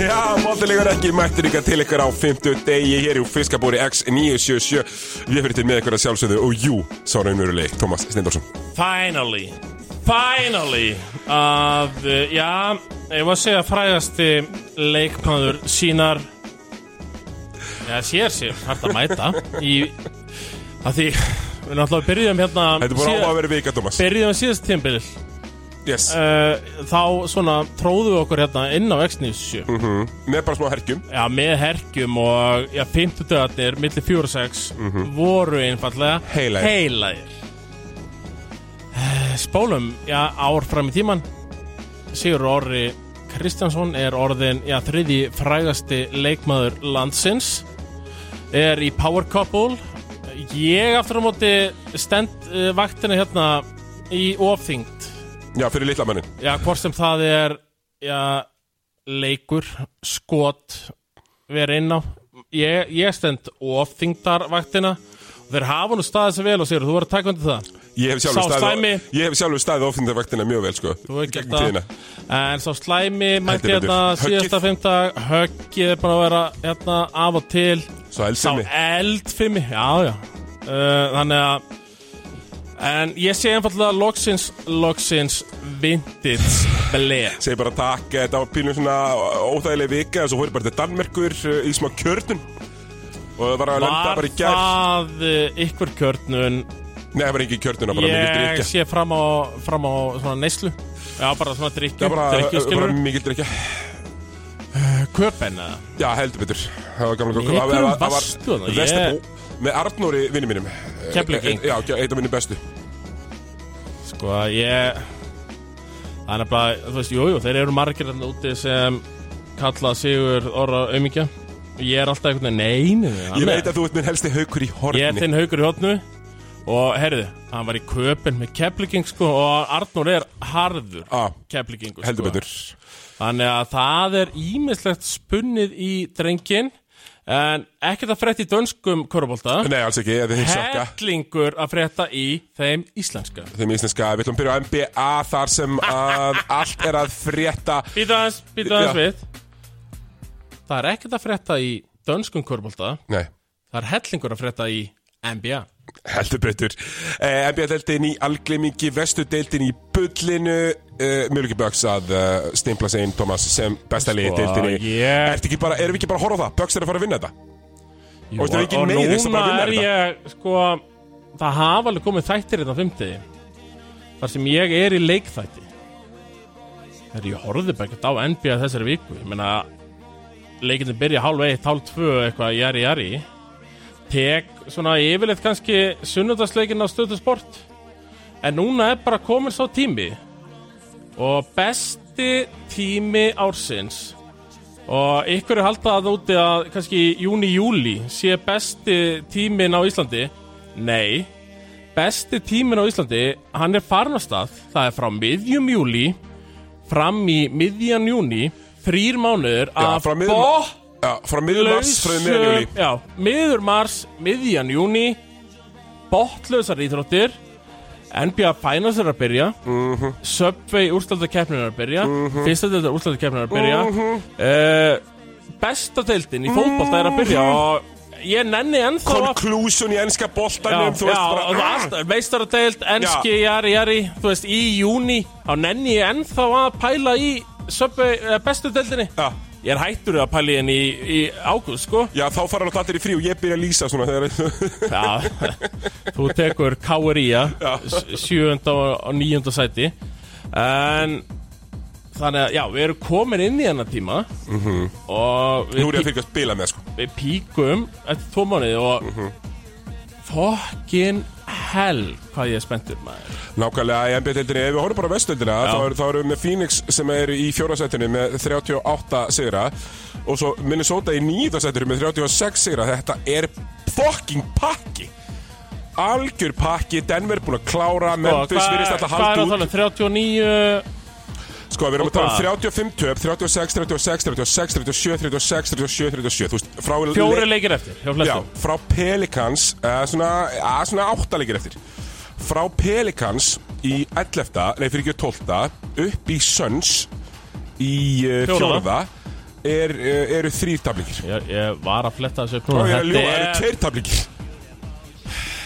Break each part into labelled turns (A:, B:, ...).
A: Já, bóttilegur ekki mættur ykkar til ykkar á 50 degi hér í fiskabúri X977 Við fyrir til með ykkur að sjálfsögðu og jú, sá raunveruleg, Tómas Steindorsson
B: Finally Finally að, uh, já, ég var að segja frægasti leikmaður sínar já, sér sér hægt að mæta í, að því við náttúrulega byrjuðum hérna
A: Þetta er bara á að vera vika, Tómas
B: byrjuðum síðast tímbil
A: yes.
B: uh, þá svona tróðum við okkur hérna inn á X97
A: Með bara smá herkjum
B: já, með herkjum og já, 50 döðarnir milli 4 og 6 voru einfallega
A: Heilagir.
B: heilagir. Eh, Spólum, já, ár fram í tíman Sigur Orri Kristjánsson er orðin, já, þriði frægasti leikmaður landsins er í Power Couple ég aftur á móti stend eh, vaktina hérna í ofþyngd
A: Já, fyrir litla mannin
B: Já, hvort sem það er já, leikur, skot vera inn á ég, ég stend ofþingdarvaktina og þeir hafa nú staðið sér vel og sér þú voru að taka undir það
A: Ég hef
B: Sá
A: sjálfur
B: slæmi.
A: staðið Ég hef sjálfur staðið ofnindavaktina mjög vel, sko
B: Þú
A: Í
B: hefur gert
A: gegnum
B: það.
A: tíðina.
B: En sá slæmi mætti
A: Heldur betur.
B: hérna síðasta
A: Höggið.
B: fimmdag höggið er bara að vera hérna af og til
A: Svo
B: sá
A: eldsum mig
B: eldfimmi já já uh, þannig að en ég sé einfallega loksins loksins vintage blek
A: Segir bara takk, eh, þetta var pínum svona óþægileg vika og svo hóri bara til Danmerkur eh, í smá kjörnum og það var að lenda
B: Var
A: bara í gær
B: það uh, ykkur kjörnun
A: Nei, það var ekki kjörnum, það var mikið
B: Ég
A: drikja
B: sé fram á, fram á svona neyslu Já, bara svona drikju
A: Það var
B: Drikju
A: bara- eh, bara
B: skilur
A: mikið drikja
B: Köpen eða
A: Já, heldur betur Það var gamla
B: Í
A: góð
B: einhverjum varstu þarna? Ég-
A: Vestapó Með Arnóri vinnum mínum Eh,
B: Keflvíking.
A: Já, eitt af minnum bestu
B: Sko, ég Það er nefnilega, þú veist, jújú, jú, þeir eru margir þarna úti sem kalla Sigur Orra Ömingja Ég er alltaf einhvern veginn, nei, nei
A: Ég veit að þú ert minn helsti haukur í horni
B: Ég er þinn haukur í hotnu Og herðu, hann var í köpen með Kefliking sko Og Arnur er harður
A: Á,
B: Keflikingu sko
A: Ah. heldur betur
B: Þannig að það er ímislegt spunnið í drengin En ekkert að frétta í dönskum körubólta
A: Nei, alls ekki, ég er þeim sjokka
B: Hellingur að frétta í þeim íslenska
A: Þeim íslenska, við ætlum að byrja á NBA þar sem að allt er að frétta
B: Býta aðeins, býta aðeins
A: Já.
B: við Það er ekkert að frétta í dönskum körubólta
A: Nei
B: Það er hellingur að frétta í NBA
A: Heldur betur eh, NBA-deltin í algleimingi, vestu-deltin í bullinu eh, Mjög ekki Böks að uh, stimpla sig inn, Thomas, sem besta liði
B: Sko,
A: deltinni
B: ég-
A: Ertu ekki bara, Erum við ekki bara að horfa á það? Böks er að fara að vinna þetta
B: Jú,
A: Og veistu, það er ekki meira, það er
B: núna
A: bara að
B: er
A: vinna
B: ég sko, það hafa alveg komið þættir þetta fymtið þar sem ég er í leikþætti þegar ég horfði bara ekkert á NBA þessari viku ég meina leikinu byrja hálf eitt, hálf tvö eitthvað jari jari tek svona yfirleitt kannski sunnudagsleikin á stöðu sport en núna er bara komin svo tími og besti tími ársins Og ykkur er haldið að úti að kannski júni-júli sé besti tímin á Íslandi. Nei, besti tímin á Íslandi, hann er farin á stað. Það er frá miðjum júli, fram í miðjan júni, þrýr mánuður
A: Já,
B: af
A: frá miðjum- Já, frá miður mars, frá miður júli
B: Já, miður mars, miðjan júni, botlausar íþróttir, NBA Finals er að byrja,
A: Mhm.
B: Subway úrslaldakeppnin er að byrja, fyrsta deildar úrslaldakeppnin er að byrja,
A: Mhm.
B: uh, besta deildin í fótbolta er að byrja
A: Mhm.
B: og ég nenni ennþá að...
A: Conclusion í ennska
B: Já,
A: boltanum Þú
B: já,
A: veist
B: og
A: bara
B: það er meistaradeild, enski, jari, jari, þú veist, í júni, þá nenni ég ennþá að pæla í Subway, eh, bestu deildinni.
A: Já,
B: Ég er hættur að pæli henni í, í ágúst, sko.
A: já, þá fara náttúrulega allir í frí og ég byrja að lýsa svona þegar
B: Já, þú tekur Káuría,
A: Já.
B: sjöunda og níunda sæti. En þannig að, já, við erum komin inn í hennar tíma og
A: Mhm. Nú er ég
B: við,
A: að fylgja að spila með sko
B: pí við píkum eftir tvo mánuði og mm
A: Mhm.
B: fokkin hell hvað ég er spenntur maður.
A: Nákvæmlega í NBA-deildinni, ef við horfum bara á vestöldina
B: Já.
A: þá, er, þá erum við með Phoenix sem er í fjórasættinu með 38 sigra og svo Minnesota í nýðasættinu með 36 sigra Þetta er fucking pakki Algjör pakki, Denver búin að klára
B: Og um,
A: Memphis virðist alltaf
B: hvað
A: halda
B: er að tala
A: út
B: um 39,
A: Sko, við erum
B: Og
A: að tala um
B: hvað?
A: 35 töp, 36, 36, 36, 37, 36, 37, 37 Þú veist, frá
B: Fjóri leikir eftir, hjá
A: Já,
B: flestum
A: frá Pelikans uh, Svona, uh, svona áttalegir eftir Frá Pelikans í 11. Nei, fyrir ekki 12. Upp í Suns Í uh,
B: Fjórða.
A: fjórða er, uh, Eru þrýr tablíkir
B: Ég, ég var að fletta þessu upp
A: Og
B: núna
A: ég er að ljúga, það
B: Þetta
A: eru
B: er,
A: tveir tablíkir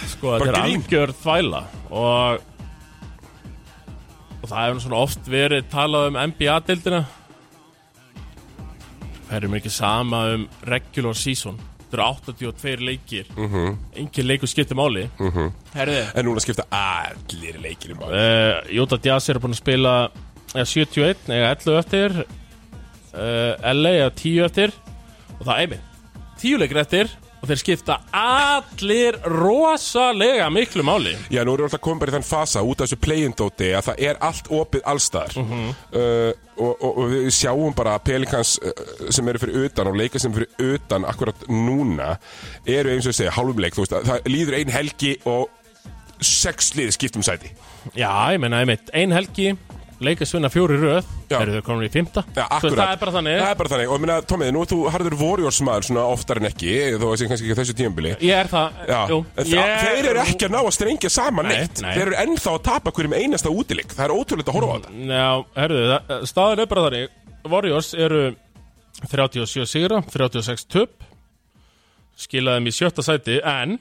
B: sko, þetta er
A: bara grín.
B: algjör þvæla og, og það hefur nú svona oft verið talað um NBA-dildina Það erum ekki sama um regular season Þetta eru 82 leikir mm
A: Mhm.
B: -hmm. Engin leikur skiptir máli mm -hmm. Herðu
A: En núna skipta allir leikir um ári
B: uh, Jóta Diaz er búin að spila ja, 71, eða 11 eftir uh, LA eða 10 eftir og það er einmitt 10 leikir eftir og þeir skipta allir rosalega miklu máli
A: Já, nú erum við alltaf komin bara í þann fasa út af þessu play-in-dóti að það er allt opið allstaðar uh, og, og, og við sjáum bara að pelikans uh, sem eru fyrir utan og leika sem eru fyrir utan akkurat núna eru eins og ég segja hálfum leik, þú veist, að það líður ein helgi og sex lið skiptum sæti
B: Já, ég meina einmitt, ein helgi leikast vinna fjóri röð,
A: Já.
B: eru þau komin í fymta
A: Já,
B: Svo
A: akkurat
B: það er bara þannig
A: Það er bara þannig, og ég meina, Tómið, nú ert þú harður vorjórsmaður svona oftar en ekki, þó að sé kannski ekki á þessu tímabili
B: Ég er það,
A: Já,
B: jú
A: en þa
B: ég...
A: þeir eru ekki að ná að strengja saman
B: Nei,
A: neitt
B: nei.
A: Þeir eru ennþá að tapa hverjum einasta útileik Það er ótrúlega að horfa á þetta
B: Já, herðu, það- staðan er bara þannig Warriors eru 37 sigra, 36 töp skilaði þeim í sjötta sæti en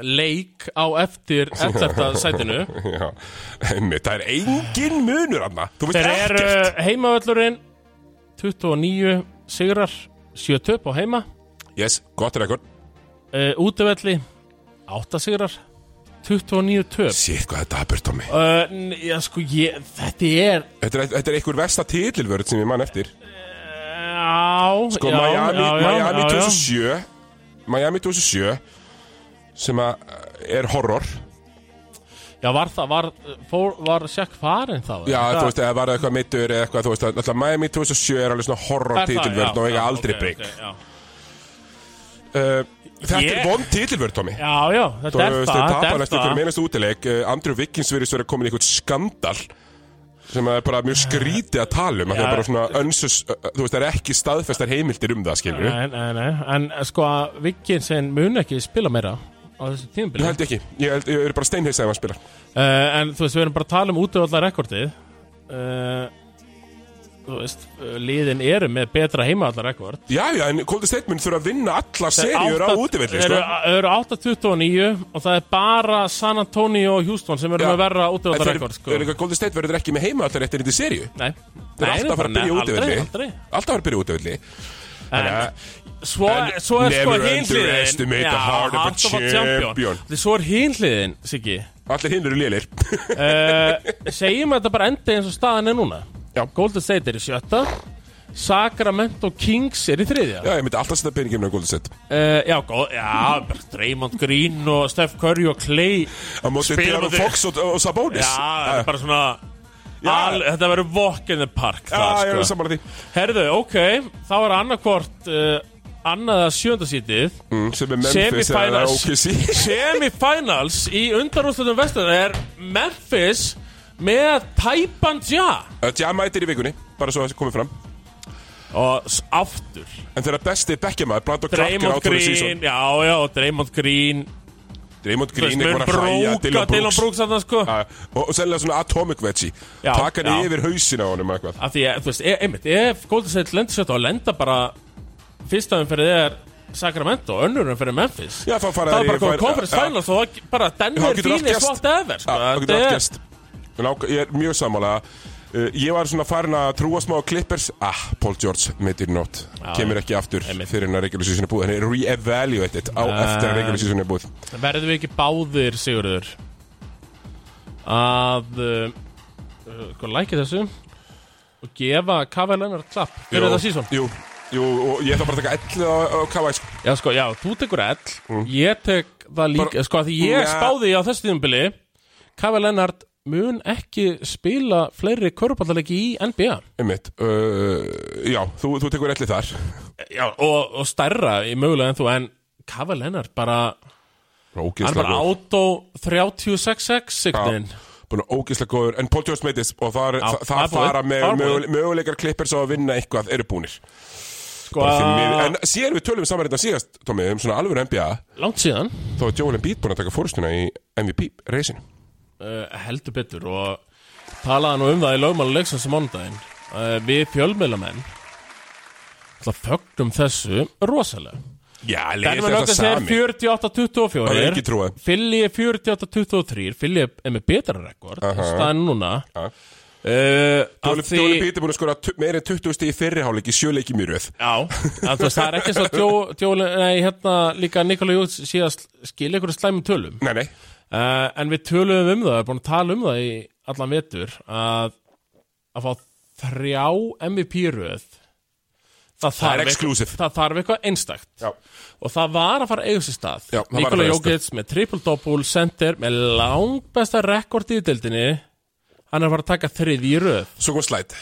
B: leik á eftir 11. sætinu
A: Já, einmitt, það er engin munur hann Þú veist
B: Þeir eru
A: ekkert
B: heimavöllurinn 29 sigrar 7 töp á heima
A: Yes, gott rekord
B: uh, útivelli 8 sigrar 29 töp
A: Sitt hvað þetta er burt á mig
B: uh, n- Já, sko, ég, þetta er
A: Þetta er, þetta er einhver versta titilvörð sem ég man eftir
B: Já,
A: Sko,
B: já,
A: Miami,
B: já, já,
A: Miami
B: já, já.
A: 2007 Miami 2007 sem að eh, er horror
B: Já, var það, var, fór, var Sjakk farin þá?
A: Já,
B: það,
A: þú veist, eða var það eitthvað meittur eða eitthvað, þú veist, alltaf Miami 2007 er alveg svona horror titilvörð og eiga aldrei
B: ok,
A: breyk
B: ok, já.
A: Uh, Þetta er
B: Ég-
A: vond titilvörð, Tommy
B: já, já, þetta er
A: eh, Þeir
B: það,
A: tapa
B: þetta er
A: næstu ykkur
B: það
A: meinestu útileik Eh, Andrew Wiggins verið svo að koma í einhvern skandal sem er bara mjög skrítið að tala um að það er
B: Ja.
A: bara svona önsus þú veist það er ekki staðfestar heimildir um það skilur
B: Nei, nei, nei, en sko, Vigginsen mun ekki spila meira á þessu
A: ég
B: tíðanbili uh,
A: held ekki, ég, held, ég er bara steinheisa ef hann spilar
B: Eh, En þú veist, við erum bara að tala um útöfallar rekordið uh, Þú veist, uh, liðin eru með betra heimavallar rekord
A: já já en Golden State mun þurfa að vinna alla seríur á útivillir
B: Eru
A: sko.
B: eru 8-29 og það er bara San Antonio og Houston sem eru
A: Já.
B: með verra
A: En
B: útöfallar
A: þeir-
B: rekord
A: þeir
B: sko.
A: eru- Golden State verður ekki með heima alltaf réttir í seríu
B: Nei,
A: þeir eru
B: Nei,
A: alltaf að fara að
B: bara-
A: byrja
B: aldrei,
A: útivillir
B: aldrei.
A: alltaf að fara að byrja útivillir
B: En, svo,
A: en
B: svo er sko
A: never
B: hinliðin
A: underestimate the heart of a champion.
B: Svo er hinliðin, Siggi
A: allir hinn eru lélir
B: uh, Segjum að þetta bara endi eins og staðan er núna
A: Já.
B: Golden State er í sjötta Sacramento Kings er í þriðja
A: já ég myndi alltaf setja peningum á Golden State
B: uh, Já, góð, já bara Draymond Green og Steph Curry og Clay
A: á móti
B: Spila
A: Dejan
B: á því.
A: Fox og, og Sabonis
B: Já, það er bara svona
A: Já.
B: al, Þetta verður walk in the park
A: Já,
B: þar,
A: ég er
B: sko.
A: saman að því
B: Herðu, ok, þá er annarkvort uh, annaða sjöndasítið
A: Mm, sem er Memphis eða
B: Semifinals.
A: OKC
B: semifinals í undanúrslutum vestan er Memphis með Taipan Ja
A: Uh, Djama eittir í vikunni, bara svo að það komið fram
B: og s- aftur
A: En þeirra besti bekkjamaður, Brandon Clark er
B: Draymond
A: áttur í sísón
B: Green, já já og Draymond Green
A: Draymond
B: þú veist,
A: Green er
B: mun
A: bara að hræja
B: bróka Dylan Brooks þarna sko
A: Uh, og, og sennilega svona Atomic Veggie
B: Já,
A: Taka hann
B: já.
A: yfir hausin á honum eitthvað
B: af því að þú veist, e- einmitt, ef Golden State lendur sér og lenda bara fyrsta umferðið er Sacramento og önnur umferðið Memphis
A: Já, þá fara þeir
B: það
A: í-
B: er bara komið
A: fara-
B: conference
A: Já.
B: finals og það bara
A: Já,
B: Denver
A: getur allt
B: Phoenix
A: gerst.
B: whatever sko,
A: Já, Það
B: þetta
A: getur Ah, allt
B: er-
A: gæst Ég er mjög sammála uh, Ég var svona farin að trúa smá á Clippers Ah, Paul George meitir nótt
B: Já,
A: Kemur ekki aftur
B: einmitt. Ah.
A: fyrir en að regular season er búið Hann er re-evaluated á eftir að regular season er búið
B: Verðum við ekki báðir, Sigurður Að uh, uh, Sko, lækja þessu Og gefa Kavai Leonard klapp Fyrir
A: Jú,
B: þetta sísón
A: Jú, jú, og ég þarf bara að taka 11 á, á Kawhi sko.
B: Já, sko, já, þú tekur ell Ég tek það líka
A: Bara-
B: Sko, að því ég
A: Ja.
B: spáði á þessu tíðumbili Kavai Leonard mun ekki spila fleiri körpallalegi í NBA
A: Einmitt, uh, já, þú, þú tekur ellið þar
B: Já, og, og stærra í mögulega en þú En Kavai Leonard bara Hann
A: Ógeðslega
B: bara
A: góð.
B: átó 36-6 signin
A: búin að ógislega góður en Paul George meitist og þar,
B: Já,
A: þar,
B: það er
A: þar
B: búið.
A: fara með
B: Það er búið.
A: mögule- möguleikar klippir svo að vinna eitthvað eru búnir
B: Sko,
A: Bara því miður. En síðan við tölum saman þetta síðast, Tómi, um svona alvöru NBA
B: langt síðan
A: Þá er Joel Embiid búin að taka fórstuna í MVP-reysinu
B: uh, heldur betur og talaði nú um það í lögmála leiksins á mánudaginn uh, við fjölmiðlamenn það fögnum þessu rosalega
A: Já, leiðist
B: Denver
A: þetta
B: Nuggets er
A: sami
B: 48-24
A: Það er ekki trúið.
B: Philly er 48-23 Philly er með betra rekord uh -huh. staðan núna
A: Já.
B: uh,
A: Joel
B: af því-
A: Joel Embiid er búin að skora tu- meira en 20 stig í fyrriháleik í sjöleikjum í röð
B: Já, en þú veist, það er ekki svo djó- djóli, nei, hérna líka Nikola Jóts síðast skilja ykkur slæmum tölum
A: Nei, nei,
B: uh, En við töluðum um það, við erum búin að tala um það í allan vetur að, að fá þrjá MVP-röð það,
A: Það er
B: þarf
A: exclusive.
B: eitthvað- Það þarf eitthvað einstakt
A: Já.
B: Og það var að fara að eiga sér stað
A: Já, það var að
B: Nikola
A: fara að eiga sér
B: Jókits með triple-double center með langbesta rekord í dildinni Hann er að fara að taka þriði í röð
A: svo kom slæt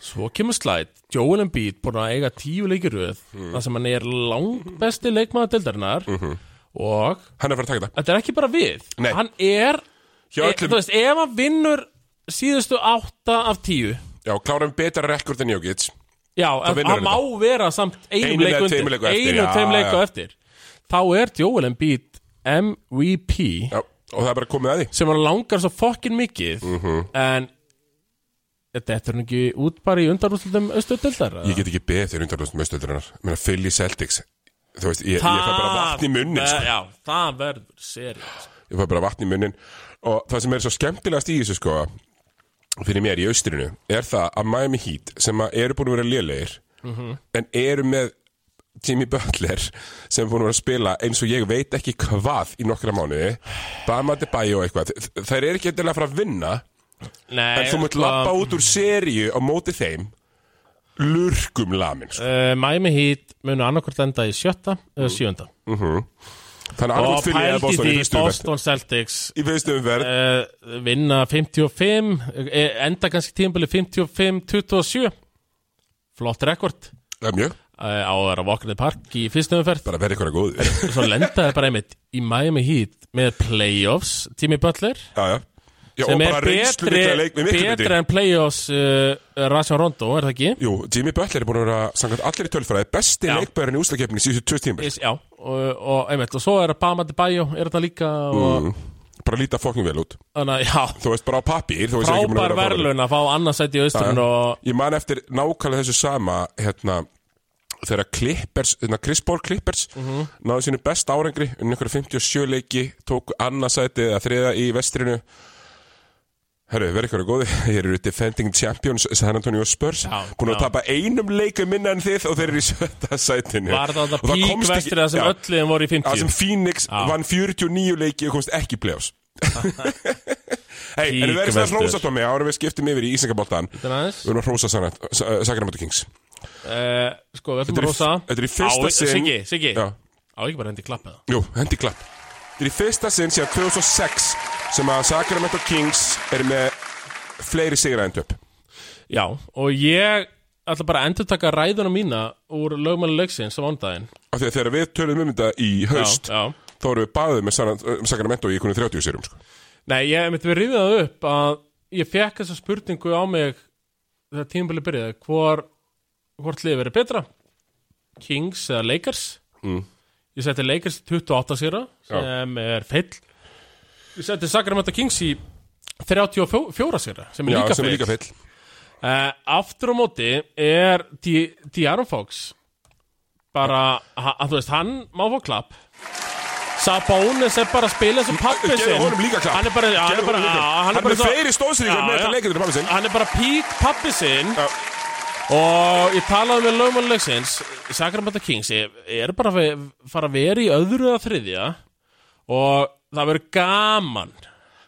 B: Svo kemur slætt, Joel Embiid búin að eiga tíu leikir röð
A: Mhm.
B: þar sem hann er langbesti leikmaður deildarinnar og
A: Hann er að fara að taka þetta
B: þetta er ekki bara við
A: Mhm. Nei.
B: hann er,
A: Hjá
B: e,
A: öllum-
B: þú veist, ef hann vinnur síðustu átta af tíu
A: Já, klárum betra rekord en Jokic
B: já, en
A: vinnur
B: hann má vera samt einum
A: Einum eða
B: leik undir,
A: tveimur leikum eftir,
B: einum
A: já,
B: tveim
A: já.
B: leiku eftir þá er Joel Embiid MVP
A: Já, og það er bara komið að því
B: sem hann langar svo fokkin mikið
A: Mhm.
B: en þetta er hann ekki út bara í undanrúslutum austu deildar
A: Ég get ekki beðið þegar undanlöfnum austöldrunar Mér að fylg í Celtics Þú veist, ég, ég fæ bara vatn í munnin sko.
B: Já, það verður seriós
A: ég fæ bara vatn í munnin og það sem er svo skemmtilegast í þessu sko fyrir mér í austrinu er það að Miami Heat sem að eru búin að vera lélegir
B: Mhm.
A: en eru með Jimmy Butler sem er búin að vera að spila eins og ég veit ekki hvað í nokkra mánuði Bama de Bayo eitthvað Þ- þær eru ekki endilega að fara að vinna
B: Nei, sko,
A: en þú mutt lappa út úr seríu á móti þeim lurkum lamin sko.
B: uh, Miami Heat munu annarkvort enda í sjötta
A: Mm.
B: eða sjöunda
A: þannig að
B: Og
A: annars fyrir ég að
B: pældi
A: Boston
B: því
A: í fyrstu umverð
B: Boston Celtics
A: í fyrstu umverð
B: uh, vinna 55 eh, enda kannski tímbili 55-27 flott rekord
A: það er mjög
B: uh, á að vera Walker Park í fyrstu umferð
A: bara verið eitthvað góður
B: og svo lendaði bara einmitt í Miami Heat með playoffs Jimmy Butler
A: já, já. Já,
B: sem
A: og
B: er
A: bara reynslu
B: betri,
A: mikla leik með miklu betri
B: betri en playoffs uh, Rajon Rondo, er það ekki?
A: Jú, Jimmy Butler er búin að vera samkvæmt allir í tölfræði besti
B: Já.
A: leikbærin í úslakefni síðustu tvö tímur
B: Is, já, og, og einmitt, og svo er að Bama de Bayo er þetta líka og
A: Mm. bara líta fokkin vel út
B: þannig að, já,
A: þú veist bara á papír þú veist ekki búin að vera
B: frábær
A: frábær.
B: verðlun að fá annarsætt í austrun og
A: ég man eftir nákvæmlega þessu sama hérna þegar Clippers, hérna Chris Paul Clippers
B: Mhm.
A: náðu sínu best árengri unni einhverja 57 leiki, tók annarsæti eða þriða í vestrinu Herru, verið ykkur að góði, þeir eru defending champions San Antonio Spurs
B: Já,
A: Búin að
B: já.
A: tapa einum leiku minna en þið og þeir eru í sjötta sætinu
B: var
A: Og
B: þetta
A: það
B: pík
A: komst ekki-
B: vestrið þar sem
A: Já.
B: ölliðin voru í
A: Það
B: 50
A: sem Phoenix vann 49 leiki og komst ekki í playoffs Hei, en við
B: Pík
A: verðum sem að
B: vestur.
A: hrósa Tómi ára við skiptum yfir í Ísingaboltan Við
B: Þetta er aðeins.
A: verðum að hrósa Sana- S- uh, Sacramento Kings
B: Eh, sko, við ætlum
A: Þetta
B: að
A: er í-
B: rosa eh,
A: þetta er í fyrsta sinn-
B: Siggi, Siggi,
A: Já.
B: á ekki bara hendi klappa það
A: Jú, hendi klapp Þetta er í fyrsta sinn síðan 2006 sem að Sacramento Kings er með fleiri sigra endur upp
B: Já, og ég ætla bara að endurtaka ræðuna mína úr lögmáli leiksins á vandaginn
A: Af því að þegar við tölum um þetta í haust
B: já.
A: þá erum við baðið með San- uh, Sacramento í einhvern 30 sérum sko.
B: Nei, ég myndi við rifið það upp að ég fekk þessa spurningu á mig þegar tímabili byrjaði hvor, hvort liðið verið betra Kings eða Lakers
A: Mm.
B: ég seti Lakers í 28 sýra sem er feill ég seti Sacramento Kings í 34 sýra sem er
A: Já,
B: líka
A: sem er
B: feill,
A: líka feill
B: Eh, aftur á móti er Di- Diaron Fox bara, ha, að þú veist, hann má fá klapp Sabonis er bara að spila sem pappi sinn
A: Gerðu honum líka klapp
B: Hann er bara, já, hann
A: Gerðu
B: er bara,
A: honum líka.
B: já,
A: Hann er með
B: svo-
A: fleiri stóðsýringar
B: Já,
A: með þetta
B: já.
A: leikendur pappi sinn
B: Hann er bara pík pappi sinn
A: Já.
B: Og ég talaði með lögmann leiksins Sacramento Kings Ég er bara að fe- fara að vera í öðru að þriðja Og það verður gaman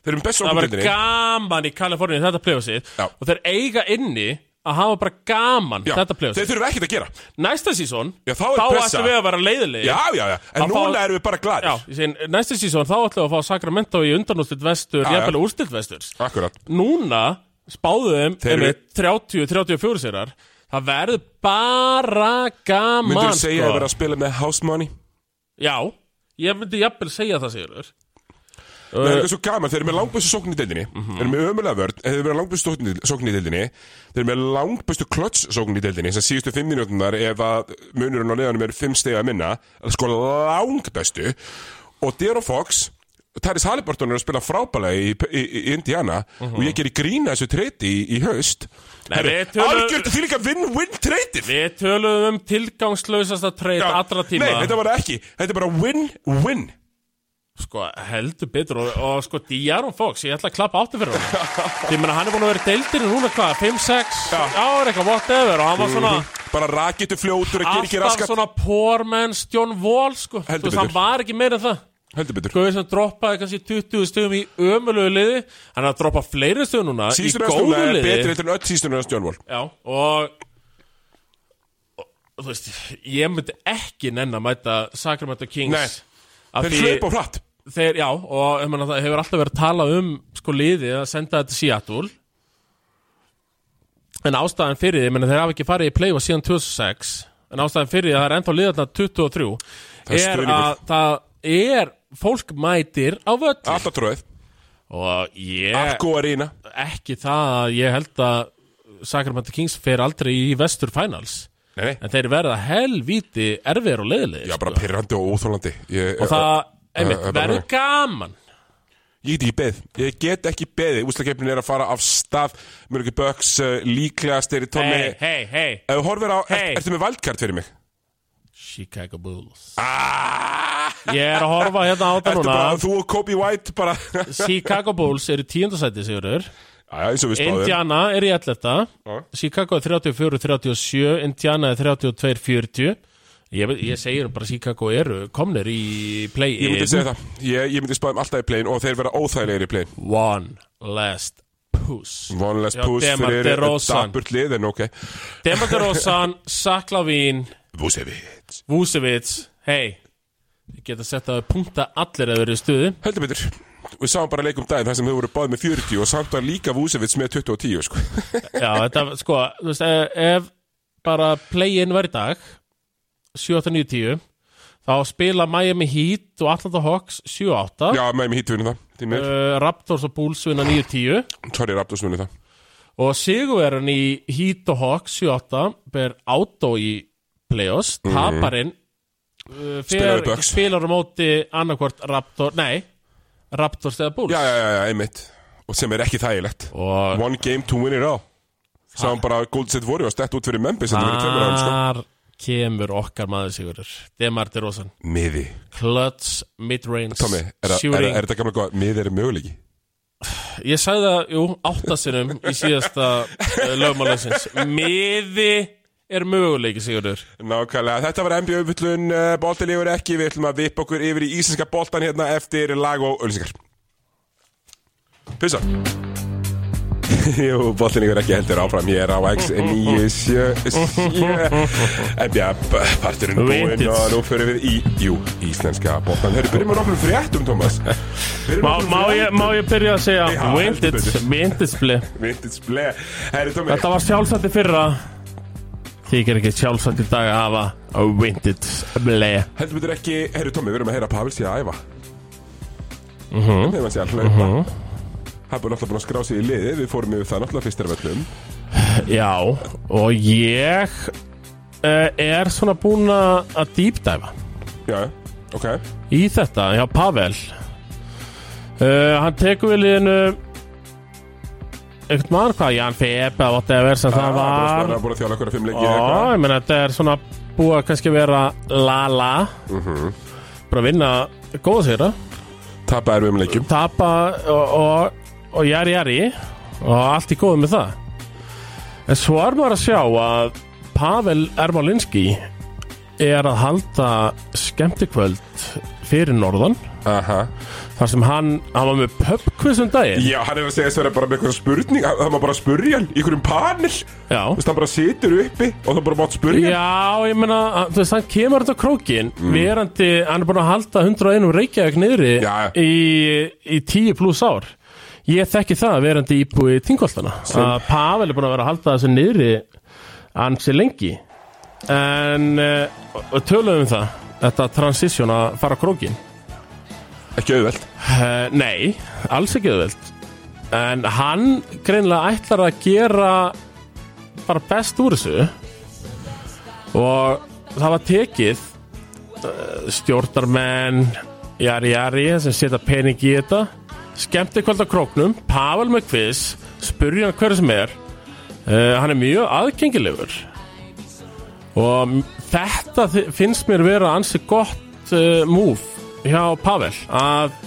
A: Þeir eru best
B: Það
A: okkur
B: verður gaman í Kaliforníu þetta plefasið
A: Já.
B: Og þeir eiga inni að hafa bara gaman þetta
A: Þeir
B: plefasið
A: þurfum ekkert að gera
B: Næsta sísón,
A: Já, þá er pressa.
B: ætlum við að vera leiðilegir
A: Já, já, já, en
B: Að fá-
A: núna erum við bara
B: Já,
A: gladir
B: ég segi, næsta sísón þá ætlum við að fá Sacramento í undanústilt vestur,
A: já.
B: jafnvel úrstilt vesturs
A: Akkurat
B: núna spáðum
A: Þeir eru-
B: þeim 30-34 sérar það verður bara gaman
A: Myndur þú segja
B: sko.
A: að vera að spila með house money?
B: já, ég myndi jafnvel segja það Sigurður
A: Það er eitthvað svo gaman, þeir eru með langbæstu sókn í deildinni
B: Mhm.
A: Þeir eru með ömulega vörn, en þeir eru með langbæstu sókn í- sókn í deildinni Þeir eru með langbæstu klöts sókn í deildinni sem síðustu fimm minútunar ef að munurinn á neðanum er fimm stega minna það er sko langbæstu og Dero Fox Taris Halliburton er að spila frábælega í, í, í Indiana og ég geri grína þessu treyti í, í haust
B: Mhm. Nei,
A: Herru,
B: við tölum-
A: Algjört því líka win-win treyti
B: Við töluðum um tilgangslausasta treyt
A: Já.
B: allra tíma
A: Nei, þetta var það ekki, þetta er bara win-win
B: Sko, heldur betur og, og sko, Diaron Fox, ég ætla að klappa átti fyrir hann Því meina, hann er búin að vera deildir núna hvað, 5-6
A: Já.
B: ár eitthvað, whatever og hann var svona
A: Bara rakitu fljótur að gera ekki
B: alltaf
A: raskat
B: svona poor man's John Wall sko,
A: Heldur
B: þú veist, hann
A: betur.
B: var ekki meira en það
A: Heldur betur
B: Gauði sem droppaði kannski 20 stöðum í ömulegu liði Hann er að droppa fleiri stöðum núna
A: Síðustu
B: í
A: næstuna
B: góðu
A: er
B: liði
A: betri heldur en öll síðustu næstu John Wall
B: Já, og, og þú veist, ég myndi ekki nenn að mæta Sacramento Kings
A: Nei.
B: Af
A: Þeir
B: því-
A: hlaupa á hratt
B: þeir, já, og um, það hefur alltaf verið að tala um sko liði að senda þetta til Seattle en ástæðan fyrir því, menn þeir hafa ekki farið í play-off síðan 2006, en ástæðan fyrir því að það er ennþá liða þarna 23
A: Það er
B: er
A: stuðningur.
B: að það er fólk mætir á völl
A: Alltaf tróðið
B: og
A: Allt
B: ég,
A: góða reyna
B: ekki það að ég held að Sacramento Kings fer aldrei í vestur finals,
A: Nei, nei
B: en þeir verða helvíti erfiðir og leiðilegir
A: Já, bara pirrandi og óþólandi Ég,
B: og það,
A: Það
B: einmitt,
A: er bara
B: verður
A: þannig.
B: gaman
A: ég get ekki beð Ég get ekki beðið Úslakefnin er að fara af stað Mjög ekki böks Líklegast er í tónni
B: hei, hei, hei
A: Ef þú horfir á er,
B: Hey.
A: Ertu með valdkart fyrir mig?
B: Chicago Bulls
A: Ah,
B: Ég er að horfa hérna á þetta
A: ertu
B: núna
A: bara Þú og Kobe White bara Já,
B: Chicago Bulls eru tíundasæti sigurur
A: eins og við spáðum
B: Indiana er í 11
A: Já.
B: Chicago er 34-37 Indiana er 32-40 Ég, veit- ég segir bara Chicago eru komnir í
A: Ég myndi segja
B: play-in
A: það Ég, ég myndi spáðum alltaf í playin Og þeir vera óþægilegir í playin
B: One last puss
A: Vonless
B: Já,
A: puss
B: Demar
A: fyrir
B: DeRozan.
A: Daburt lið En ok
B: Demar DeRozan, Zach Lavin
A: Vucevic
B: Vucevic Hei Ég geta sett að punkta allir að vera í stuði
A: Heldur betur Við sáum bara leikum daginn þar sem þau voru báð með 40 og samt var líka Vucevic með 20 og 10 sko.
B: Já, þetta, sko, þú veist, ef, ef bara play-in var í dag 7-8-9-10 þá spila Miami Heat og Atlanta Hawks 7-8 uh,
A: Já, með mér híttunum það Því mér,
B: Raptors og Bulls vinna 9-10
A: sorry Raptors munið það
B: og sigurverðan í Heat og Hawks 7-8 ber átó í play-offs taparinn uh,
A: Spilar
B: fer,
A: við Mhm. Bucks.
B: spilar á móti annarkvort Raptor, nei Raptors eða Bulls
A: Já, já, já, já, einmitt Og sem er ekki þægilegt
B: og
A: One game to win it all Sáum bara að Golden State Warriors Dett út fyrir Memphis Þetta verið tveimur árum sko.
B: þar kemur okkar maður sigurður Demar DeRozan
A: Miði
B: Clutch, mid-range,
A: Tommy, er, það- er,
B: shooting
A: er, er þetta gamla góð Miði er möguleiki
B: Ég sagði það, jú, áttasinum í síðasta uh, lögmálansins Miði er möguleiki, Sigurður
A: Nákvæmlega, þetta var NBA umfyllun uh, Bóltilegur ekki, við ætlum að vipa okkur yfir í íslenska bóltan hérna eftir lag og ölsingar Pissa Jú, bóltilegur ekki heldur áfram Ég er á X977 NBA b- parturinn búinn
B: Vintage.
A: og nú fyrir við í jú, íslenska bóltan Hörru, byrjum við nokkur fréttum, Thomas Byrjum
B: má,
A: á nokkrum
B: má, ég, má ég byrja að segja
A: Já,
B: Vintage,
A: heldur
B: vintage play
A: fréttum. Vintage ble Herri, Tommy
B: Þetta var sjálfsagt í fyrra Þykir ekki sjálfsagt í dag að hafa Vintage play
A: Heldur betur ekki, herru Tómi, við erum að heyra Pavel síðan að æfa
B: Mhm.
A: Við erum að sé að hlaupa Það er búin alltaf búin að skrá sig í liði Við fórum yfir það náttúrulega fyrstir af öllum
B: Já, og ég uh, er svona búin að dýpdæfa
A: Já, ok
B: í þetta hjá Pavel uh, hann tekur við liðinu einhvern maður hvað Jan Feb eða whatever sem það
A: Það
B: var
A: er búin að þjála okkur að fimm leikið
B: Já,
A: eitthvað
B: ég meina þetta er svona búið að kannski vera la-la bara vinna góða sýra
A: Tapa er við um leikjum
B: tapa og, og, og jari jari og allt í góðu með það en svo er maður að sjá að Pavel Ermalinski er að halda skemmtikvöld fyrir norðan
A: Aha.
B: þar sem hann, hann var með pubquiz um daginn
A: Já, hann er að segja þess að vera bara með eitthvað spurning Það það má bara spurja hann, í einhverjum panel Þú
B: Já,
A: veist, hann bara situr uppi og það bara mátt spurja hann
B: já ég meina að- þú veist, hann kemur þetta á krókin verandi, hann er búin að halda 101 reykjavík niðri
A: Já.
B: í, í 10 pluss ár ég þekki það verandi íbúi tingoltana að Pavel er búin að vera að halda þessu niðri ansi lengi eh, en uh, töluðum um það þetta transition að fara á krókin
A: ekki auðvelt
B: Uh, nei, alls ekki auðveld En hann greinlega ætlar að gera bara best úr þessu og það var tekið uh, stjórnarmenn jari jari sem setja pening í þetta skemmti kvöld á króknum Pavel með quiz, spurði hann hverju sem er uh, hann er mjög aðgengilegur og m- þetta þi- finnst mér vera ansi gott uh, move hjá Pavel að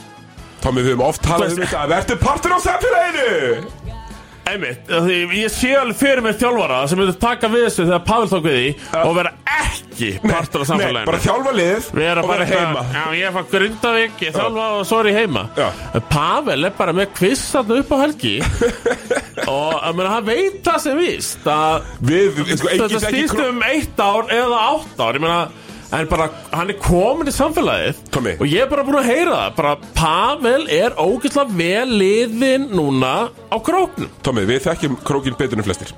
A: Tommi, við höfum oft talað um
B: Þú
A: þetta Vertu partur á samfélaginu
B: Einmitt, af því ég sé alveg fyrir með þjálfara sem myndi taka við þessu þegar Pavel tók við því og vera ekki partur af
A: Nei, bara
B: samfélaginu
A: þjálfa lið
B: vera
A: og
B: bara
A: vera heima
B: Já, ég fann Grindavík, ég þjálfa og svo er ég heima
A: Já.
B: En Pavel er bara með kviss þarna upp á helgi og að meina, hann veit það sem víst að
A: Við, sko, engin
B: þetta
A: ekki
B: stýst um eitt ár eða átt ár ég meina, en bara, hann er komin í samfélagið
A: Tommy.
B: og ég er bara búin að heyra það bara Pavel er ógeðslega vel liðin núna á króknum
A: Tommi, við þekkjum krókin betur en flestir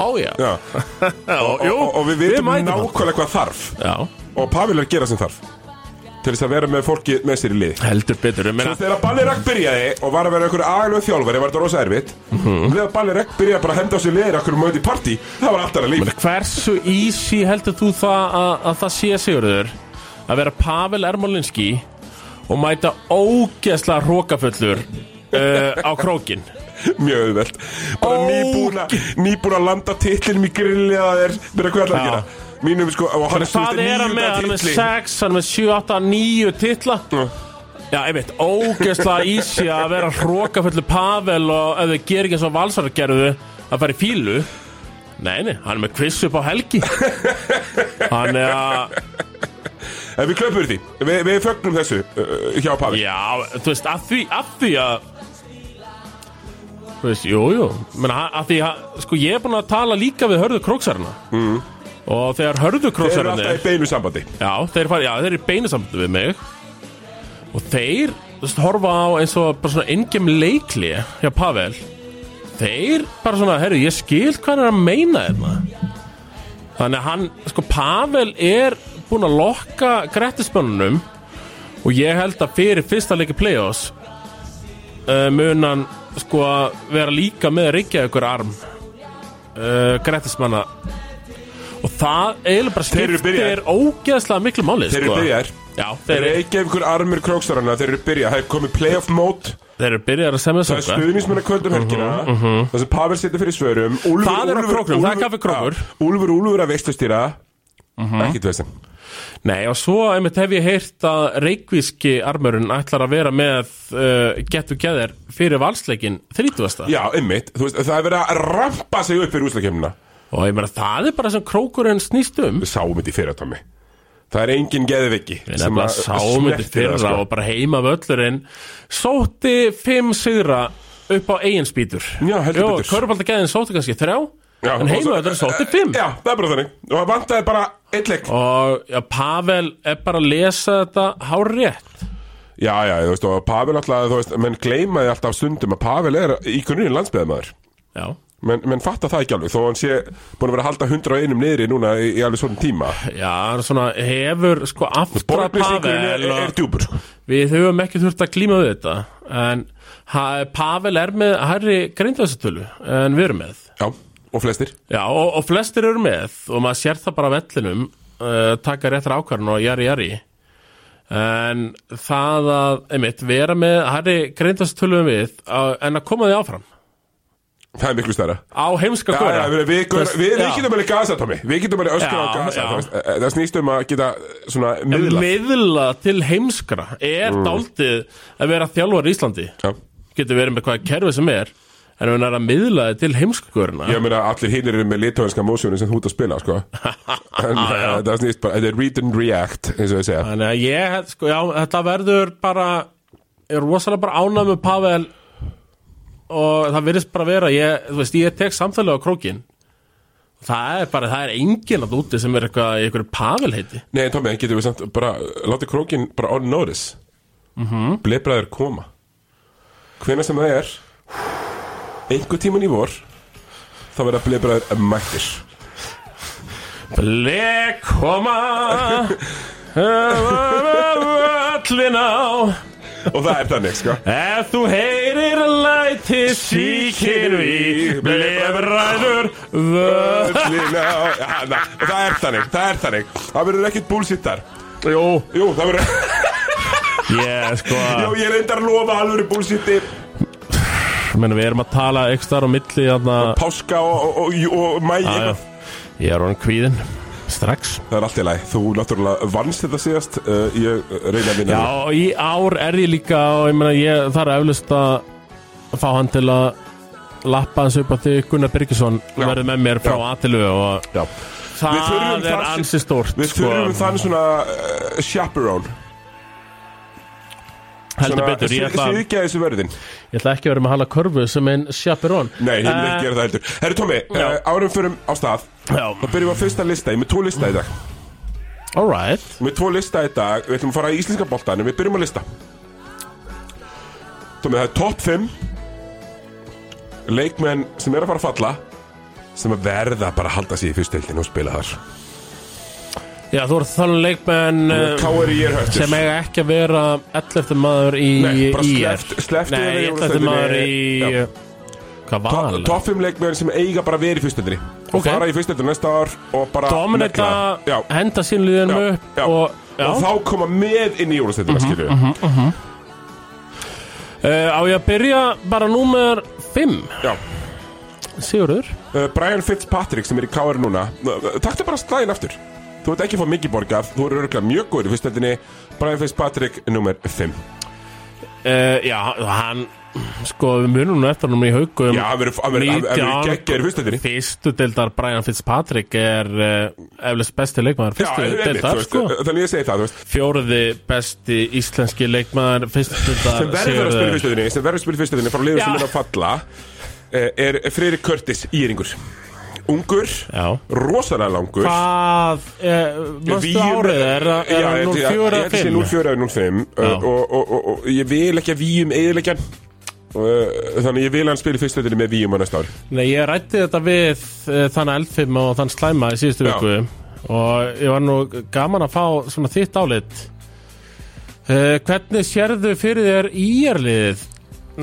B: Ójá
A: Já
B: og, jú,
A: og, og við vitum
B: mætum hann.
A: nákvæmlega hvað þarf
B: Já,
A: Og Pavel er að gera sem þarf Til þess að vera með fólki með sér í liði
B: heldur betur ég meina,
A: Þegar Ballirak byrjaði og var að vera einhver agalöð þjálfari var þetta rosa erfitt
B: Mhm.
A: Þegar Ballirak byrjaði bara að henda á sér liðir okkur um auðvitað í partí það var allt annað líf
B: Hversu easy heldur þú það að, að það sé Sigurður að vera Pavel Ermolinski og mæta ógeðslega hrókafullur uh, á krókin
A: mjög auðvelt bara
B: Ó,
A: nýbúna, nýbúna að landa titlinum í grilli að þeir byrja hvað ætla að
B: Já.
A: gera mínum sko og hann er
B: Hvað er hann með? Hann er með 6, hann er með 7, 8, 9 titla Já, einmitt, ógeðslega easy að vera hrókafullur Pavel og ef þau gerir ekki eins og valsar gerðu að fara í fílu Nei, nei, hann er með quiz upp á helgi Hann er að
A: en við klöpum yfir því, við, við fögnum þessu uh, hjá Pavel
B: Já, þú veist, að því, að því að Þú veist, jú, jú Menna, að því að, sko, ég er búin að tala líka við hörðu króksarana mm. Og þegar hörðu
A: þeir eru
B: króksarana
A: alltaf í beinu sambandi
B: Já, þeir fara, já, þeir eru í beinu samt við mig Og þeir, þú veist, horfa á eins og bara svona engem leikli hjá Pavel Þeir bara svona, herru, ég skil hvað hann er að meina þeirna Þannig að hann, sko, Pavel er búin að lokka grættismönnunum Og ég held að fyrir fyrsta leiki play-offs uh, mun hann, sko, vera líka með reykja ykkur arm uh, grættismanna Og það eiginlega bara
A: Þeir eru byrjaðir.
B: skiptir ógeðslega miklu máli,
A: þeir eru
B: sko
A: byrjar
B: Já,
A: þeir
B: þeir,
A: eru ekki einhver armur krókstarana þeir eru byrjar, það er komið playoff mode
B: þeir eru byrjar að semja
A: það er
B: þess
A: stuðnismennar kvöldum helgina það sem Pavel setur fyrir svörum Úlfur,
B: Mhm, Það er á
A: Úlfur-
B: króknum, það er
A: Úlfur-
B: kaffi Mhm. krókur.
A: Já, Úlfur, Úlfur að veistustýra ekkert veist
B: Nei, og svo einmitt hef ég heyrt að reykvíski armurinn ætlar að vera með uh, Get Together fyrir valsleikin 30.
A: já, einmitt, þú veist, það er verið að rampa sig upp fyrir úslakefnina
B: Og ég meina, það er bara sem krókurinn snýst um.
A: við sáum þetta í fyrra, Tommy það er engin geðviki
B: Við nefnilega sáum þetta í fyrra
A: sko.
B: og bara heima völlurinn sótti fimm sigra upp á eigin spýtur.
A: Já, heldur
B: Jó,
A: betur.
B: körfaldagæðin sótti kannski þrjá, en heima völlurinn sótti fimm.
A: já, það er bara þannig, og það vantaði bara eitt leik
B: Og já, Pavel er bara að lesa þetta hár rétt.
A: já, já, þú veist, og Pavel alltaf þú veist, menn gleymaði alltaf stundum að Pavel er í grunin landsbyðamaður
B: Já.
A: menn, menn fatta það ekki alveg, þó hann sé búin að vera að halda 101 niðri núna í, í alveg svona tíma
B: Já, hann svona hefur sko aftra
A: borgarlýsingurinn er,
B: Pavel
A: er,
B: og-
A: er djúpur sko.
B: Við höfum ekki þurft að glíma við þetta en ha, Pavel er með hærri greindaðsatölu en við erum með
A: já, og flestir
B: Já, og, og flestir eru með og maður sér það bara á vellinum uh, taka réttar ákvarðan og jari jari en það að einmitt, vera með hærri greindaðsatölu en við uh, en að koma því áfram
A: það er miklu stærra
B: á heimska
A: Já,
B: góra
A: já, við, við, við, við, við getum alveg gasa, Tommy Við getum alveg öskra
B: Já,
A: á gasa
B: já.
A: þú veist, eh, Það snýst um að geta svona miðla
B: miðla til heimskra er
A: Mm.
B: dálítið að vera þjálfar í Íslandi
A: Já.
B: getur verið með hvaða kerfi sem er en ef hann er að miðla þið til heimskugurna
A: Ég meina allir hinnir eru með litóinska mósjónu sem þú ert að spila sko. en eh, það snýst bara Þetta er read and react eins og ég segja
B: þannig að ég, sko, já, þetta verður bara, ég er rosalega bara ánægð með Pavel og það virðist bara vera, ég, þú veist, ég tek samtalið á krókin það er bara, það er enginn að úti sem er eitthvað, í einhverju Pavel heiti
A: Nei, Tommy, en getum við samt bara Láttu krókin bara on notice
B: Mhm.
A: mm Bleibræður koma Hvenær sem það er Einhver tíman í vor Þá verða bleibræður mættir
B: Blekoma kallin á
A: Og það er þannig, sko
B: Ef þú heyrir læti síkir við Blefræður vöð
A: Öllina á- Já, na, Það er þannig, það er þannig Það verður ekkit bullshit þar
B: Jú,
A: Jú, það verður
B: ég sko
A: Já, ég reyndar að lofa alvöru bullshiti
B: Menni, við erum að tala ekki starf á milli þarna
A: Páska og, og, og, og, og mæ
B: Ah, Já, já. Ég er orðin kvíðin Strax
A: Það er allt í lagi Þú náttúrulega vannst þetta síðast uh, Ég reyna að vinna
B: Já, og í ár er ég líka og ég meina ég þarf eflust að fá hann til að lappa hans upp að því Gunnar Birgisson
A: Já.
B: verður með mér frá
A: Já.
B: Atilu og
A: Já. þurfum
B: það er
A: það-
B: ansi stórt sko.
A: Við þurfum
B: um,
A: þann svona uh, chaperone
B: heldur betur ég ætla,
A: Sýðgæði þessu verðin
B: ég ætla ekki að vera með hala körfu sem einn chaperón
A: Nei, ég vil
B: Eh,
A: ekki gera það heldur Herri Tómi,
B: Já.
A: uh, árum förum á stað
B: Já,
A: Þá byrjum við á fyrsta lista, ég er með tvo lista í dag
B: alright
A: Með tvo lista í dag, við ætlum að fara í íslenska boltanum Við byrjum á lista Tómi, það er top 5 Leikmenn sem er að fara að falla Sem að verða bara að halda sig í fyrstu heildin og spila þar
B: Já, þú ert þannig leikmenn eh,
A: K.R. í er höftur
B: sem eiga ekki að vera 11. maður í
A: Nei, bara
B: IR.
A: sleppt- slepptu þeim í
B: Nei, 11. maður í
A: Já.
B: Hvað var það?
A: Top 5 leikmenn sem eiga bara að vera í fyrstöldinni okay.
B: Ok.
A: Og fara í fyrstöldinni næsta ár Og bara
B: dominita,
A: negla. Já,
B: henda sínliðinu
A: Já,
B: upp
A: já.
B: og, já. Mhm,
A: og þá koma með inn í jólasteytina skilju
B: Uh, á ég að byrja bara númer 5,
A: Já
B: Sigurður
A: uh, Brian Fitzpatrick sem er í KR núna uh, Taktu bara slæðin aftur Þú veit ekki að fá mikið borgað Þú eru örgulega mjög góður í fyrstöldinni Brian Fitzpatrick nummer 5 Eh,
B: uh, já, hann sko, við munum nú eftir hann í haugum
A: Já, hann verður- hann verður- hann verður
B: 19
A: geggjaður í fyrstu deildinni.
B: fyrstu deildar Brian Fitzpatrick er uh, eflust besti leikmaður
A: Já,
B: fyrstu
A: en einmitt, þú
B: deildar
A: veist,
B: sko.
A: uh, Þannig ég segi það, þú veist
B: fjóruði besti íslenski leikmaður fyrstu
A: Sem
B: deildar
A: verður að spila í
B: Sigurður
A: fyrstöldinni Sem verður að spila í fyrstöldinni Frá liður sem
B: eh, Já.
A: er að falla uh, Er Freyri Curtis íringur Ungur
B: Já.
A: Rosalega langur
B: Hvað, uh,
A: Við-
B: mannstu árið, er það- er
A: Já,
B: það
A: ég- ég-
B: 04
A: Ég
B: að
A: held að sé
B: 5?
A: 04 að 05 uh,
B: Já.
A: og, og, og, og ég vil ekki að víum eðilegjan uh, Þannig að ég vil að hann spila í fyrstöldinni með víum á næsta ári
B: Nei, ég rætti þetta við uh, þann eldfim og þann slæma í síðustu
A: Já.
B: viku og ég var nú gaman að fá svona þitt álit uh, Hvernig sérðu fyrir þér íjarliðið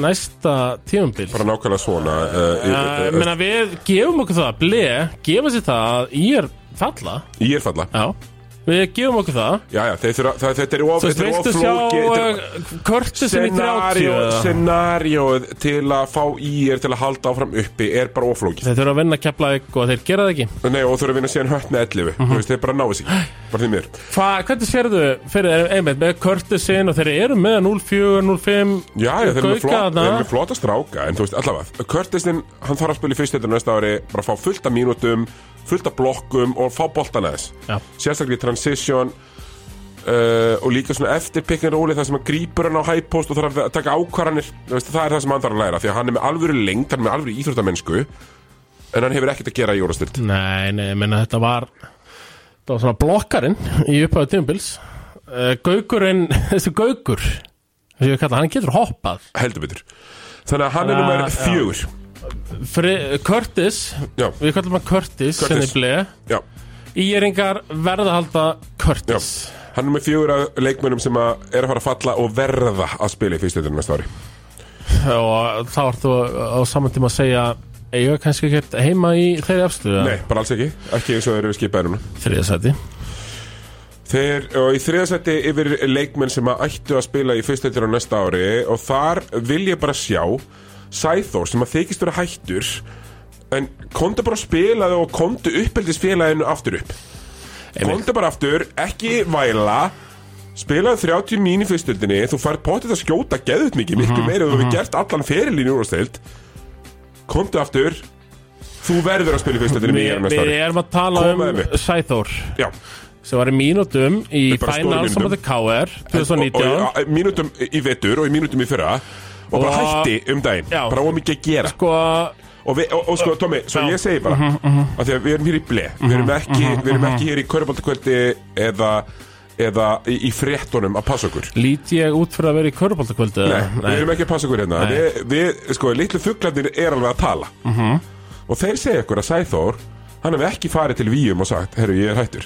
B: næsta tímumbil?
A: Bara nákvæmlega svona uh, ég,
B: Uh,
A: uh,
B: menna við gefum okkur það, ble, gefa sér það að íjar falla
A: ég er falla
B: Já Við gefum okkur það
A: Já, já, þeir þurfa, það, þetta er of,
B: Þú veist,
A: þetta er
B: viltu
A: of
B: sjá
A: flóki
B: uh, Körtisin í 30
A: Scenario,
B: eða?
A: scenario til að fá í er til að halda áfram uppi er bara oflóki
B: Þeir þurfa að vinna að kepla og þeir gera það ekki
A: Nei, og þurfa að vinna síðan hött með 11
B: Mhm.
A: Þú veist, þeir bara náu sig Bara því mér
B: Hva, hvernig sérðu fyrir þeir einmitt með Curtisin og þeir eru með 04, 05
A: Já, já, þeir eru með,
B: Gauka
A: flott,
B: þarna.
A: þeir eru með flotta stráka En þú veist, allavega, Curtisinn, hann þarf að spila í fyrstöldinu næsta ári Bara fá fullt af mínútum, fullt af blokkum Og fá boltan aðeins
B: Já.
A: Sérstaklega í transition uh, Og líka svona eftir pick and rolli Það sem hann grípur hann á high post Og þarf að taka ákvarðanir Þú veist, Það er það sem hann þarf að læra Því að hann er með alvöru lengt, hann er með alvöru íþróttamennsku En hann hefur ekkert að gera í jórastild
B: Nei, nei, ég menna þetta var Þetta var svona blokkarinn í upphæðu tímubils uh, Gaugurinn, þessi Gaugur þessi ég kalla, hann getur hoppað
A: Heldur betur Þannig að hann er
B: Þannig að-
A: nummer fjögur
B: Fri, Curtis,
A: Já,
B: við kallum hann Curtis, sem
A: Curtis.
B: þið bleið
A: já,
B: Íringar verða að halda
A: já
B: Curtis
A: Hann er nummer fjögur af leikmönnum sem að er að fara að falla og verða að spila í fyrstöldinu næsta ári
B: og þá ert þú á saman tíma að segja eiga kannski ekkert heima í þeirri afstöðu
A: Nei, bara alls ekki, ekki eins og þeir eru skipaðir núna
B: þriðasæti
A: Þeir, og í þriðasætti yfir leikmenn sem að ættu að spila í fyrstöldinu á næsta ári og þar vil ég bara sjá Sæþór sem að þykist vera hættur en komdu bara að spila það og komdu uppeldisfélaginu aftur upp komdu bara aftur, ekki væla spilaðu 30 mín í fyrstöldinni þú færð pottið að skjóta geðut mikið miklu meira þú hefur gert allan ferilín í úrstöld komdu aftur þú verður að spila í fyrstöldinni með ég
B: Við,
A: á næsta
B: við
A: ári
B: erum að tala
A: Komaðu
B: um
A: upp.
B: Sæþór
A: Já.
B: sem var í mínútum í
A: er bara stórum
B: final
A: mínútum. sko,
B: samvættu KR 2019
A: og, og, og, Mínutum í vetur og í mínutum í fyrra Og bara
B: Og-
A: hætti um daginn
B: Já.
A: Bara ómikið að gera
B: sko, Mhm,
A: Og, við, og, og sko, Tómi, svo ég segi bara að Því að við erum hér í ble Við erum ekki, við erum ekki hér í Körbáltakvöldi Eða, eða í, í fréttunum að passa okkur
B: lít ég út fyrir að vera í köruboltakvöldu
A: Nei, við erum ekki að passa okkur hérna við, við, sko, litlu fuglarnir er alveg að tala
B: Mhm.
A: Og þeir segja okkur að Sæþór Hann hefði ekki farið til Víum og sagt Herru, ég er hættur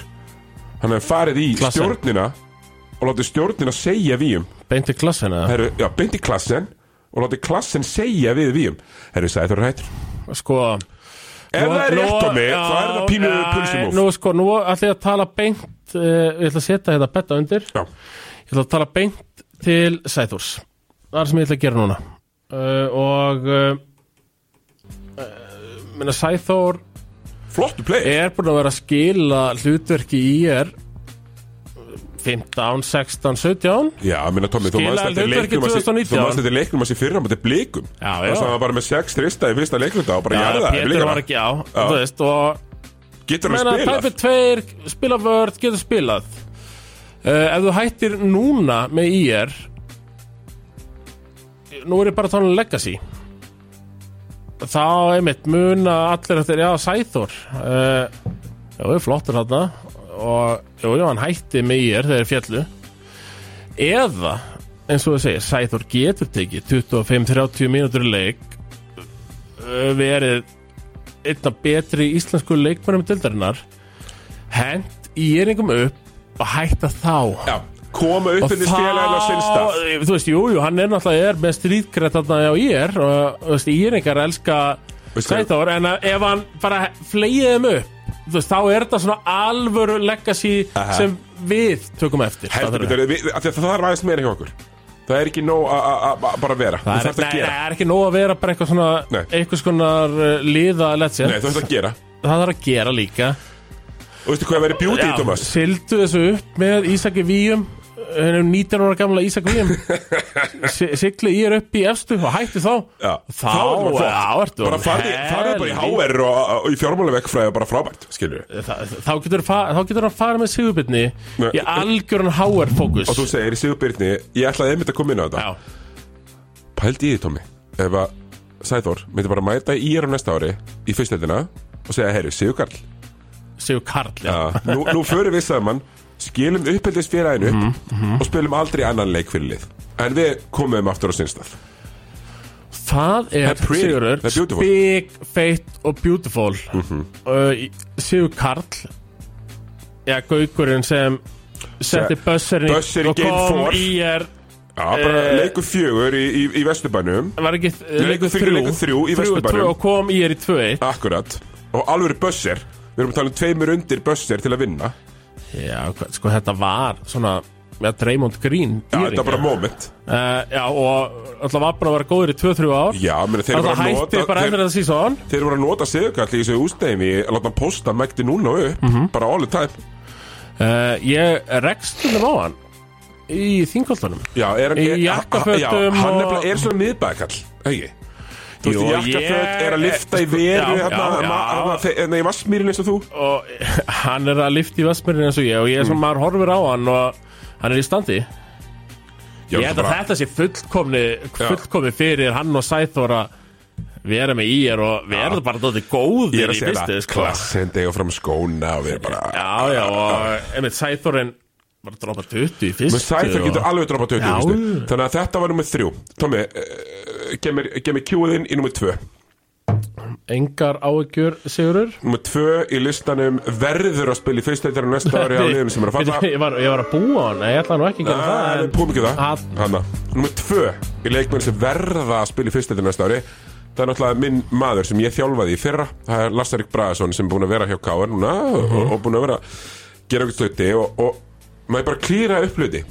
A: Hann hefði farið í
B: Klassen.
A: stjórnina og látið stjórnina segja víum
B: Beint í klassen eða?
A: Herru, já, beint í klassen og látið klassen segja við víum Herru, sagði þú hættur
B: Sko
A: Ef það er rétt á mig, þá er það pínu pulsumóf
B: Nú sko, nú ætla ég að tala beint uh, Ég ætla að setja þetta betta undir
A: Já,
B: Ég ætla að tala beint til Sæþórs Það er sem ég ætla að gera núna uh, Og uh, uh, Minna Sæþór
A: flottu play
B: er búin að vera að skila hlutverki í er uh, 15, 16, 17
A: Já, minna Tommi, þú
B: Skilaði
A: manst þetta
B: hlutverki
A: leiknum hans í-
B: 2019.
A: Þú manst þetta leiknum hans í fyrra mútið blikum
B: Já, já.
A: Það var bara með 6 trista í fyrsta leikluta og bara jarða
B: Pétur var ekki á,
A: Já.
B: þú veist og
A: Getur hann
B: meina,
A: spilað?
B: Peppi 2, spila vörð, getur spilað uh, ef þú hættir núna með IR nú er ég bara að tala um legacy þá einmitt muna allir eftir, já, Sæþór uh, já, er flottur þarna og, jú, já, hann hætti með IR þegar er fjallu eða, eins og þú segir, Sæþór getur tekið 25-30 mínútur í leik uh, verið einna betri íslensku leikmennum dildarinnar hent í eringum upp og hætta þá
A: Já, koma upp
B: og
A: inn í félaginn á sinnstað
B: þú veist, jú, jú, hann er náttúrulega er með strýtgrætt þarna á IR og þú veist, íringar elska
A: Veistu-
B: Sæþór, en að ef hann bara flegiði þeim upp, þú veist, þá er þetta svona alvöru legacy sem við tökum eftir
A: Heldur
B: Fattarðu?
A: betur, við- af því að það þarf aðeins meira hjá okkur Það er ekki nóg að- að að- að bara vera Þú
B: Það er,
A: þarfst
B: nei,
A: að
B: nei,
A: gera
B: það er ekki nóg að vera bara eitthvað svona,
A: Nei.
B: einhvers konar uh, liða, let's
A: Nei,
B: say,
A: þú þarfst að gera
B: það þarf að gera líka
A: Og veistu hvað verið beauty,
B: Já,
A: Thomas?
B: Sigldu þessu upp með Ísaki Víum hennum 19 ára gamla Ísak Víum Sigli ég er upp í efstu og hætti þá
A: Já,
B: Þá,
A: þá er bara flott.
B: já, ertu
A: Bara
B: orðinn
A: farði, farði bara í
B: helvíti.
A: HR og, og í fjármálavegfræði bara frábært, skilur við
B: Þa- Þá getur, fa þá getur hann farið með Sigurbyrni
A: Nei.
B: í algjörn HR fókus
A: Og þú segir í Sigurbyrni, ég ætlaði einmitt að koma inn á þetta
B: Já,
A: Pældi í því, Tómi Ef að Sæþór myndi bara mæta í IR á næsta ári Í fyrstöldina og segja, herru, Sigurkarl
B: Sigur Karl já.
A: ja. nú, nú förum við saman Skilum uppeldisfélaginu upp Og spilum aldrei annan leik fyrir lið En við komum aftur á sinnstað
B: Það er
A: That's pretty.
B: Sigurur
A: That's beautiful. Mhm.
B: Big, feitt og beautiful mm Sigur Karl Já, gaukurinn sem setti bösserinn
A: Bösserinn
B: og
A: Game
B: kom
A: Four.
B: í er
A: Já, bara
B: Eh.
A: leikur fjögur í, í, í Vesturbænum
B: var ekki eh, leikur
A: fyrir
B: þrjú
A: leikur þrjú í
B: Þrjú og
A: Vesturbænum.
B: tvö og kom í er í 2-1
A: Akkurat Og alvöru bössir Við erum að tala um tveimur undir bössir til að vinna
B: Já, hvað- sko þetta var svona með Draymond Green
A: Já,
B: dýring,
A: þetta var bara
B: ja.
A: moment
B: Eh, Já, og alltaf var bara að vera góður í 2-3 ár
A: Já, meni, þeir, voru að
B: Alltaf hætti
A: nota,
B: bara eftir
A: þeir,
B: þetta sísón
A: þeir voru að nota sigurkall í þessu ústæðum í að láta hann posta mækti núna upp
B: Mhm.
A: bara all the time
B: uh, Ég rekstundum á hann í þingoltanum
A: Já, er hann
B: Í
A: er-
B: jakkafötum
A: Já, hann
B: og-
A: nefnilega er svona miðbæðkall Hegi Þú veist,
B: Jú,
A: í jakkaföt
B: ég- sko,
A: er að lifta í veru
B: Já,
A: hérna,
B: já, já.
A: ma- hérna, þe- Nei, í vassmýrin eins og þú
B: og eh, hann er að lifta í Vestmjörnin eins og ég og ég er
A: Mm.
B: svona, maður horfir á hann og hann er í standi
A: Já,
B: Ég held að
A: bara-
B: þetta sé fullkomni fullkomni fyrir hann og Sæþór að vera með í er og verða bara
A: Ég
B: dóttir
A: er
B: góðir
A: að
B: í
A: segja
B: fyrstu
A: það
B: sko.
A: Klassen deg og fram skóna og við erum bara
B: Já, já, og einmitt Sæþórin bara droppa 20 í fyrstu
A: Með Sæþór
B: og-
A: getur alveg droppað 20
B: Já.
A: fyrstu. Þannig að þetta var nummið þrjú Tómi, uh, gef mér kjúðinn í nummið tvö
B: Engar áhyggjur, Sigurur
A: Númer tvö í listanum verður að spila í fyrsta eittar á næsta ári á liðum sem er að falla
B: Ég var, ég var að búa hann, nei, ég ætla nú ekki að gera það
A: Það er
B: en-
A: púm ekki það
B: Að-
A: Hanna Númer tvö í leikmenn sem verða að spila í fyrsta eittar á næsta ári Það er náttúrulega minn maður sem ég þjálfaði í fyrra Það er Lassarík Braðarsson sem er búin að vera hjá Káar núna
B: Mhm.
A: og, og búin að vera að gera eitthvað sluti og, og maður bara klýra upp hluti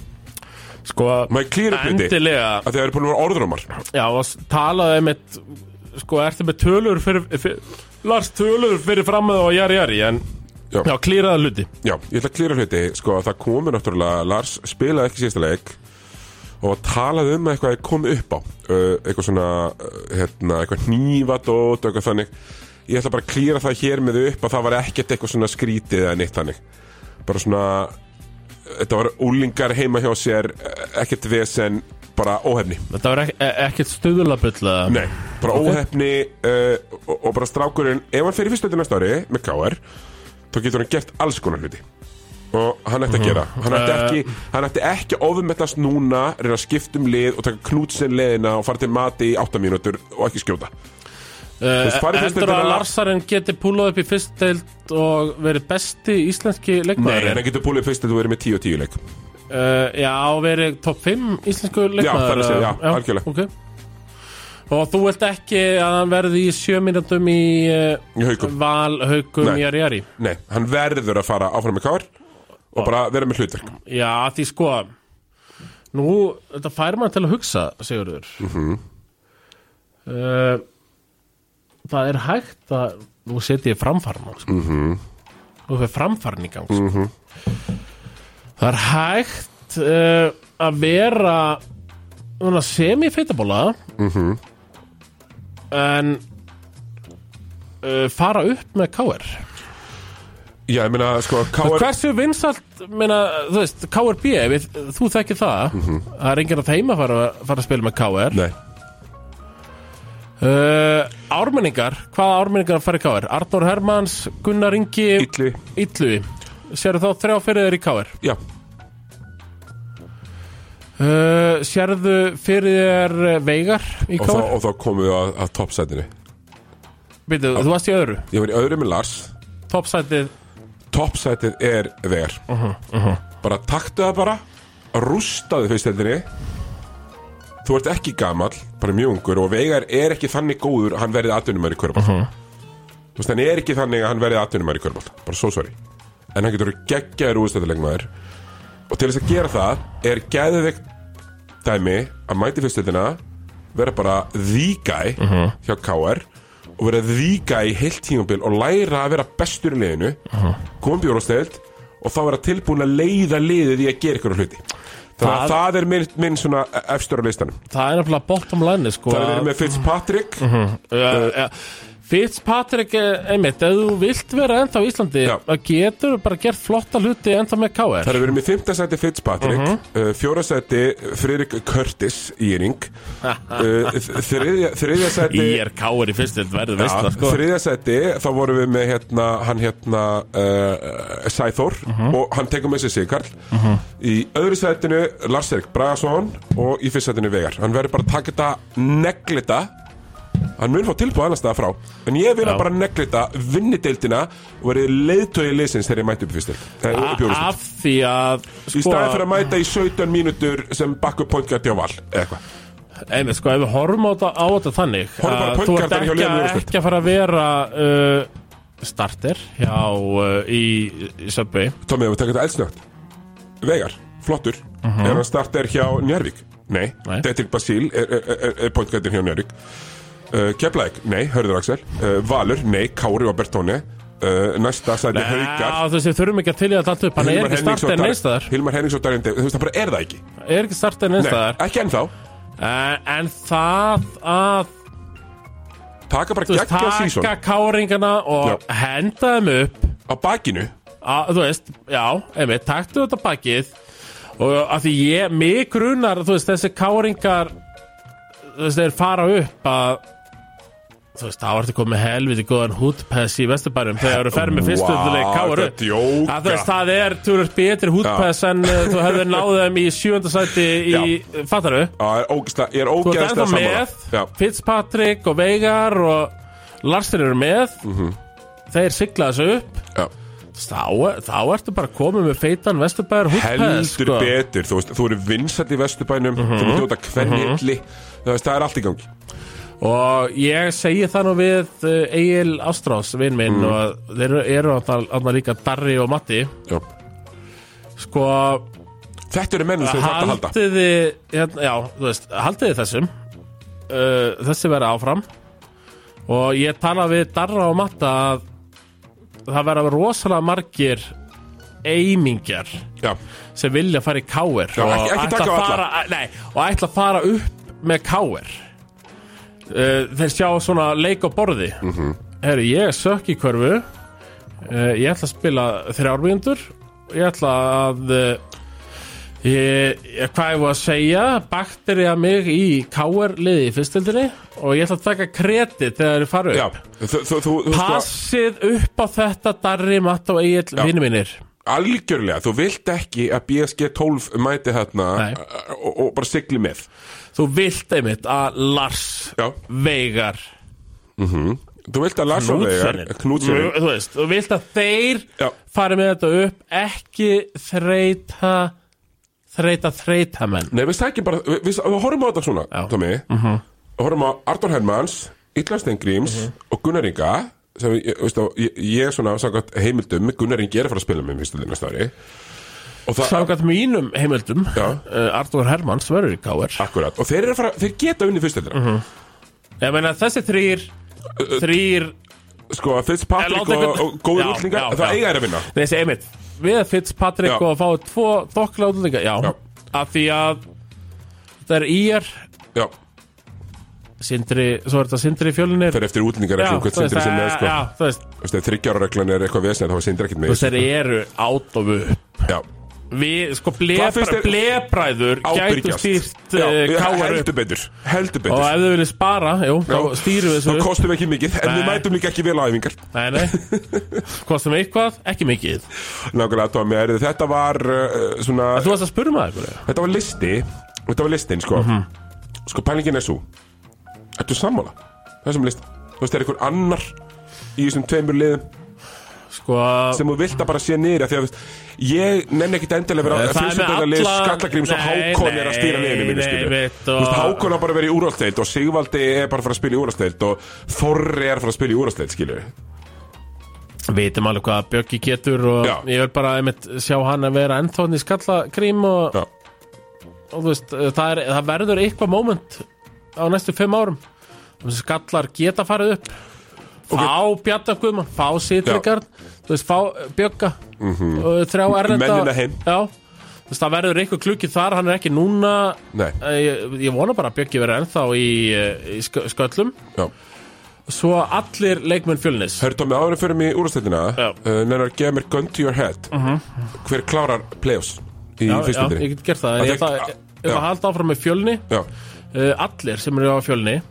B: Sko,
A: Maður klýra upp hluti
B: endilega
A: að því að það eru búin að vera orðrómar
B: Já, og s- talaði einmitt Sko, ertu með tölur fyrir, fyrir Lars tölur fyrir framöðu og jari jari En,
A: Já.
B: já, klíraða hluti
A: Já, ég ætla að klýra hluti, sko, það komi náttúrulega, Lars spilaði ekki síðasta leik og talaði um að eitthvað hefði komið upp á, uh, eitthvað svona, uh, hérna, eitthvað hnífadót og eitthvað þannig. Ég ætla bara að klýra það hér með upp að það var ekkert eitthvað svona skrítið eða neitt þannig. Bara svona, þetta var úlingar heima hjá sér, eh, ekkert vesen, bara óhefni.
B: Þetta var ek e- ekkert stöðulabull
A: Nei, bara óhefni uh, og, og bara strákurinn ef hann fer í fyrstu til næsta ári með KR þá getur hann gert alls konar hluti og hann ætti að gera hann ætti ekki, hann ætti ekki að ofumettast núna reyna að skipta um lið og taka knútsen leiðina og fara til mati í 8 mínútur og ekki skjóta veist, farið fyrst
B: Heldur
A: þetta
B: að
A: að-
B: Larsarinn geti púlað upp í fyrst deild Og verið besti íslenski
A: en
B: leikmaður
A: hann getur búlið fyrst að þú verið með 10-10 leik
B: Uh, já, verið topp 5 íslensku leikmaður
A: það er að segja, já,
B: eða?
A: algjörlega.
B: ok. Og þú vilt ekki að hann verði í sjö mínútum í uh,
A: Í Haukum.
B: Val, Haukum,
A: Nei.
B: Jari, Jari
A: Nei, hann verður að fara áfram með kár og bara vera með hlutverk
B: Já, að því sko Nú, þetta fær mann til að hugsa, Sigurður mm Það er hægt að Nú seti ég framfarn sko. mm -hmm. Nú fer framfarn í gang sko. Það er hægt uh, að vera svona, semi-feitabóla mm en uh, fara upp með KR
A: Já, ég meina, sko, káar
B: Hversu vinsalt, meina, þú veist, KRB, við, þú þekkir það, það er enginn að þeima að fara, fara að spila með KR.
A: Mhm. Nei,
B: Uh, ármenningar, hvaða ármenningar fara í KR? Arnór Hermanns, Gunnar Ingi,
A: illu
B: Illuvi. Sérðu þá þrjá fyrir þér í KR?
A: Já,
B: Uh, sérðu fyrir þér eh, Veigar í
A: og þá,
B: KR?
A: og þá komum við að, að toppsætinu
B: Býtu, þú varst í öðru,
A: Ég var í öðru með Lars
B: toppsætið.
A: Toppsætið er vegar Bara taktu það bara Rústaðu fyrst heldinni Þú ert ekki gamall, bara mjög ungur Og vegar er ekki þannig góður að Hann verði atvinnumæri í körbátt Þú veist, hann er ekki þannig að hann verði atvinnumæri í körbátt Bara svo sorry En hann getur geggjaður úrstættilegmaður Og til þess að gera það Er geðveikt dæmi Að mæti fyrstöldina Vera bara þýgæ
B: Mhm.
A: hjá KR Og vera þýgæ í heilt tímabil Og læra að vera bestur í liðinu uh
B: Mhm.
A: -huh. Kombjórastöld Og þá vera tilbúin að leiða liðið í að gera ykkur hluti Þannig að
B: Það-
A: það er minn, minn svona efstur á listanum
B: Það er nefnilega bottom line, sko.
A: Það
B: að-
A: er með Fitzpatrick
B: uh, Fitzpatrick, eh, einmitt, ef þú vilt vera ennþá í Íslandi
A: Já.
B: þá getur þú bara gert flotta hluti ennþá með KR
A: Það er verið með fimmta sæti Fitzpatrick,
B: Mhm.
A: uh fjóra sæti Fririk Curtis Íring, uh, þriðja, þriðja sæti...
B: Í er KR í fyrst, þetta verður veist
A: Já,
B: sko.
A: þriðja sæti, þá vorum við með hérna, hann hérna uh, Sæþór
B: Mhm.
A: og hann tekur með sér Sigurkarl í öðru sætinu Lars Erik Bragason og í fyrst sætinu Vegar hann verður bara að taka þetta neglita hann mun fá tilbúið annars staða frá en ég vil
B: Já.
A: að bara neglita vinni deildina og verið leiðtögi liðsins þegar ég mæti upp í fyrst deild, eh, upp í
B: A-
A: öðru sæti.
B: Af því að
A: Í
B: Ah, sko,
A: staðið fyrir að mæta í 17 mínútur sem bakku pointgjardi á val eða eitthvað.
B: einmitt, sko, ef við horfum á þetta, á þetta þannig
A: Horfum bara
B: að
A: á
B: þú
A: pointgardan
B: ert
A: hjá
B: ekki,
A: liðinu í
B: að-
A: úrslit.
B: ekki að fara að vera uh, starter hjá uh, í, í Söpbi
A: Tommi, ef við taka þetta eldsnögt Vegar, flottur Er hann starter hjá Njárvík? Nei,
B: Mhm. Nei.
A: Detrik Basíl er, er, er, er pointgjardir hjá Njárvík uh, Keflæk, nei, Hörður Axel uh, Valur, nei, Kári og Bertóni uh, Næsta sæti Haukar
B: þú veist, við þurfum ekki að tilja þetta allt upp hann er
A: Hilmar
B: ekki
A: Hennings og
B: starter
A: Dar-
B: neinstæðar
A: Hilmar Hennings og Darjandi Þú veist, það bara er það ekki
B: er ekki starter neinstæðar
A: Nei, ekki ennþá
B: uh, en það að
A: Taka bara
B: þú veist,
A: geggja sísón
B: taka káringana og
A: Já.
B: henda þeim upp
A: Á bakinu
B: að, þú veist, já, einmitt, taktu þetta bakið og að því ég, mig grunar, þú veist, þessi káringar þú veist, þeir fara upp að þú veist, þá ertu komið helviti góðan hútpess í vesturbærum þegar eru ferð með fyrstöðuleik
A: Vá,
B: káru
A: þetta er djóka.
B: að þú veist, það er tjúrur betri hútpess en uh, þú hefur náðið þeim í sjöndasæti í, fattaru?
A: Já, er ógeðslega- Ég er
B: Þú ert
A: ógeðslega
B: ennþá
A: sammála
B: með
A: Já.
B: Fitzpatrick og Veigar og Larsen eru með
A: Mhm.
B: Þeir sigla þessu upp
A: Já.
B: Þá, þá ertu bara komið með feitan Vesturbæðar húppæð
A: heldur
B: sko. Mhm.
A: betur þú veist, þú eru vinsall í vesturbænum þú ert út að kvennilli þú veist, það er allt í gangi
B: Og ég segi það nú við uh, Egil Ástrás, vinn
A: Mm.
B: minn og þeir eru- eru þarna líka Darri og Matti
A: já.
B: Sko,
A: þetta eru mennum sem þetta að halda
B: haldiði hérna, Já, þú veist, haldiði þessum uh, Þessi verða áfram Og ég tala við Darra og Matta að það verða rosalega margir eimingjar
A: já.
B: sem vilja fara í káir
A: Já, ekki- ekki taka á alla.
B: fara, að- nei, og ætla að fara upp með káir uh, þeir sjá svona leik á borði
A: Mhm.
B: Herri, ég er sökk í körfu uh, ég ætla að spila þrjármjöndur ég ætla að uh, Ég, ég, hvað ég var að segja bakterja mig í káir liði í fyrstildinni og ég ætla að taka kredi þegar ég fara upp
A: Já. Þú, þú, þú, þú sko,
B: Passið upp á þetta Darri, Matt og Egil, vinnu mínir
A: algjörlega, þú vilt ekki að BSG 12 mæti þarna
B: Nei.
A: og, og bara sigli með
B: Þú vilt einmitt að Lars
A: Já.
B: Veigar
A: þú vilt að Lars Ólegar
B: Knútsenir
A: Knútsenir
B: Þú veist, þú vilt að þeir
A: Já.
B: fari með þetta upp ekki þreita þreita þreita menn
A: Nei, við stækjum bara, við, við, við horfum á þetta svona,
B: Já. Mhm.
A: Tommy Við horfum á Artur Hermans, Ítla Steingríms og Gunnar Inga sem, ég, ég- veist, þá, ég, ég er svona samkvæmt heimildum, Gunnar Ingi er að fara að spila með mér stilina stóri og það,
B: Sákat mínum heimildum
A: Já.
B: uh, Artur Hermanns verður í K.R.
A: akkurat og þeir eru að fara, þeir geta unni fyrst þetta
B: Ég meina þessi þrýr Þrýr
A: sko, Fitzpatrick
B: Ég láta
A: og,
B: einhvern-
A: og góður
B: Já,
A: útlingar,
B: já,
A: það
B: já.
A: eiga er að vinna
B: Nei, þessi einmitt Við að Fitzpatrick
A: Já.
B: og að fá tvo þokkla útlendinga já,
A: Já.
B: Af því að Þetta er ír
A: Já,
B: Sindri, svo er þetta Sindri fjölunir
A: þeir eru eftir útlingar
B: Já,
A: eftir hvert
B: þú veist,
A: sindri sem er, sko
B: já, þú veist,
A: Þú Þryggjárareglan er eitthvað vesnið, þá er sindri ekkert með
B: þú veist, þeir eru át og upp
A: þessu. Já,
B: Við, sko,
A: Hvað finnst
B: blebra,
A: þér-
B: blebræður gætu
A: ábyrgjast
B: stýrt
A: Já,
B: uh, káar upp
A: Heldur betur, heldur
B: og
A: betur
B: ef þau vilja spara, jú, þá
A: Já.
B: stýrum við þessu
A: Þá
B: upp.
A: kostum við ekki mikið, en við
B: Nei.
A: mætum líka ekki vel á æfingar
B: Nei, nei, kostum eitthvað, ekki mikið
A: Nákvæmlega Tommy, er, þetta var uh, svona,
B: Þú varst að spurra maður eitthvað
A: þetta var listi Þetta var listin, sko
B: Mhm.
A: Sko, pælingin er svo Ertu sammála? Þessum list Þú veist, er einhver annar í þessum tveimur liðum
B: Sko,
A: sem þú vilt að bara sé niður af því að þú veist, ég nenni ekkit endilega vera
B: það er með
A: fyrstundar lið
B: alla-
A: skallagrims og
B: Nei,
A: Hákon er að stýra liðinu mínu
B: nei,
A: skilur
B: einmitt,
A: Þú
B: og-
A: veist, Hákon á bara að vera í úrvalsteild og Sigvaldi er bara að fara að spila í úrvalsteild og Þorri er að fara að spila í úrvalsteild skilur
B: vitum alveg hvað Bjöggi getur og
A: Já.
B: ég vil bara einmitt sjá hann að vera ennþáðn í skallagrím og,
A: Já,
B: og þú veist, eh, það, er, það verður eitthvað moment á næstu fimm árum Þú veist, skallar geta farið upp fá Bjarta Guðmann, fá Sýtrikard þú veist, fá Bjögga mm -hmm. þrjá erlenda
A: Mhm. Mennina heim.
B: Já, þú veist, það verður eitthvað klukki þar, hann er ekki núna
A: nei,
B: Eh, ég, ég vona bara að Bjöggi verður ennþá í, eh, í skö- sköllum
A: já
B: svo allir leikmenn fjölnis
A: Hörðu Tómi, áður en fyrir mig í úrvalsteildina
B: Já.
A: uh, nennar gefa mér gun to your head hver klárar playoffs í
B: Mhm. Já, já,
A: fyrstundinni?
B: ég get gert
A: Að
B: það en ég
A: þeir-
B: ætla- ég
A: já.
B: ætla að halda áfram með fjölni
A: Já,
B: uh, allir sem eru á fjölni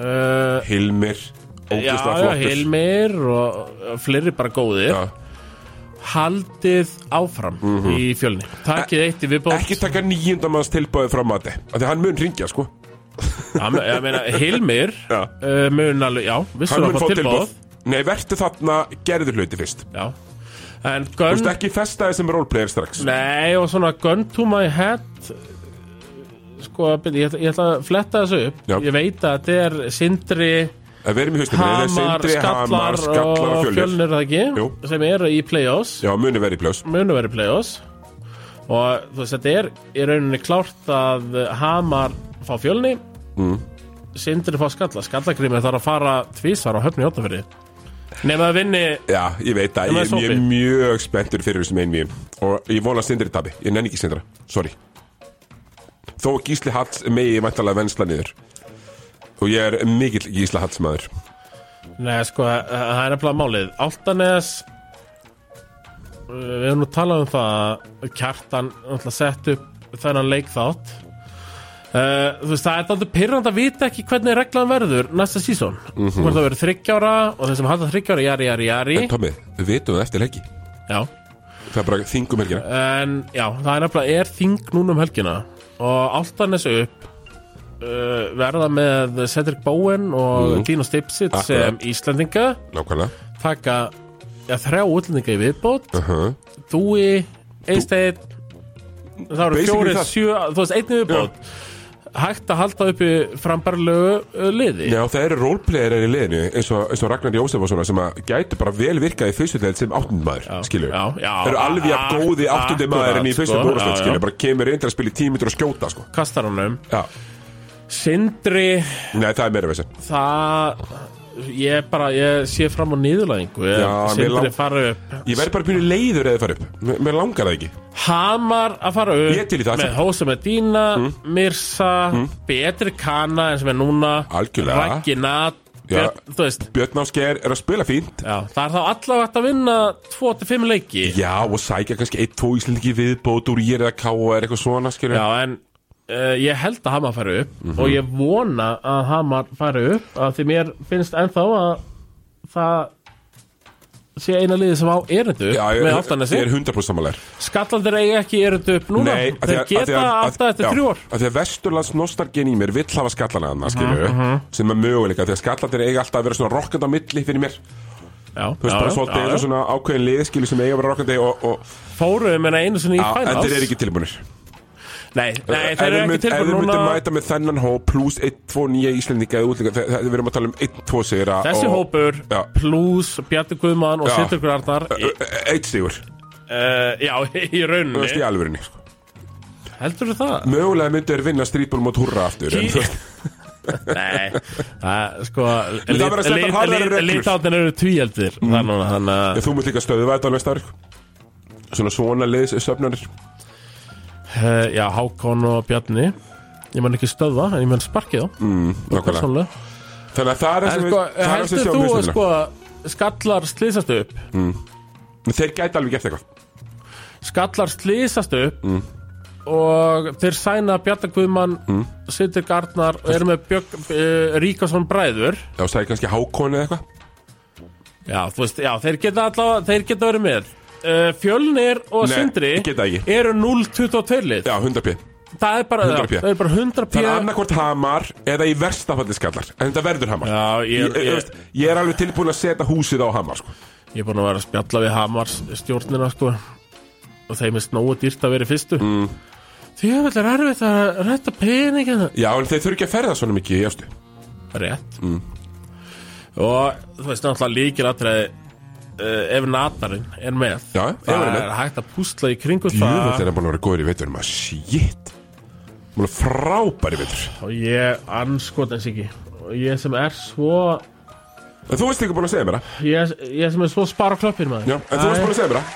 B: uh,
A: Hilmir,
B: já,
A: ógæslega
B: já,
A: flottur
B: Hilmir og uh, fleiri bara góðir
A: Já. Mhm.
B: haldið áfram í fjölni takið eitt í viðbótt
A: E- Ekki taka nýjundamanns tilbúið frá mati af því að hann mun ringja sko
B: Hann- ég meina, Hilmir
A: Já.
B: uh, mun alveg, já,
A: Hann
B: vissur
A: mun
B: að fá
A: fá
B: tilbóð
A: tilbúið Nei, verður þarna, gerður hluti fyrst
B: já. en
A: Þú veist
B: Gunn
A: ekki festa þessum roleplayer strax
B: nei, og svona Gun to my head uh, sko, byrju, ég, ætla- ég ætla að fletta þessu upp
A: Já.
B: ég veit að þetta er Sindri
A: Það verðum í haustum
B: Hamar, Skallar, og Fjölnir er það ekki,
A: Jú.
B: sem eru í play-offs
A: Já, muni verið í pljós
B: munu verið play-offs og þú veist, þetta er í rauninni klárt að Hamar fá fjölni mm. Sindri fá skalla, skallagrými þarf að fara tvísar á höfni Jótafyrði nema að vinni
A: Já, ég veit það,
B: Ég
A: ég, ég
B: með
A: er
B: sopi.
A: mjög spenntur fyrir þessum einvíum Og ég vona að Sindri tabi, ég nenni ekki Sindra, sorry Þó að Gísli Hall megi ég mæntalega vensla niður Og ég er mikill Gísli Halls maður
B: Nei, sko, eh, það er nefnilega málið Altanes eh, við höfum nú talað um það að kjartan náttúrulega sett upp þennan leikþátt Uh, þú veist, það er alltaf pyrrand að vita ekki hvernig reglan verður næsta sísón mm -hmm. það verður þryggjára og þeir sem halda þryggjára jari, jari, jari
A: Mhm. En Tommi, við vitum það eftir leiki
B: Já,
A: Það er bara þingum helgina
B: en já, það er nefnilega er þing núna um helgina og Altanes upp uh, verða með Cedric Bowen og mm. Dino Stipsit
A: Mhm. Akkurat.
B: sem Íslendinga
A: Nákvæmlega
B: taka ja, þrjá útlendinga í viðbót
A: uh -huh.
B: Dúi, Eisteinn það eru
A: Basically
B: fjóri,
A: það.
B: sjö, þú veist, einni viðbót hægt að halda uppi frambarlegu uh, liði
A: Já, það eru roleplayerar í liðinu eins og, eins og Ragnar Jósefsson sem að gætu bara vel virkað í fyrstuteld sem áttundum maður skilur
B: já, já,
A: Það eru alveg að góði
B: ak-
A: áttundum maður en í
B: akkurat,
A: fyrstuteld
B: sko,
A: úrstætt
B: já,
A: skilur
B: já.
A: bara kemur reyndar að spila í tímitur og skjóta sko.
B: kastar honum
A: Já,
B: Sindri
A: nei það er meira veginn
B: það ég bara, ég sé fram á nýðulæðingu ég
A: Já, mér
B: sindri
A: lang-
B: fara upp
A: Ég verði bara pínu leiður eða það fara upp M Mér langar það ekki
B: Hamar að fara upp
A: Ég er til í það,
B: með
A: sem- Mm.
B: Hósa Medina, Mirsa Betri Kana en sem er núna
A: Algjörlega.
B: Raginat
A: Já.
B: þú veist
A: Björn Ásker er að spila fínt
B: Já, það er þá allavega hægt að vinna 2-5 leiki
A: Já og sækja kannski eitt, tvo íslendingi viðbót úr ég eða ká og er eitthvað svona skilur
B: Já, en uh, ég held að Hamar fari upp
A: Mhm.
B: og ég vona að Hamar fari upp að því mér finnst ennþá að það sé eina liðið sem á erindu
A: Já, ég,
B: með
A: ég,
B: aftanesi
A: er 100% sammálar
B: Skallandir eiga ekki erindu upp núna
A: Nei, af því
B: þeir
A: að- af því
B: geta
A: að- að-
B: alltaf eftir
A: já,
B: þrjú ár Mhm,
A: af Því að Vesturlands nostalgin í mér vill hafa skallana hana, skilju Sem er möguleika, af því að skallandir eiga alltaf að vera svona rokkandi á milli fyrir mér Þú
B: Já,
A: veist,
B: já,
A: bara
B: já,
A: svolítið
B: já.
A: eru svona ákveðin liðskilju sem eiga að vera rokkandi og, og
B: fóru, ég meina einu sinni í
A: Já, en þeir
B: fænals
A: eru ekki tilbúinir
B: Nei, nei þeir eru
A: Ef við
B: ekki
A: mynd- Ef
B: tilbúin
A: við myndum
B: núna
A: mæta með þennan hóp pluss 1-2 nýja íslendinga eða útlendinga, þe- þe- við erum að tala um 1-2 sigra
B: Þessi
A: og-
B: hópur,
A: Já.
B: plús, Bjarni Guðmann og
A: Já.
B: Sittur Grarnar
A: Ö, ö, Eitt sigur,
B: uh, Já, í
A: þú veist í
B: rauninni
A: alvörinni sko.
B: Heldur það?
A: Mögulega myndu er vinna strítból mot hurra aftur en,
B: Í-
A: þú veist,
B: Nei, það sko
A: það verður að setja harðari reglur. Mm.
B: Litáttin eru tvíeldir Þannig að hann að
A: Þú mynd líka stöðuva þetta á næsta ári Svona svona liðs söfnanir
B: uh, Já, Hákon og Bjarni Ég man ekki stöðva, en ég man sparkið á
A: Nákvæmlega.
B: Persónlega
A: Þannig að það er það
B: En
A: sem Mm,
B: sko,
A: við- það er það sem
B: heldur
A: sjáum
B: þú að
A: mismunina.
B: sko Skallar slýsast upp
A: Mm.
B: sko-
A: Þeir gæti alveg gert eitthvað
B: Skallar slýsast upp
A: Mm.
B: Og þeir sæna Bjarni Guðmann mm. Sittur Garnar Og eru með Björg, uh, Ríkason bræður
A: Já, það er kannski hákon eða eitthvað
B: Já, þú veist, já, þeir geta allavega Þeir geta verið með Uh, Fjölnir og
A: Nei,
B: Sindri
A: geta ekki.
B: eru 0-22 lið
A: Já, 100 píð
B: Það er bara
A: 100
B: 100
A: pé.
B: Það er bara 100 pé
A: Það er annarkvort hamar eða í versta falli skallar En þetta verður hamar
B: Já, ég,
A: Ég,
B: er-
A: ég,
B: ég,
A: veist, ég er alveg tilbúin að setja húsið á hamar sko.
B: ég er búin að vera að spjalla við Hamars stjórnina sko og þeim er snóa dýrt að vera í fyrstu mm. Því að vel er erfitt að rétta peningina
A: Já, en þeir þurfi ekki að ferða svona mikið í östu
B: Rétt mm. Og þú veist náttúrulega líkir aðræði uh, ef natarinn er með
A: Já, ef
B: það
A: hann er
B: er,
A: með.
B: hægt að púsla í kringum
A: Jöfnveld
B: það
A: er hann búin að vera góður í veitur maður, shit Búin að frábæri veitur
B: og ég anskotans ekki og ég sem er svo
A: En þú veist ekki búin að segja mér það
B: ég, ég sem er svo spara klöppin maður
A: Já, en þú veist búin að segja mér það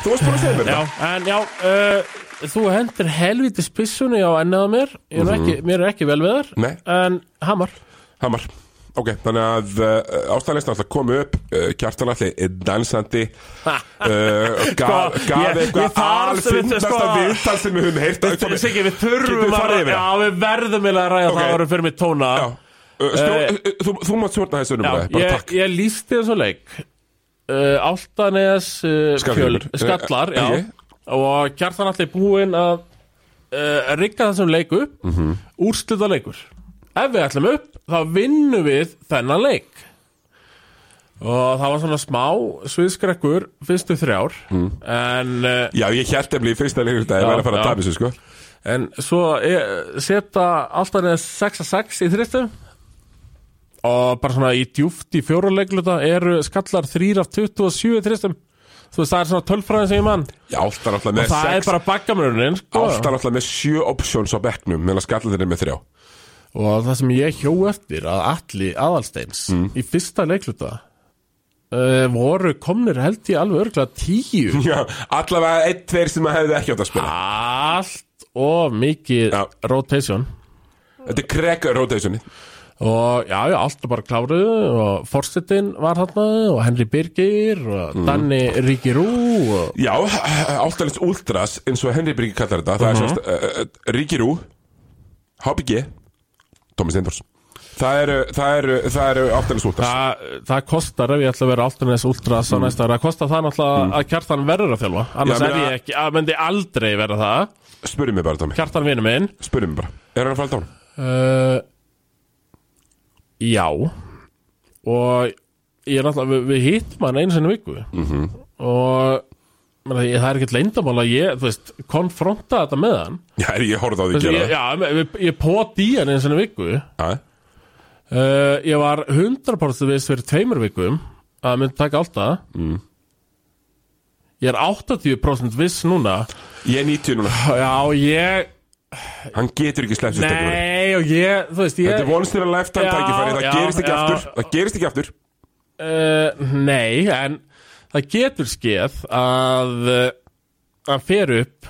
A: Þú veist búin að segja mér það
B: Já, en já, uh, þú hendur helviti spissunni á ennið á mér Ég er nú ekki, Mér er ekki vel við þar
A: Mhm. Nei.
B: En hamar
A: Hamar Ok, þannig að uh, ástæðanlega alltaf komu upp uh, Kjartan allir er dansandi uh, gaf,
B: Sko,
A: gaf
B: ég- ég
A: eitthvað
B: þarf sem þetta,
A: alfinnasta
B: sko,
A: viðtal sem við höfum heyrt að komi-
B: Siggi, við
A: Getum
B: þurfum
A: við farið
B: að
A: yfir
B: Já,
A: það?
B: við verðum eiginlega að ræða
A: Ok.
B: það árum fyrir mig tóna
A: Já, uh, stjórn, uh, þú, þú mátt stjórna þessu
B: Eh. Já,
A: umræði, bara
B: ég,
A: takk
B: ég lísti þessu leik uh, Áltanes uh,
A: Skallur.
B: fjöl- Skallar,
A: Eh,
B: já
A: eh,
B: Og kjartan allir búinn að uh, rigga þessum leik upp mm
A: Mhm.
B: -hmm. Úrslita leikur Ef við ætlum upp, þá vinnum við þennan leik Og það var svona smá sviðskrekkur fyrstu þrjár
A: Mm.
B: en, uh,
A: Já, ég held eflið í fyrsta leikur þetta
B: Já,
A: er verið að fara að
B: já.
A: tapa þessu sko
B: en svo eh, setja Áltanes 6-6 í þristum og bara svona í djúft í fjóra leikluta eru skallar 3 af 27 í þristum þú veist það er svona tölfræðin sem ég mann
A: Já, alltaf náttúrulega með
B: það er
A: sex
B: bara baggamöruninn sko.
A: Alltaf náttúrulega með sjö options á bekknum meðan skallar þeirra með þrjá
B: og það sem ég hjó eftir að Alli Aðalsteins í fyrsta leikluta uh, voru komnir held ég alveg örgla 10
A: Já, allavega einn, tveir sem að hefði ekki átt að spila
B: allt og mikið
A: Já.
B: rotation
A: Þetta er krekka rotationi
B: og já, já, allt er bara kláruðu og Forsetin var þarna og Henry Birgir og
A: Mm.
B: Danni Ríki Rú og
A: Já, általins ultras eins og Henry Birgir kallar þetta
B: Mhm.
A: Það er semst uh, uh, Ríki Rú HBG Tómi Steindors Það eru, það eru, það eru általins ultras
B: það, það kostar ef ég ætla að vera Altunes Ultras á næsta ára, það kostar það náttúrulega að kjartan verður að þjálfa, annars
A: Mm. Já,
B: er
A: meina-
B: ég ekki að myndi aldrei verða það,
A: Spurðu mig bara, Tómi
B: kjartan vinur minn
A: Spurðu mig bara Er hann að fara að dána?
B: uh, Já og ég er náttúrulega, við, við hittum hann einu sinni í viku
A: Mhm.
B: -hmm. og menn, ég, það er ekkert leyndamála ég, þú veist, konfronta þetta með hann
A: Já, er ég horfði á því að
B: Þessi,
A: gera
B: ég,
A: það
B: já, ég, ég pot í hann eins og einu viku uh,
A: Já,
B: Ég var 100% viss fyrir tveimur vikum að það myndi taka alltaf mm. Ég er 80% viss núna
A: Ég er 90 núna
B: Já, ég
A: Hann getur ekki slemt Þetta
B: Nei, og ég, þú veist, ég
A: er once in a lifetime
B: Já,
A: tækifæri Það
B: já,
A: gerist ekki
B: já.
A: aftur Það gerist ekki aftur
B: uh, Nei, en það getur skeð að uh, hann fer upp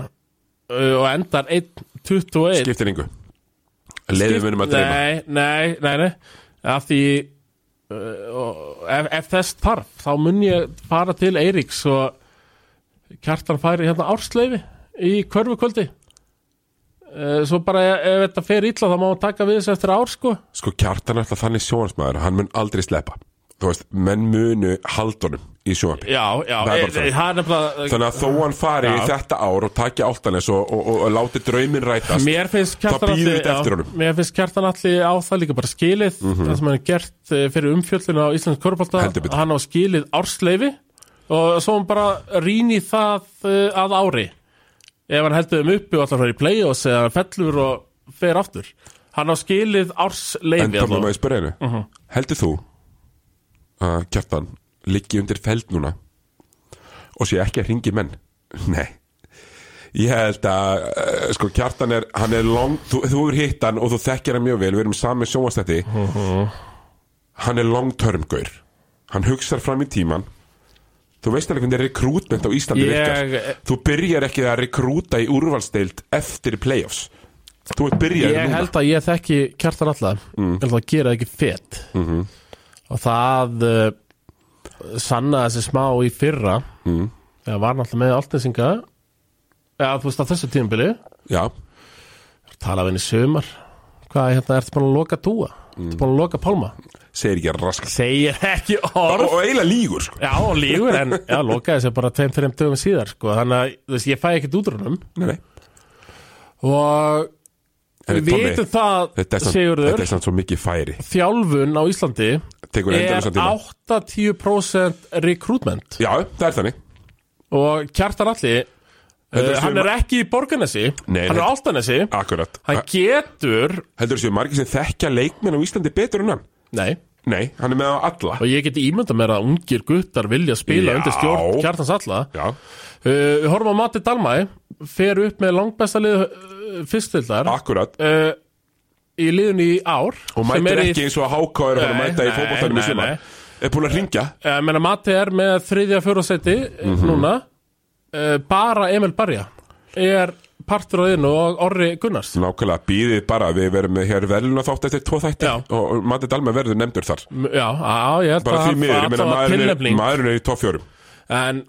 B: uh, og endar 1.21
A: Skiptir yngu Leðum við um að dreyma
B: Nei, nei, nei, nei Af því uh, og ef, ef þess þarf þá mun ég fara til Eiríks og kjartan færi hérna ársleifi í körfukvöldi uh, Svo bara ef þetta fer illa þá má hann taka við þessu eftir ár sko
A: Sko kjartan er alltaf þannig sjónasmaður Hann mun aldrei sleppa Þú veist, menn munu haldunum í sjónarpi
B: Já, já,
A: Það er
B: e,
A: bara þannig.
B: það er nefnilega
A: Þannig að þó hann fari í þetta ár og taki áltanes og, og, og, og láti draumin rætast
B: Mér finnst
A: Það
B: kjartan
A: bíður
B: Atli-
A: þetta eftir
B: já,
A: honum. Mhm.
B: Mér finnst kjartan allir á það líka bara skilið Það sem hann er gert eh, fyrir umfjöllun á Íslands
A: Heldur betur.
B: korfbalta Hann á skilið ársleifi Og svo hann bara rýni það eh, að ári ef hann heldur þeim uppi og alltaf fyrir í play-offs eða hann fellur og fer aftur hann á skilið árs
A: En
B: leiði
A: Tommi, má ég spyrja henni
B: Mhm.
A: Heldur þú að kjartan liggi undir feld núna og sé ekki að ringi menn? Nei Ég held að, eh, sko, kjartan er, hann er long, þú, þú er hitt hann og þú þekkir hann mjög vel, við erum sami sjóastætti
B: Mhm.
A: Hann er long term gaur Hann hugsar fram í tíman Þú veist alveg hvernig rekrútment á Íslandi
B: Ég-
A: virkar Þú byrjar ekki að rekrúta í úrvalsteild eftir playoffs Þú ert byrjar
B: ég
A: núna
B: held að ég þekki kjartan allar mm. held að gera ekki fett -hmm. og það uh, sannaði þessi smá í fyrra mm. eða var náttúrulega með Altinsinga eða þú veist að þessu tímabili
A: Já,
B: tala við henni í sumar hvað hérna, ertu búin að loka túa ertu búin að loka pálma
A: segir ekki rask
B: segir ekki orð
A: og, og eiginlega lígur sko.
B: Já, og lígur, en já, lokaði þessu bara tveim, þreim dögum síðar, sko, þannig að þú veist, ég fæ ekkert útrunum
A: nei, nei.
B: og
A: En
B: við vitum það,
A: þetta er samt- þetta
B: Sigurður,
A: er samt svo mikið færi
B: þjálfun á Íslandi
A: Tekur
B: er
A: endalausan tíma.
B: 80% recruitment
A: já, það er þannig
B: og Kjartan Alli, uh,
A: er
B: hann
A: sumar-
B: er ekki í Borgarnesi,
A: Nei,
B: hann er
A: nei.
B: á Áltanesi,
A: akkurat,
B: hann getur,
A: heldur þessu margir sem þekkja leikmenn á Íslandi betur en hann
B: nei,
A: nei, hann er með á alla
B: og ég geti ímyndað mér að ungir guttar vilja spila
A: Já.
B: undir stjórn Kjartans Alla,
A: já,
B: Uh, við horfum á Matti Dalmæ fer upp með langbesta lið uh, fyrstildar uh,
A: akkurat
B: í liðun í ár
A: og
B: sem
A: mætir
B: er í-
A: ekki eins og að háka er að fara að
B: Nei,
A: mæta í
B: nei,
A: fótbolltanum í
B: nei,
A: sumar
B: nei.
A: er búin að ringja
B: Eh, meina, Matti er með þriðja fjórasetti mm
A: Mhm.
B: -hmm. núna uh, bara Emil Barja er partur á þinn og Orri Gunnars
A: nákvæmlega, býðið bara, við verum með hér verðluna þátt eftir tvo þætti
B: Já.
A: og og Matti Dalma verður nefndur þar
B: M- já, á, ég held
A: Mm. bara því
B: að
A: miður, ég
B: að
A: meina
B: það var
A: maðurinn er,
B: tilnefning
A: maðurinn er í topp fjórum
B: en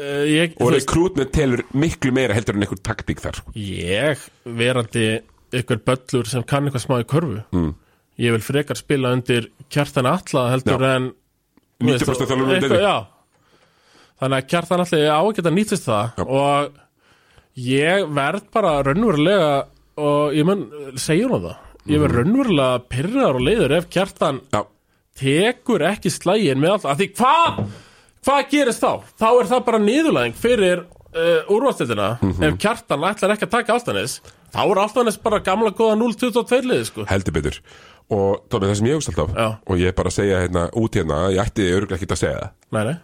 B: uh, ég,
A: og
B: þú veist,
A: rekrútmenn telur miklu meira heldur en einhver taktík þar sko.
B: ég verandi ykkur böllur sem kann eitthvað smá í körfu mm. ég vil frekar spila undir kjartan alla heldur en
A: 90% þjálfur með
B: eitthvað, já þannig að kjartan allir á að geta nýtist það
A: Já.
B: og ég verð bara raunverulega og ég mun segja hún það ég verð raunverulega pyrraður og leiður ef kjartan
A: Já,
B: tekur ekki slægin með allt af því hvað hvað gerist þá? þá er það bara niðurlæðing fyrir uh, úrvastildina ef kjartan ætlar ekki að taka Altanis þá er Altanis bara gamla góða 0-22 liði sko
A: heldur betur og Tómi, það sem ég hugst alltaf
B: Já.
A: og ég er bara að segja hérna út hérna ég ætti örgulega ekki að segja það
B: nei, nei,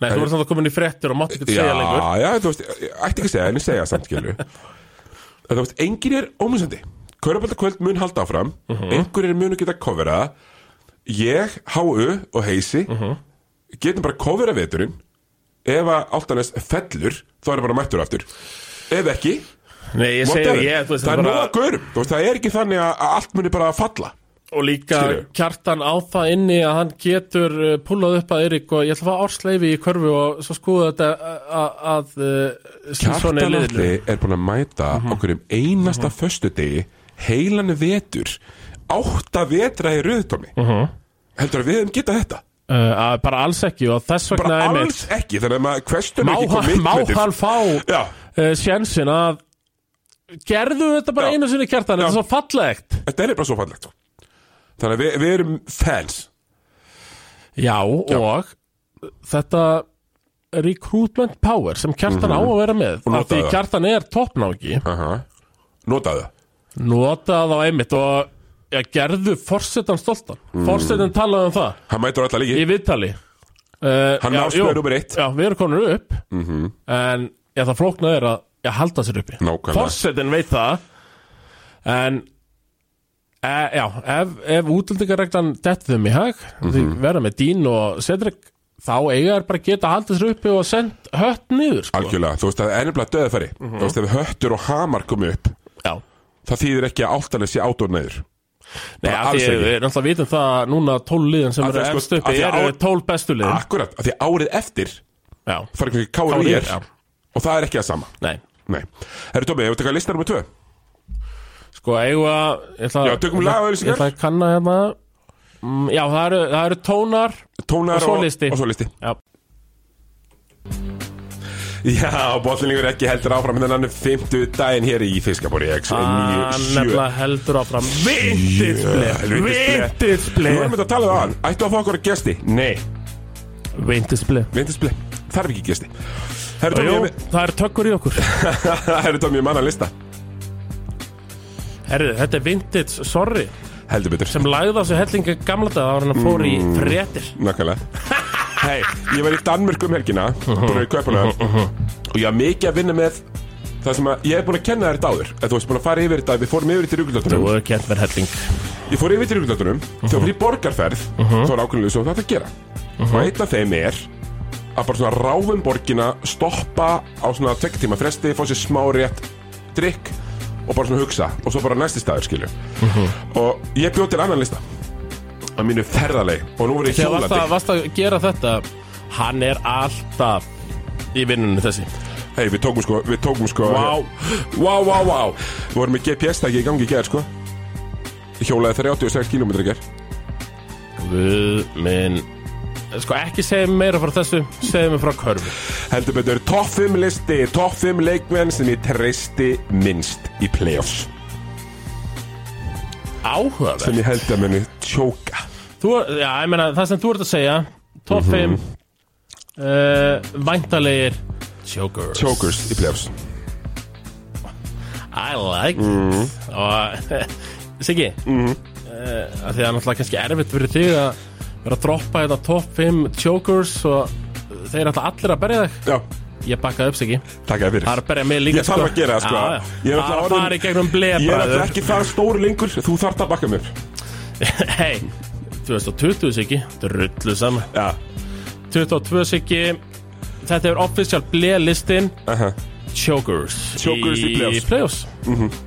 B: nei þú verður þannig að komin í fréttir og mátt ekki segja lengur
A: já, þú veist, ég ætti ekki að segja en ég segja samt skilur þú veist, engin er ómissandi Körbaldakvöld mun halda áfram uh
B: Mhm.
A: -huh. einhverjir munu geta kofera ég, Háu og Heisi
B: Mhm.
A: getum bara kofera veturinn ef að Altanes fellur þá er það bara mættur aftur ef ekki,
B: Nei, ég segi
A: whatever.
B: það, ég, þú veist,
A: það er
B: bara,
A: nóga görum Þú veist, það er ekki þannig að að allt muni bara falla
B: og líka
A: Skilju.
B: kjartan á það inni að hann getur uh, púlað upp að Eirík og ég ætla að fá ársleifi í körfu og svo skoða þetta uh, að, að uh, Sveinsson er
A: Kjartan
B: liðinu. Mhm.
A: Alli er búin að mæta okkur um einasta mm -hmm. föstudegi heilan vetur átta vetra í röðtómi
B: Mhm.
A: heldur að við hefum getað þetta
B: Uh, að bara alls ekki og þess
A: bara
B: vegna einmitt
A: alls ekki þannig að maður hverstum
B: má,
A: ekki
B: hann- má
A: commitmentið.
B: hann fá uh,
A: Já,
B: sjensin að gerðu þetta bara
A: Já.
B: einu sinni kjartan, þetta er svo fallegt
A: þetta er bara svo fallegt sko. þannig að við, við erum fans
B: já, og þetta recruitment power sem kjartan á Mhm. að vera með
A: Og
B: af því
A: notaðu það.
B: kjartan er toppnáki
A: Aha. notaðu það
B: notaði á einmitt og ja, gerðu forsetan stoltan forsetan talaði um það
A: hann mætur alla líki
B: í viðtali uh,
A: Hann
B: já,
A: ná spilur
B: jú,
A: númer eitt. Mhm.
B: já, við erum konur upp en já, það flóknað er að já, halda sér uppi
A: Nákvæmlega.
B: forsetan veit það en e, já, ef, ef útlendingareglan dettum í hag
A: Mhm.
B: því verða með Dín og Cedric þá eiga er bara að geta að halda sér uppi og sendt hött niður sko.
A: algjörlega, þú veist það er ennumlega döðfæri þú
B: Mhm.
A: veist ef höttur og hamar komi upp
B: já
A: það þýðir ekki að áltanlega sé átónæður
B: Nei,
A: Bara
B: af því
A: alls ekki.
B: við náttúrulega vitum það að núna tól liðin sem
A: Af
B: eru
A: því, Ah. sko,
B: efst
A: af
B: uppi
A: því
B: eru
A: á-
B: tól bestu liðin
A: akkurat, af því árið eftir
B: Já,
A: fara ekki káur og
B: KR,
A: ég
B: já.
A: og það er ekki það sama
B: nei
A: Nei. Herru Tómi, hefur tekað listar nummer 2
B: Sko, eigum við að ég ætla-
A: Já, tökum lag og
B: Ég
A: auglýsingar.
B: ætla að kanna hérna mm, Já, það eru, það eru tónar
A: Tónar
B: Og svo listi.
A: og, og svo listi
B: Já,
A: Já, bollinlingur ekki heldur áfram en hann er 50 daginn hér í Fiskabóri X
B: hann
A: 9-7
B: Ah, nefnilega heldur áfram Vintisblett
A: Nú erum
B: Vintisblett
A: við að tala um hann Ættu að fá okkur að gesti? Nei,
B: Vintisblett
A: vindisblei Þarf ekki gesti Herru
B: Og
A: Tómi,
B: jú,
A: ég-
B: það er tökkur í okkur
A: Herru Tómi, ég manna lista
B: Herðu, þetta er vintage sorry
A: Heldur betur
B: sem lagði á sig hellinga gamla dag ára en hann fór í
A: Mm.
B: fréttir
A: Nákvæmlega Hei, ég var í Danmörk um helgina
B: Uh-huh.
A: Búin að vera í Kaupalöf Og ég var mikið að vinna með Það sem að ég hef búin að kenna þér þetta áður Eða þú veist búin að fara yfir þetta Við fórum yfir þetta í
B: Þú
A: rúkuldatunum
B: er kent verð helling
A: Ég fór yfir þetta í rúkuldatunum
B: Mhm.
A: Þegar fyrir borgarferð Þá er ákveðinlega svo þetta að gera Og eitt af þeim er Að bara svona ráfum borgina Stoppa á svona tvekkitíma fresti Fá sér smá rétt drikk Og bara svona hugsa Og svo bara næsti staður skilju
B: Mhm.
A: Og ég bjóð til annan lista Að mínu ferðalegi Og nú voru ég
B: Þegar varst
A: hjólandi
B: að, varst að gera þetta Hann er alltaf í vinnunni þessi
A: Hei, við tókum sko, við tókum sko
B: Vá.
A: Vá, vá, vá Við vorum með GPS-tæki í gangi í gerð, sko Ég Hjólaði 36 km í gerð
B: Guð minn Sko ekki segja mér meira frá þessu Segja mér frá körfu
A: Heldur betur, topp 5 listi, topp 5 leikmenn sem ég treysti minnst í playoffs
B: Áhugaverð
A: Sem ég held að muni tjóka
B: Þú, já, ég meina, það sem þú ert að segja Top
A: Mhm.
B: 5 mm Væntalegir Chokers
A: Tjókurs í playoffs
B: I like it Mhm. Og Siggi mm
A: Mhm.
B: -hmm. uh, Því það er náttúrulega kannski erfitt fyrir þig að vera að droppa þetta top 5 chokers og eh, þeir ætla allir að berja þig
A: Já,
B: Ég bakkaði upp Siggi
A: takk að fyrir
B: Það er að berja mig líka
A: Ég þarf að gera það, sko.
B: Já, já.
A: Ég er
B: Það er
A: náttúrulega
B: að
A: orðinn-
B: fara í gegnum
A: Ég er alltaf
B: blebræður
A: ekki það stóri lengur, þú þarft að bakka mér
B: Hei 2020 Siggi Drullu saman
A: Já,
B: 22 Siggi Þetta er official blelistin
A: aha
B: Chokers
A: Chokers í playoffs. Mhm.
B: playoffs.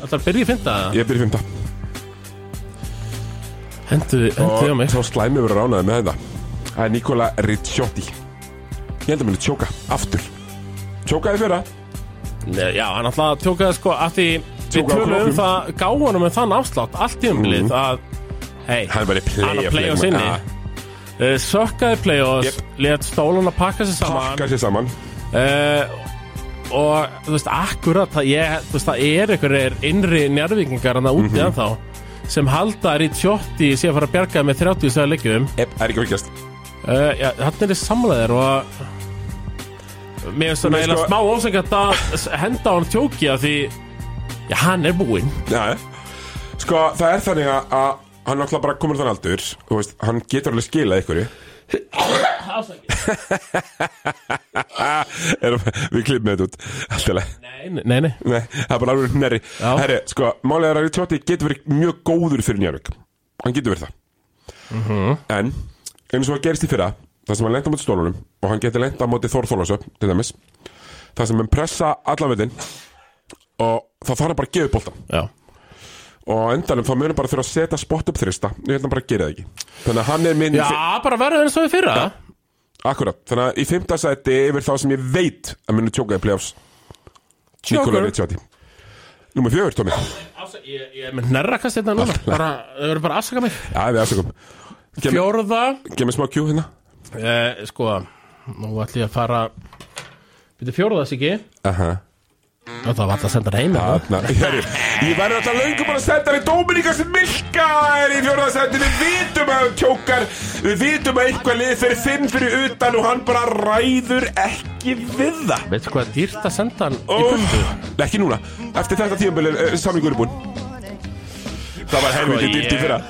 B: Þetta er byrjið að finna það
A: Ég byrja í fymta
B: Hendu þið á
A: Og
B: mig
A: svo slæmi verið ránaði með þetta Það er Nikola Ricciotti Ég held að muni tjóka, aftur Tjókaði fyrra
B: Nei, Já, hann alltaf tjókaði sko að því
A: Tók
B: Við
A: á
B: tölum um
A: knöppum.
B: það gáðanum með þann afslátt Allt í umlið að Hei,
A: Hann var í play-off
B: hann að play
A: leikmaður.
B: inni
A: Ja.
B: uh, Sökkaði play-offs
A: Jep.
B: Lét stólan að pakka sér saman
A: Pakka sér saman
B: uh, Og þú veist, akkurat það, ég, þú veist, það er einhverjir innri njárvíkingar Þannig
A: Mhm.
B: úti mm ennþá Sem halda er í tjótti Sér að fara að bjarga með 30 stöða leikjum
A: Epp, er ekki fyrkjast
B: Uh, já, hann er samlaðir og mér finnst svona
A: Mér
B: eiginlega
A: sko-
B: smá ósengat að s- henda á hann tjóki af því já, hann er búinn
A: Já, sko það er þannig að að hann náttúrulega bara komur þann aldur Þú veist, hann getur alveg skilað ykkur
B: Afsakið.
A: er, Við klippum þetta út Allt í lagi.
B: Nei, nei, nei
A: Nei, það er bara alveg nærri
B: Já.
A: Herri, sko, málið er að Ricciotti getur verið mjög góður fyrir Njárvík Hann getur verið það En, eins og það gerist í fyrra Það sem hann lenda móti stólunum Og hann getur lenda móti Þór Þólasöp, til dæmis Það sem hann pressa allan veitin Og þá þarf hann bara að gefa upp boltan
B: Já,
A: Og á endanum þá munum bara þurfa að setja spott upp þrista Ég held að hann bara gera það ekki Þannig að hann er minn
B: bara verður eins og við fyrra
A: Akkurat, þannig að í fimmta sæti yfir þá sem ég veit að munum tjóka í playoffs Nikola Ricciotti Númer fjögur, Tómi
B: Afsakið, Ég ég er með nærra kast þetta núna bara, Þau eru bara að afsaka mig
A: Já, við afsökum Gem-
B: Fjórða
A: Geð mér smá kjú hérna
B: eh, Sko, nú ætlum ég að fara Býttu fjórða, Siggi
A: Aha
B: Það var alltaf að senda hann heim eða?
A: Þarna, herri, ég verði alltaf löngu bara að senda þér Dominika sem Milka er í fjórðarsætti Við vitum að hann kjókar Við vitum að einhver lið fyrir fimm fyrir utan Og hann bara ræður ekki við það
B: Veistu hvað er dýrt að senda hann í
A: oh,
B: burtu?
A: Nei, Ekki núna, eftir þetta tíðanbili uh, Samlingur er búinn Það var helviti dýrt
B: Sko,
A: í
B: ég-
A: fyrra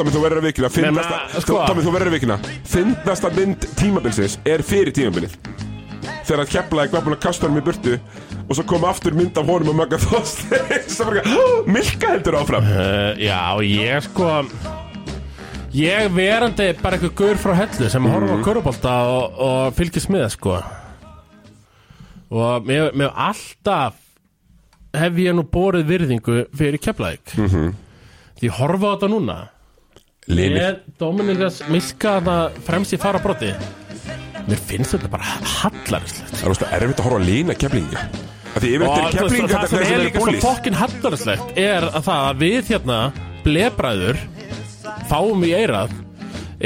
A: Tommy, þú verður að vikina Fyndnasta,
B: Nema, sko.
A: Tommy, þú verður að vikina Fyndnasta mynd tímabilsins er fyrir tímabilið Þegar hann keflaði hvað búin að kasta honum í burtu Og svo kom aftur mynd af honum og Magga Þorsteins Svo bara, "Hú, Milka heldur áfram
B: Uh, já, ég sko Ég verandi bara eitthvað gaur frá hellu sem horfa á körubólta og, og fylgist með sko og mér, mér alltaf hef ég nú borið virðingu fyrir Keflæk því horfa á þetta núna
A: Lili
B: er Dominikas miska það fremst í farabrotti mér finnst þetta bara hallarislegt
A: Það er rosta erfitt að horfa að lína keflingi Af Því yfirleitt
B: og
A: er
B: þú veist,
A: keflingi
B: það
A: þetta
B: sem
A: er
B: er
A: sem eru
B: líka svo
A: búlis
B: fokkin hallarslegt er að það að við hérna blebræður fáum í eirað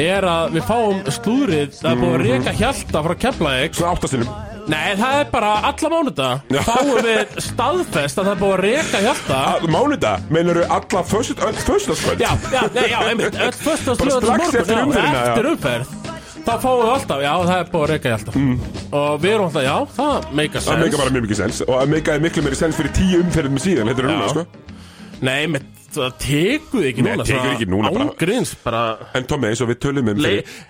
B: er að við fáum slúðrið það er búið að reka hjalta frá Keflavík
A: Svona áttastinum
B: Mhm. nei það er bara alla mánuda
A: Já.
B: fáum við staðfest að það er búið að reka hjalta
A: Mánuda, meinaru alla fösut, öll fösutaskvöld
B: já, já, nei, já, einmitt öll föstu að
A: Bara
B: slúða
A: strax eftir umferðina, já.
B: eftir umferð þá fáum við alltaf, já það er búið að reyka í alltaf og við erum alltaf, já, það meika
A: Mm. Það
B: sens
A: meika bara mjög mikið sens og það meikaði miklu meiri sens fyrir tíu umferðum síðan Þetta er núna,
B: Já.
A: sko
B: Nei, með, það tekur þið ekki
A: Nei,
B: núna
A: tekur
B: svona
A: ekki núna, bara-
B: Ángríns, bara
A: En Tommi, eins og við tölum um
B: le,
A: fyrir,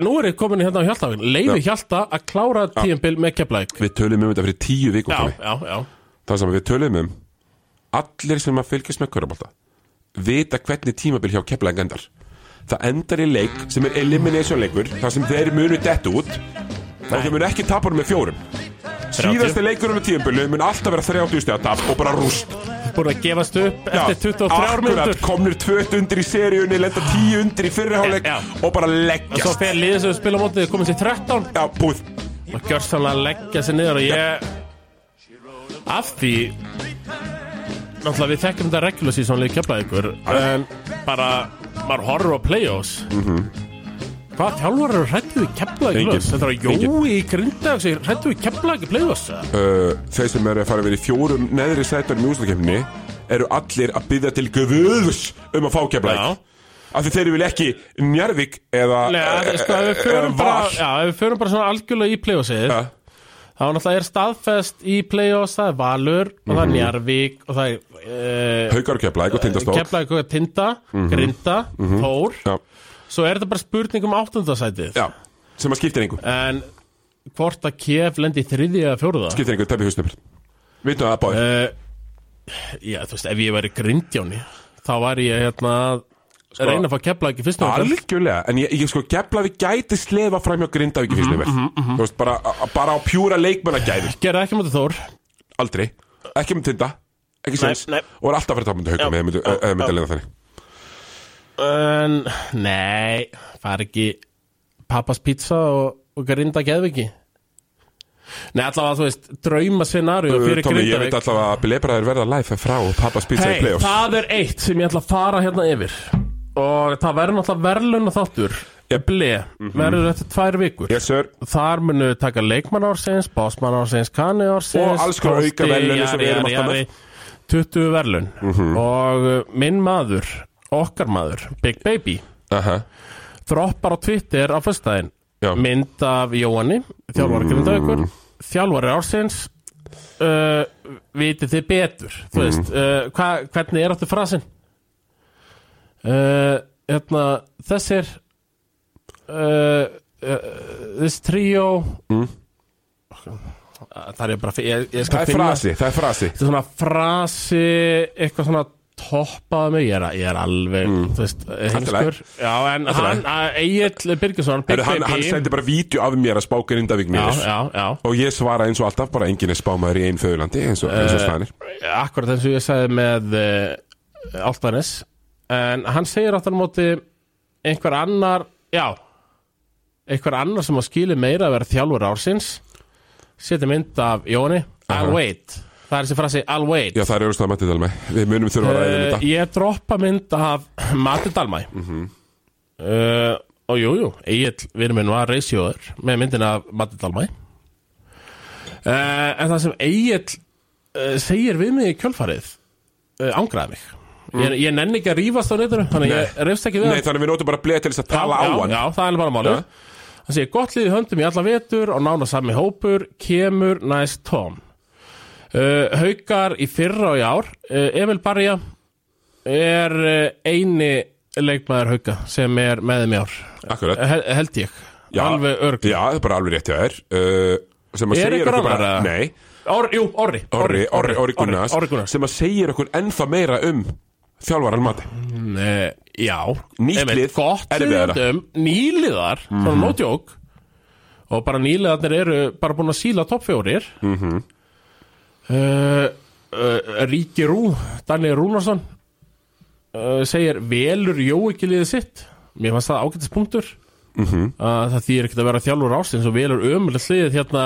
B: Nú er ég komin í hérna á Hjaltavinn Leifu Hjalta að klára tíðanbil með Keflæk
A: Við tölum um þetta fyrir tíu vikum
B: Já,
A: Tommi.
B: já, já
A: Það sem við tölum um Allir sem að fylgjast með körubólta Vita hvernig tímabil hjá keflaðing endar Það endar í leik sem er elimination leikur Það sem þeir munu dett út Og þeir munu ekki tapa honum með fjórum Síðasti leikurinn með tímabili mun alltaf vera 30 stegar tap og bara rúst
B: Búin að gefast upp eftir 23
A: Akkurat,
B: minnur
A: komnir 20 undir í seríunni Lenda 10 undir í fyrriháleik
B: Já.
A: Og bara
B: Og svo
A: leggjast
B: fer liðið sem við spila á mótið komin sér 13
A: Já, búið
B: og gjörsamlega að leggja sér niður og ég af því náttúrulega við þekkjum þetta regular season leik kjöflaði ykkur en bara maður horfur á play-offs
A: Mhm.
B: hvað þjálfur eru hrættu við keflaði
A: Engin.
B: ykkur þetta er að
A: Engin.
B: Jói í Grindavík segir hrættu við keflaði ykkur play-offs eða?
A: uh, Þeir sem eru að fara verið í fjórum neðri sætar mjúslakefni eru allir að byggja til guðs um að fá
B: Já.
A: keflæk af því þeir vil ekki Njarvík eða,
B: Nei, að- sko, ef við förum bara,
A: val
B: já, ef við förum bara svona algjörlega í play-offsið
A: Ja.
B: þá náttúrulega er staðfest í play-offs það er Valur og
A: Mhm.
B: það er Njarvík og það er eh,
A: Haukar og keflæk og tindastól
B: keflaði ykkur Tinda, Grinda, Þór
A: Mhm. já,
B: Svo er þetta bara spurning um áttundasætið
A: já, sem að skiptir einhver
B: En hvort að KF lendi í þriðja eða fjóruða
A: skiptir einhver, teppi húsnum Vitum það báði,
B: uh, Já, þú veist, ef ég væri grindjáni Þá væri ég hérna að
A: Sko-
B: reyna að fá kefla ekki fyrst og
A: algjörlega en ég, ég sko keflaði gæti slefa fram hjá Grindavík í fyrstu
B: Mhm,
A: mm þú veist, bara, bara á pjúra leikmanna gæði
B: Gerði ekki mútið Þór
A: aldrei, ekki með tinda ekki
B: Nei,
A: sens,
B: nei.
A: og er alltaf verið tapandi haukum
B: Já,
A: eða myndi,
B: já,
A: eða myndi
B: já.
A: að leiða þannig
B: En, nei, það er ekki pappas pizza og, og grinda geðviki Nei, allavega, þú veist, drauma scenarió fyrir
A: Tómi, ég veit
B: grindavík
A: alltaf að Bilebræður verða live frá Pappas Pizza í
B: Hei,
A: Playoffs
B: það er eitt sem ég ætla að fara hérna yfir Og það verður náttúrulega verðlun og þáttur
A: Yep.
B: Ble, verður eftir tvær vikur
A: Mhm. Yes sir
B: Þar munu við taka leikmann ársins, básmann ársins, kanni ársins
A: Og alls konar
B: kosti,
A: auka verðlaunir sem við
B: jari,
A: erum
B: jari,
A: alltaf Mhm.
B: jari, 20 verðlun Og uh, minn maður, okkar maður, Big Baby
A: Aha.
B: Droppar á Twitter á föstudaginn
A: Já.
B: Mynd af Jóhanni, þjálfari mm. grindavíkur Þjálfari ársins uh, Vitið þið betur Þú veist, uh, hva, hvernig er áttu frasinn? Uh, hérna, þessir uh, uh, This trio mm. Það er bara ég, ég skal
A: Það er
B: finna-
A: frasi, það er frasi
B: Þetta er svona frasi Eitthvað svona toppaði mig Ég er, ég er alveg,
A: Mm.
B: þú veist, heimskur Já, en hann, Egil Birgisson Big
A: Heru, hann, hann
B: Baby
A: sendi bara vídeo af mér að spáka Grindavík
B: Já,
A: mér
B: já, já
A: Og ég svara eins og alltaf bara enginn er spámaður í einn föðurlandi eins og,
B: Eh.
A: eins og stanir
B: Akkurat eins og ég sagði með uh, Altanis En hann segir aftur á móti Einhver annar, já Einhver annar sem að skili meira að vera þjálfur ársins Seti mynd af Jóni I'll wait Það er þessi frasi, I'll wait
A: Já það er auðvitað að mætti tala með Við munum þurfa að ræða um
B: Uh,
A: þetta
B: ég droppa mynd af Matti Dalmæ
A: Mhm.
B: uh, og jú, jú, Egil vinur minn var reisjóður með myndin af Matti Dalmæ uh, en það sem Egil uh, segir við mig í kjölfarið uh, ángraði mig ég, ég nenni ekki að rífast á neittinu þannig ég reyfst ekki við
A: Mm. Nei
B: hann.
A: þannig við notum bara bleið til þess að tala á
B: já,
A: hann
B: já, það er bara málið Það segir gott liðið höndum í alla vetur og nána sami hópur kemur næst tóm uh, Haukar í fyrra og í ár uh, Emil Barja er uh, eini leikmaður Hauka sem er með þeim í ár
A: Akkurat
B: Hel, held ég,
A: Já.
B: Eh, alveg örg
A: Já það er bara alveg rétt hjá þér uh, Sem að
B: Er
A: segja
B: einhver
A: okkur bara
B: annar, eða?
A: Nei
B: Or, Jú, Orri
A: Orri, Orri, Orri Gunnars
B: Orri Gunnars
A: Sem að segja okkur ennþá meira um Þjálfaran Mati
B: Nei, Já
A: Nýtt
B: Einmitt,
A: lið,
B: Gott
A: erfiðara. Mhm.
B: liðum, nýliðar Svona mm. nótjók Og bara nýliðarnir eru bara búin að síla toppfjórir mm
A: Mhm.
B: -hmm. uh, uh, Ríki Rú Danni Rúnarsson uh, Segir velur jó ekki liðið sitt Mér fannst það ágætis punktur
A: Mhm.
B: Mm það þýr ekkert að vera þjálfur ástins og velur ömulegt liðið hérna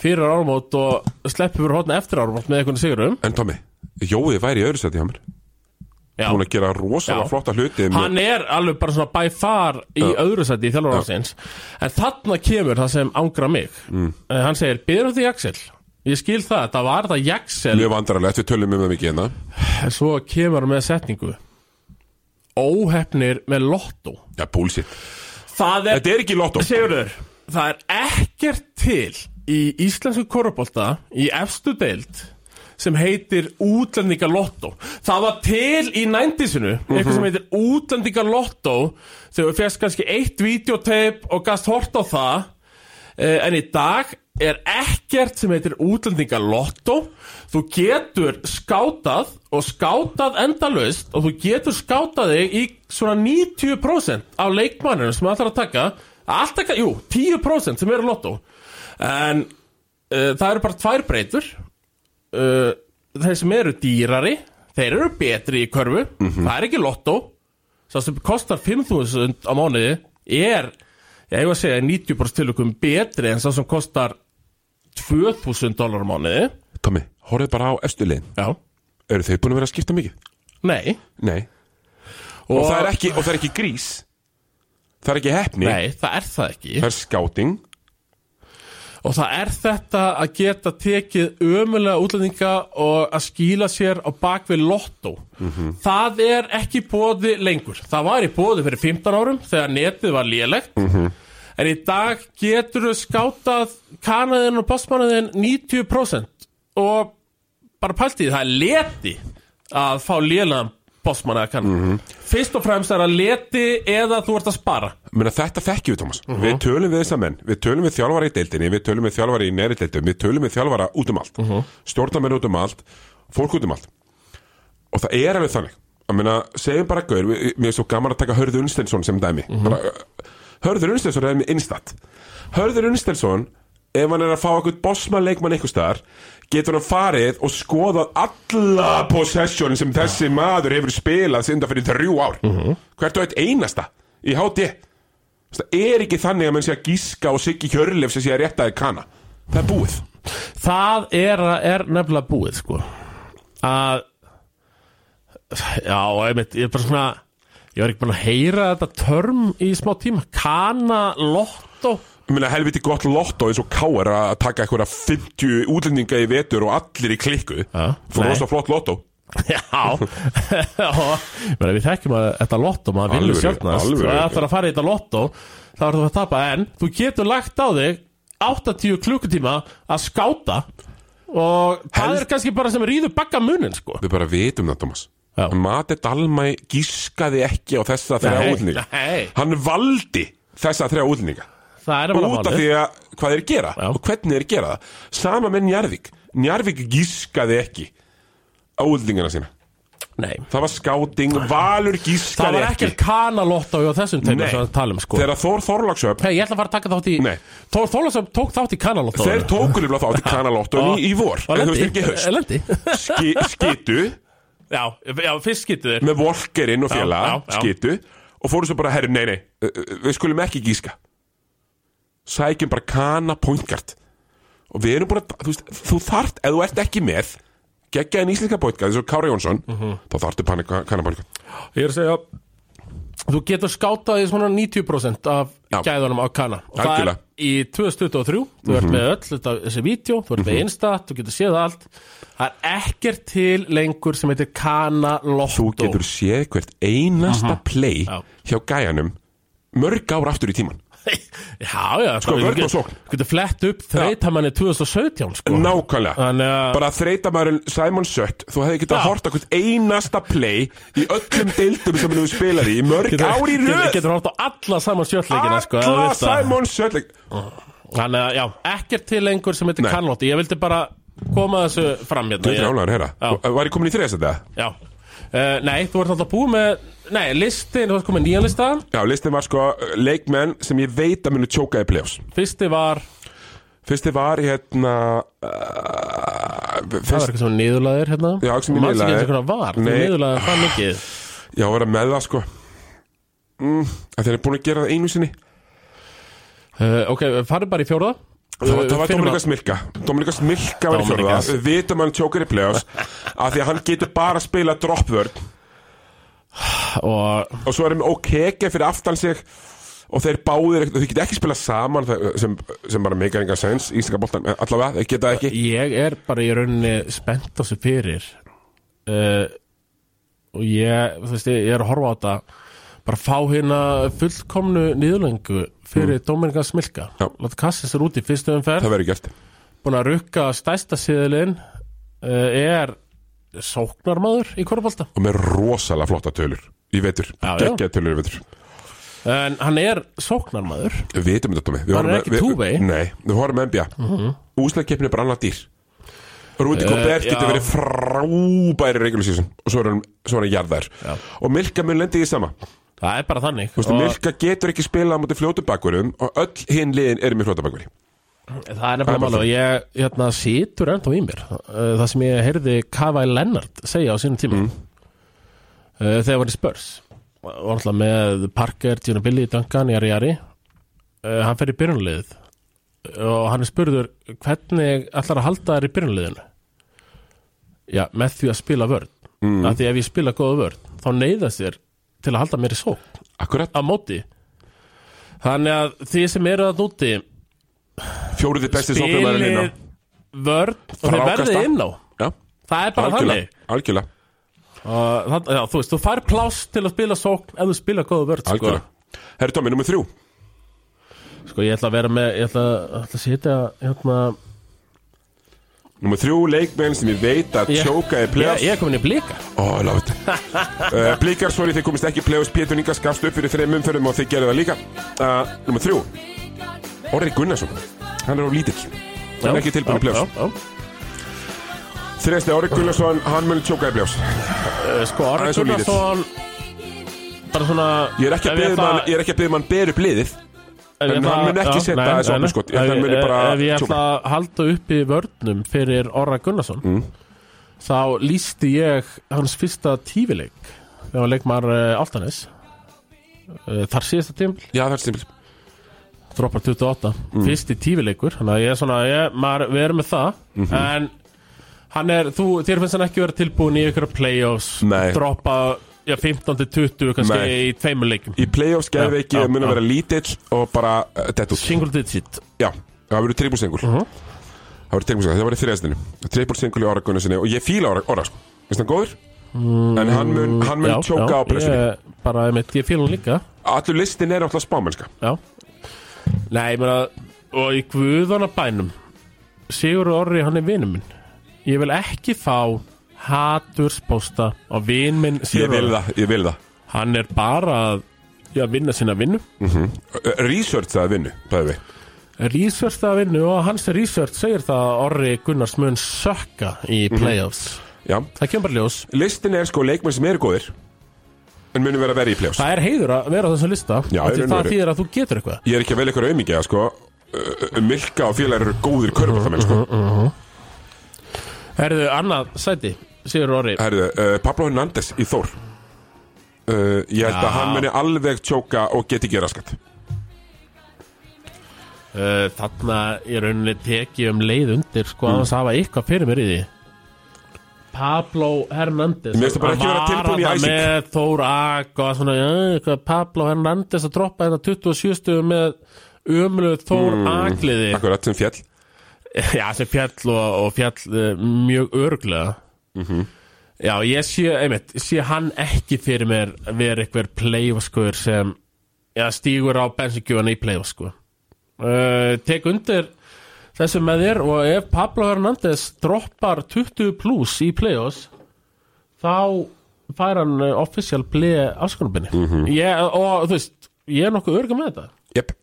B: fyrir ármót og sleppur fyrir hótna eftir ármót með einhvern sigurum
A: En Tommi, Jói væri í öðru seti hjá mér
B: Já.
A: Hún er að gera rosalega
B: Já.
A: flotta hluti með-
B: hann er alveg bara svona by far í öðru sæti í þjálfur ársins en þarna kemur það sem ángra mig mm. hann segir, byrðu því Jaxel ég skil það, það var það Jaxel
A: Mjög vandrarlegt, við tölum um það mikið hérna
B: en svo kemur hann með setningu óhefnir með lottó
A: Já, búlsitt
B: Það er,
A: Þetta er ekki lottó
B: Sigurður, það er ekkert til í íslensku korupolta í efstu deild sem heitir útlendinga lottó það var til í nændisinu eitthvað sem heitir útlendinga lottó þegar við fyrst kannski eitt videotape og gast hort á það eh, en í dag er ekkert sem heitir útlendinga lottó þú getur skátað og skátað endalaust og þú getur skátað þig í svona 90% af leikmanninu sem ætlar að taka alltaf, jú, 10% sem eru lottó en uh, það eru bara tvær breytur uh, þeir sem eru dýrari þeir eru betri í körfu það er ekki lottó það sem kostar 5.000 á mánuði er, ég hef að segja í 90% tilökum betri en það sem kostar 2.000 dólar á mánuði
A: Tommi, horfðu bara á efstulegin
B: já,
A: Eru þau búin að vera að skipta mikið?
B: nei
A: Nei Og, það, er ekki, og það er ekki grís Það er ekki hefni
B: nei, það er það ekki
A: Það er skáting
B: og það er þetta að geta tekið ömulega útlendinga og að skýla sér á bakvið lottó það er ekki bóði lengur það var í bóði fyrir 15 árum þegar netið var lélegt en í dag getur þau skátað kanaðin og postmannaðin 90% og bara pælt í því, það er leti að fá lélegan postmanna að kanna fyrst og fremst er það leti eða þú ert að spara
A: Menna, þetta þekkjum við, Thomas. Við tölum við þessa menn, við tölum við þjálfara í deildinni, við tölum við þjálfara í næri deildum, við tölum við þjálfara út um allt, uh stjórnarmenn út um allt, fólk út um allt. Og það er alveg þannig. Að menna, segjum bara gaur, við- mér er svo gaman að taka Hörður Unstensson sem dæmi. bara, uh, Hörður Unstensson er með innstatt. Hörður Unstensson, ef hann er að fá eitthvað bossmann leikmann einhvers staðar, getur hann farið og skoðað alla possessionin sem þessi maður hefur spilað sinda fyrir þrjú ár. Hvert og eitt einasta í HD. Það er ekki þannig að menn sé að gíska og Siggi Hjörlef sem sé að rétta þig kana Það er búið
B: Það er, er nefnilega búið sko að já, einmitt, ég er bara svona ég var ekki búin að heyra þetta törm í smá tíma, kana lotto,
A: Ég meina helviti gott lott og eins og káar að taka eitthvað 50 útlendinga í vetur og allir í klikku
B: Ja,
A: Fór
B: nei.
A: rosa flott lotto
B: já og meni, við þekkjum að þetta lotto maður vinnur
A: Alvöru,
B: sjálfnast,
A: alvöru.
B: það ætlar að fara í þetta lotto þá er þú að tapa, en þú getur lagt á þig 80 klukkutíma að skáta og það
A: Helst-
B: er kannski bara sem rýður bakka munin sko
A: Við bara vitum það, Thomas
B: Já.
A: Mati Dalmæ gískaði ekki á þessa þrjá
B: Nei,
A: útlendinga
B: nei.
A: Hann valdi þessa þrjá útlendinga
B: það er bara
A: Út af
B: málið.
A: því að hvað þeir gera
B: Já.
A: og hvernig þeir gera það Sama með Njarvík Njarvík gískaði ekki á útlendingana sína
B: Nei.
A: Það var skáting, Valur
B: Það
A: gískaði
B: var ekkert kanalótt á þessum teimur
A: Nei.
B: sem við tala um sko
A: Þegar Þór Þorlagsöf
B: Hei, ég ætla að fara að taka þátt í
A: Nei.
B: Þór Þólasöf tók þátt í kanalótt
A: Þeir tóku lífla þá til kanalóttunni í, í vor
B: Og
A: En þú veist
B: lendi
A: ekki í haust
B: Lendi
A: Ski, Skitu
B: Já, já, fyrst skyttu þið
A: með Volkerinn og fjalla
B: Já, já, já.
A: Skitu Og fóru svo bara, herru, nei, nei uh, uh, Við skulum ekki gíska Sækjum bara kana pointgard Og við erum bara, þú veist Þú þart, ef þú ert ekki með Geggjaðin íslenska pointgard, eins og Kári Jónsson
B: Mhm.
A: Þá þartu pana- kana pointgard
B: Ég er að segja Þú getur skátað í svona 90% af
A: Já.
B: gæðunum á kana Og það er
A: Algjörlega. Mhm.
B: í 2023 Þú ert með öll þetta, þessi vídeo Þú ert með Instat, þú getur séð allt Það er ekkert til lengur sem heitir kanalótt
A: Þú getur séð hvert einasta play
B: Mhm. Já.
A: Hjá gæjanum Mörg ár aftur í tíman
B: Já, já Sko,
A: vörn og sókn.
B: Þú getur flett upp þreytamanni 2017 sko
A: Nákvæmlega
B: Þannig að-
A: Bara þreita maður Simon Sött Þú hefði getað
B: Já.
A: hort okkur einasta play Í öllum deildum sem þú spilaði Í mörg ár í
B: Getur-
A: röð
B: Getur hort á alla saman sjöldleikina sko, ef þú
A: Alla
B: vilt það.
A: Simon Sött
B: Þannig að já, ekkert til lengur sem heitir
A: Nei.
B: kannlótti Ég vildi bara koma þessu fram hérna
A: Þú er
B: Ég-
A: álæður herra
B: Já.
A: Þú- Var ég komin í þriðast þetta?
B: Já uh, Nei, þú ert alltaf búið með Nei, listin, þú ert komið nýjan lista
A: Já, listin var sko uh, Leikmenn sem ég veit að munu tjóka í playoffs
B: Fyrsti var,
A: Fyrsti var hérna uh,
B: það var
A: fyrst,
B: eitthvað sem niðurlaðir hérna
A: Já, eitthvað sem
B: Ég man ekki
A: niðurlagðir.
B: eins og hvernig það var, þú
A: Nei.
B: niðurlaðir það mikið
A: Já, vera með það sko mm, að Þeir eru búin að gera það einu sinni
B: uh, Ok, farið bara í fjórða
A: Það var,
B: Uh,
A: það var
B: finnum
A: Dominika
B: að-
A: Smilka Dominika Smilka var í fjörða
B: Dominicas.
A: Við vitum að hann tjókar í playoffs Af því að hann getur bara að spila dropvörn
B: Og
A: Og svo erum við okeke fyrir aftan sig Og þeir báðir Þau geta ekki spila saman það- sem, sem bara meikar enga sens Íslinga boltan eh, Allavega, þeir geta ekki
B: ég er bara í rauninni spennt á þessu eh, fyrir uh, og ég, þú veist, ég er að horfa á þetta bara fá hérna fullkomnu niðurlöngu fyrir mm. Dominikans Milka
A: Já.
B: láta kassa sér út í fyrstu umferð
A: það verður gert
B: búin að rukka stæsta síðilinn uh, er sóknarmaður í korfbalta
A: og með rosalega flotta tölur í vetur,
B: Já, já.
A: geggja tölur í vetur
B: en hann er sóknarmaður
A: við vitum þetta með við
B: Hann er
A: horfum-
B: ekki
A: við-
B: two-way. Mhm.
A: nei, við horfum NBA mm -hmm. úslaðkeppni er bara annað dýr Rúti Gobert
B: Eh, já.
A: getur verið frábæri regular season og svo er hann, svo er hann jarðar
B: Já.
A: og Milka mun lendi í því sama
B: það er bara þannig
A: Vistu,
B: Og
A: Milka getur ekki spilað á móti fljótu bakverðum og öll hinn liðin eru með fljótu bakverði
B: það er
A: Það er
B: nefnilega
A: bara
B: mála og ég hérna, situr ennþá í mér uh, það sem ég heyrði Kavai Lennart segja á sínum tíma uh, þegar var í spörs var alltaf með Parker, Gina Billy, Duncan, Jari Jari uh, hann fer í byrjunliðið og hann er spurður hvernig ætlar að halda þær í byrjunliðinu já, með því að spila vörn mm. af því ef ég spila góða vörn þá neyðast þér til að halda mér í sók
A: Akkurat,
B: á móti þannig að þið sem eru að núti
A: fjóruði besti sóknumæður
B: spilið
A: inn á
B: vörn og þeir
A: Frákasta.
B: verðið inn á
A: Já,
B: það er bara
A: algjörlega,
B: þannig
A: algjörlega
B: Og það, já, þú veist, þú fær pláss til að spila sókn ef þú spila góða vörn sko.
A: Algjörlega Herri Tómi, nummið þrjú
B: sko ég ætla að vera með ég ætla, ætla að setja hérna,
A: Nummið þrjú leikmenn sem ég veit að
B: ég,
A: tjóka er
B: ég,
A: playoffs
B: ég er komin í blika
A: Ó, ég láf þetta uh, Blíkar, sorry, þeir komist ekki í playoffs Pétur Inga skafst upp fyrir þreim umferðum og þeir gerðu það líka uh, Nummið þrjú Orri Gunnarsson, hann er á lítill Hann er ekki tilbúin í playoffs
B: playoffs
A: Þriðasti Orri Gunnarsson, hann mun tjóka í playoffs
B: sko Orri
A: Aðeins of lítill.
B: Gunnarsson bara svona
A: Ég er ekki að biðja um að- ég er ekki að biðja mann ber upp liðið en hann mun ekki setja þessu opið skot. Ég held að hann muni
B: ef,
A: bara
B: ef ég ætla
A: tjóka.
B: að halda upp í vörnum fyrir Orra Gunnarsson
A: Mm.
B: þá lísti ég hans fyrsta tífileik þegar hann leik maður uh, Altanes uh, þar síðasta tímil
A: Já, það er stimpil
B: droppar 28,
A: Mm.
B: fyrsti tífileikur þannig að ég er svona, ég, maður, við erum með það
A: Mhm.
B: en hann er þú, þér finnst hann ekki vera tilbúin í ykkur playoffs,
A: Nei.
B: droppa já, 15-20 kannski
A: Nei.
B: í tveimur leikum
A: Í playoffs gerði ekki
B: Já,
A: að muna
B: já.
A: vera lítill og bara uh, dett út
B: single digit
A: Já, það verður trippulsengul
B: Mhm.
A: Það verður trippulsengul, það verður þriðastinu Trippulsengul í Orra Gunnarssoni og ég fíla Orra, orra sko Vist hann góður? en hann mun, hann mun tjóka á pressunni
B: Mm, ég, bara, einmitt, ég fíl hann líka
A: Allur listin er alltaf spámennska
B: Já Nei, ég meina Og í guðana bænum Sigur Orri, hann er vinur minn Ég vil ekki fá haturspósta á vin minn
A: Ég
B: Sigur
A: vil
B: Orri
A: það, ég vil það
B: Hann er bara að já, vinna sína vinnu
A: Ö, ö, Research það að vinnu, það við
B: Research það að vinnu og hans research segir það að Orri Gunnars mun sökka í
A: Mhm.
B: playoffs
A: Já,
B: Það kemur bara í ljós
A: listin er sko leikmenn sem eru góðir En munum vera verið í playoffs
B: Það er heiður að vera á þessum lista
A: Já,
B: af því
A: í raun og
B: Það
A: veru.
B: þýðir að þú getur eitthvað
A: Ég er ekki að velja ykkur auðmingja, sko Ö, ö, ö, Milka og félagar eru góðir körfum
B: Mhm,
A: sko.
B: Herðu, annað sæti, Sigur Orri
A: Herðu, uh, Pablo Hernández í Þór uh, Ég held
B: Já.
A: að hann muni alveg tjóka og geti ekki raskat
B: Uh, þarna í rauninni tekið um leið undir sko mm. að hafa eitthvað fyrir mér í því Pablo Hernández
A: Mér finnst það bara ekki vera tilbúin í
B: Hann var
A: æsing.
B: þarna með Þór Ak og svona, ja, eitthvað, Pablo Hernández að droppa hérna 27 stugum með umluð Þór mm. Akliði
A: Akkurat sem fjall
B: Já, sem fjall og, og fjall uh, mjög örglega Já, ég sé, einmitt, sé hann ekki fyrir mér vera eitthvað playfaskur sem já, stígur á bensinkjöfana í playfasku uh, Tek undir þessu með þér og ef Pablo Hernández droppar 20 pluss í playoffs þá fær hann uh, official play afskonubinni ég, og þú veist, ég er nokkuð örgum með þetta
A: Jep,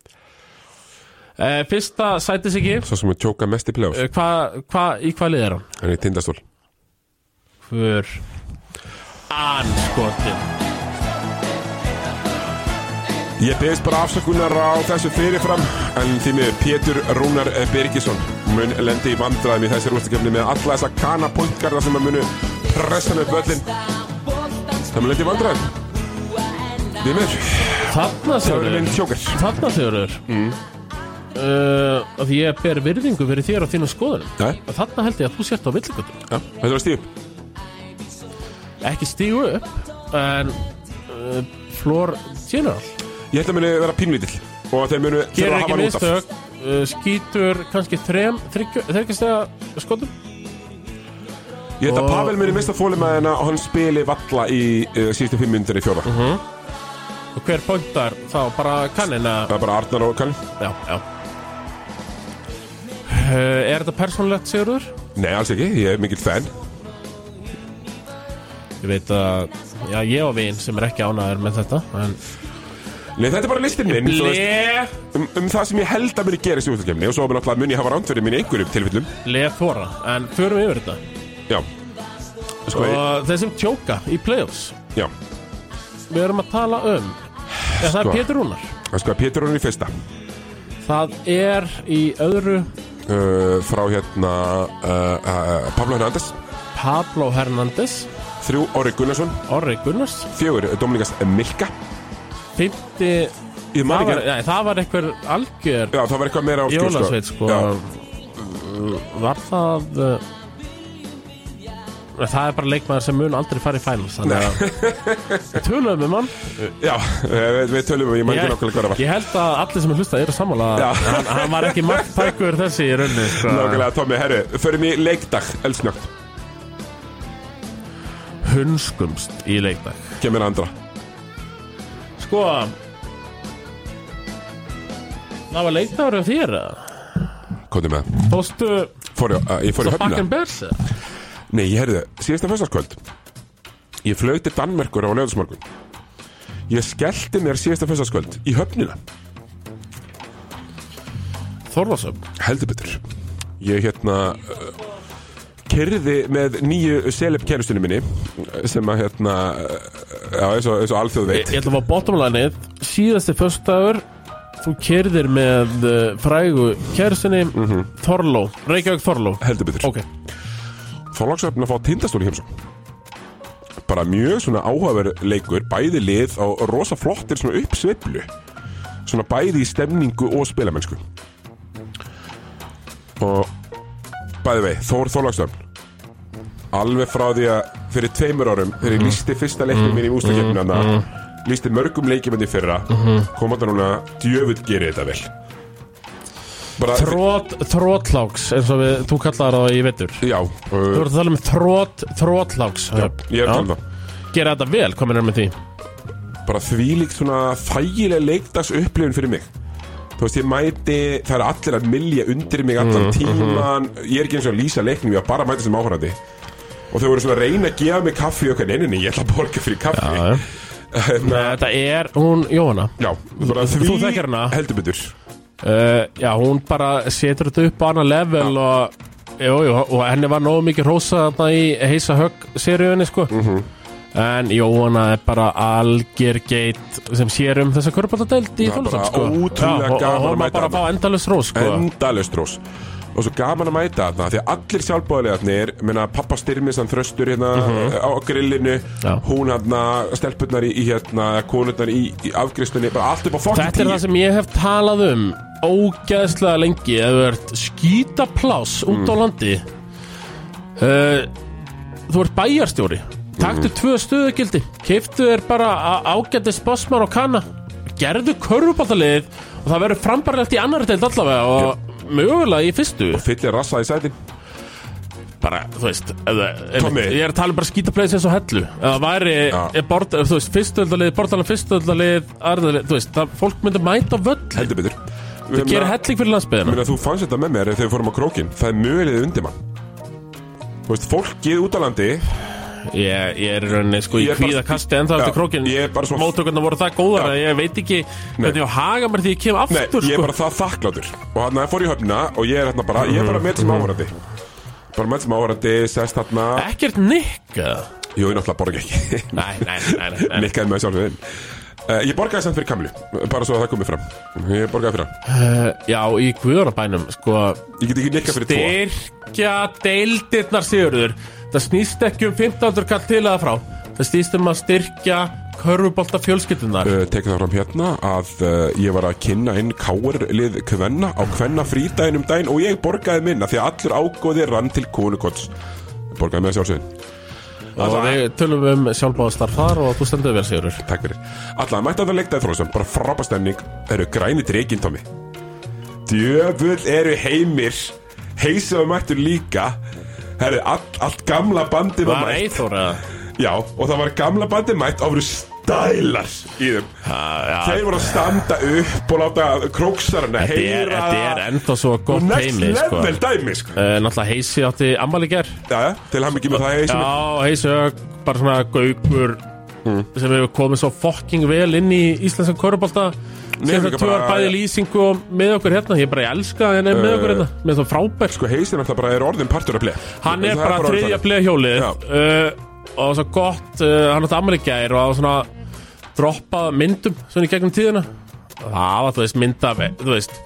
B: uh, Fyrsta sætis ekki
A: svo sem við tjóka mest í play-offs
B: uh, hva, hva, í hvað lið er hann?
A: Hann er í tindastól
B: Hver anskotin
A: Ég beðist bara afsökunar á þessu fyrirfram En því miður Pétur Rúnar Birgisson Mun lendi í vandræðum í þessi rústakefni Með alla þessa kana punktgarða sem að munu Pressa með böllin Það mun lendi í vandræðum Því miður,
B: Þarna
A: það verður minn
B: Sigurður
A: tjókar
B: Þarna Sigurður mm. uh, að Ég ber virðingu fyrir þér og þínum skoðunum
A: Já,
B: Og Þarna held ég að þú sért á villugutum
A: já, þetta var stíf
B: Ekki stígu upp En uh, Floor General
A: Ég held að muni vera pínlítill Og þeir munu
B: Gerir
A: þurfa að hafa hann
B: ekki
A: út af
B: mistök uh, Skítur kannski þrem Þryggjastega skotum
A: Ég held að eh,
B: Og- Mhm.
A: Pavel muni mista þólum að hennar og hann spili valla í uh, síðustu fimm myndir í fjóra uh
B: Og hver pointar þá bara kannina
A: Það er bara Arnar og Kalli
B: Já, já Uh, Er þetta persónlegt, Sigurður?
A: Nei, alls ekki, ég er mikill fan
B: Ég veit að, já, ég og vin sem er ekki ánæður með þetta En
A: Nei, þetta er bara listin minn þú veist,
B: Ble,
A: um, um það sem ég held að muni gera í stjórnstækjumni og svo mun alltaf mun ég hafa rándverið mín í einhverjum tilfellum
B: ble þóra En förum yfir þetta
A: Já Sko,
B: Og þeir sem tjóka í playoffs
A: já
B: Við erum að tala um Já, það er
A: Sko.
B: Pétur Rúnar
A: Sko, Pétur hún í fyrsta
B: Það er í öðru
A: uh, Frá hérna uh, uh, Pablo Hernandez
B: Pablo Hernández
A: Þrjú, Orri Gunnarsson
B: Orri Gunnars
A: Fjögur, Dominikas Milka
B: Fymti
A: Ég man
B: það,
A: ekki
B: var- nei, það var einhver algjör
A: Já, það var eitthvað meira á skjó,
B: Jólasveit sko
A: Já,
B: Var það uh, Það er bara leikmaður sem mun aldrei fara í finals Þannig að Við Töluðum um hann
A: já við, við tölum um, ég man ekki
B: ég,
A: nákvæmlega hvað það var
B: ég held að allir sem er hlustað eru sammála
A: Já.
B: hann, hann var ekki margt tækur þessi í raunni sko.
A: Nákvæmlega, Tommi, herru, förum í leikdag, eldsnögt
B: Hunskumst í leikdag
A: Kemur andra
B: Sko Það var leikdagur af þér eða?
A: Kóndi með það.
B: Fórstu
A: fór, ég- uh, Ég fór í höfna
B: Bakken Bears eða?
A: Nei, ég herðu, síðasta föstaskvöld Ég flög til Danmerkur á lögðusmorgun Ég skellti mér síðasta föstaskvöld Í höfnina,
B: Þorvarsöfn
A: heldur betur Ég hérna uh, Kyrði með nýju Seleb kærustunni minni uh, Sem að hérna uh, Já, eins og, eins og alþjóð
B: Ég
A: veit
B: ætla að fá bottomlænið Síðasti föstagur Þú kyrðir með uh, frægu kærsinni
A: Mhm.
B: Þorló, Reykjavík Þorló
A: Heldur betur
B: e- Ok,
A: þá langs að fá tindastóli í heimsókn bara mjög svona áhugaverð leikur bæði lið á rosa flottir svona uppsveiflu svona bæði í stemningu og spilamennsku og bæði vei, Þór Þorlagsöfn alveg frá því að fyrir tveimur árum, þegar ég lísti fyrsta leiknum minn í ústakefnina mm. lísti mörgum leikjumandi fyrra mm. kom þetta núna, djöfull gerir þetta vel bara,
B: þrót, þrótláks eins og við, þú kallar það í vettur Þú
A: já uh,
B: voru að tala um þrót, þrótláks
A: ég er um talað
B: Gera þetta vel, komin er með því
A: bara þvílíkt svona þægileg leikdags upplifun fyrir mig þú veist, ég mæti, það er allir að milja undir mig allan
B: Mm, mhm.
A: tíman ég er ekki eins og að lýsa leiknum, ég var bara að mæta sem áhverjandi og þau voru svona að reyna að gefa mig kaffi og eitthvað, nei, nei, nei, ég ætla að borga fyrir kaffi
B: Já, já. Nei, Þetta er, hún, Jóhanna
A: já, bara
B: Þú-
A: því
B: þú þekkir hana?
A: heldur betur
B: uh, Já, hún bara setur þetta upp á annað level og Jú, jú, og henni var nógu mikið rósa þarna í heisa högg seríunni sko
A: Mhm.
B: En Jóhanna er bara algjör geit sem sér um þessa körpaldadeild í
A: Það er bara
B: þólusam sko
A: ótrúlega
B: Já,
A: gaman
B: og- Og
A: að
B: hún var
A: mæta
B: bara að
A: þarna.
B: fá endalus rós sko
A: endalaust rós og svo gaman að mæta þarna því að allir sjálfbóðilegarnir menna pappa styrmis hann þröstur hérna á grillinu
B: Mhm. Já.
A: hún hérna stelpurnar í, í hérna konurnar í, í afgristunni bara allt upp á fokkin
B: Þetta er það sem ég hef talað um ógeðslega lengi ef þú ert skítaplás út á landi uh, Þú ert bæjarstjóri Taktu tvö stöðugildi Keiftu þér bara á- ágæti spásmann og kanna Gerðu körfubaltaliðið og það verður frambarlegt í annar deild allavega og mögulega í fyrstu
A: fyllir rassa í sætin
B: bara, þú veist eða,
A: Tommy.
B: einmitt, ég er að tala um bara skítapleis eins og hellu eða væri,
A: Já.
B: er bort, þú veist, fyrstuöldalið bortalan fyrstuöldalið, aðrðalið, þú veist það, fólk myndi mæta á völl
A: heldur betur
B: Það gerir helling fyrir landsbyðina
A: Minna, þú fannst þetta með mér þegar við fórum á krókin Það er mögulegð undir mann Þú veist, fólkið út á landi
B: Ég, ég er í rauninni sko í
A: Ég er bara-
B: kvíða kasti En það
A: Já,
B: eftir krókin
A: ég er bara svo-
B: Móttökurna voru það góðar
A: Já.
B: að ég veit ekki Hvernig ég á að haga mér því ég kem
A: Nei,
B: aftur
A: ég er
B: sko.
A: bara það þakklátur Og hann fór ég í höfna og ég er hérna bara Ég er bara með sem áhverandi Bara með sem áhverandi, sest hérna
B: Ekkert nikk eða?
A: Jú, ég náttúrulega borga ekki
B: Nei, nei, nei, nei, nei.
A: Nikkaði með sjálfsögðin uh, Ég borgaði samt fyrir kamlu Bara svo að það komið fram Ég borgaði fyrir hann
B: Uh, Já, í guðunabænum sko,
A: Ég get ekki nikkað fyrir tvo
B: Styrkja deildirnar sigurður Það snýst ekki um 15. kall til eða frá Það snýst um að styrkja Körfubolta fjölskyldunar
A: Uh, tekið það fram hérna að uh, ég var að kynna inn káar lið kvenna á kvenna frídæðin um daginn og ég borgaði minna því að allur ágóði rann til konukots borgaði með sjálfsögðin,
B: Og við tölum um sjálfbáðastar þar Og þú stendur vel sigurður
A: takk fyrir allan mætti að það leiktaði þrósum, bara frábær stemning eru græni dreginn Tommy djöfull eru heimir heisaðu mættur líka herru, allt, allt gamla bandi var
B: Var
A: mætt
B: Eithor eða?
A: já, og það var gamla bandi mætt og það voru dælar í þeim Þeir voru að standa upp og láta króksarana
B: Þetta er,
A: heyra
B: þetta er enda svo
A: Og
B: gott
A: Next
B: heimli sko.
A: level dæmi sko.
B: uh, Náttúrulega heisi átti ammali ger
A: Já, já, til hann ekki með það heisi mig.
B: Já, heisi Ögg, bara svona gaukur sem hefur komið svo fokking vel inn í íslenska korubólta sem
A: líka
B: það tjóðar
A: bara-
B: bæði lýsingu og með okkur hérna ég bara ég elska henni með okkur hérna með það frábær
A: Sko heisi er náttúrulega bara er orðin partur að play
B: Hann er bara þriðja bleihjólið
A: Já.
B: uh, og það var svo gott uh, hann átti ammali gær og það var svona droppað myndum svona í gegnum tíðina það var þú veist mynd af þú veist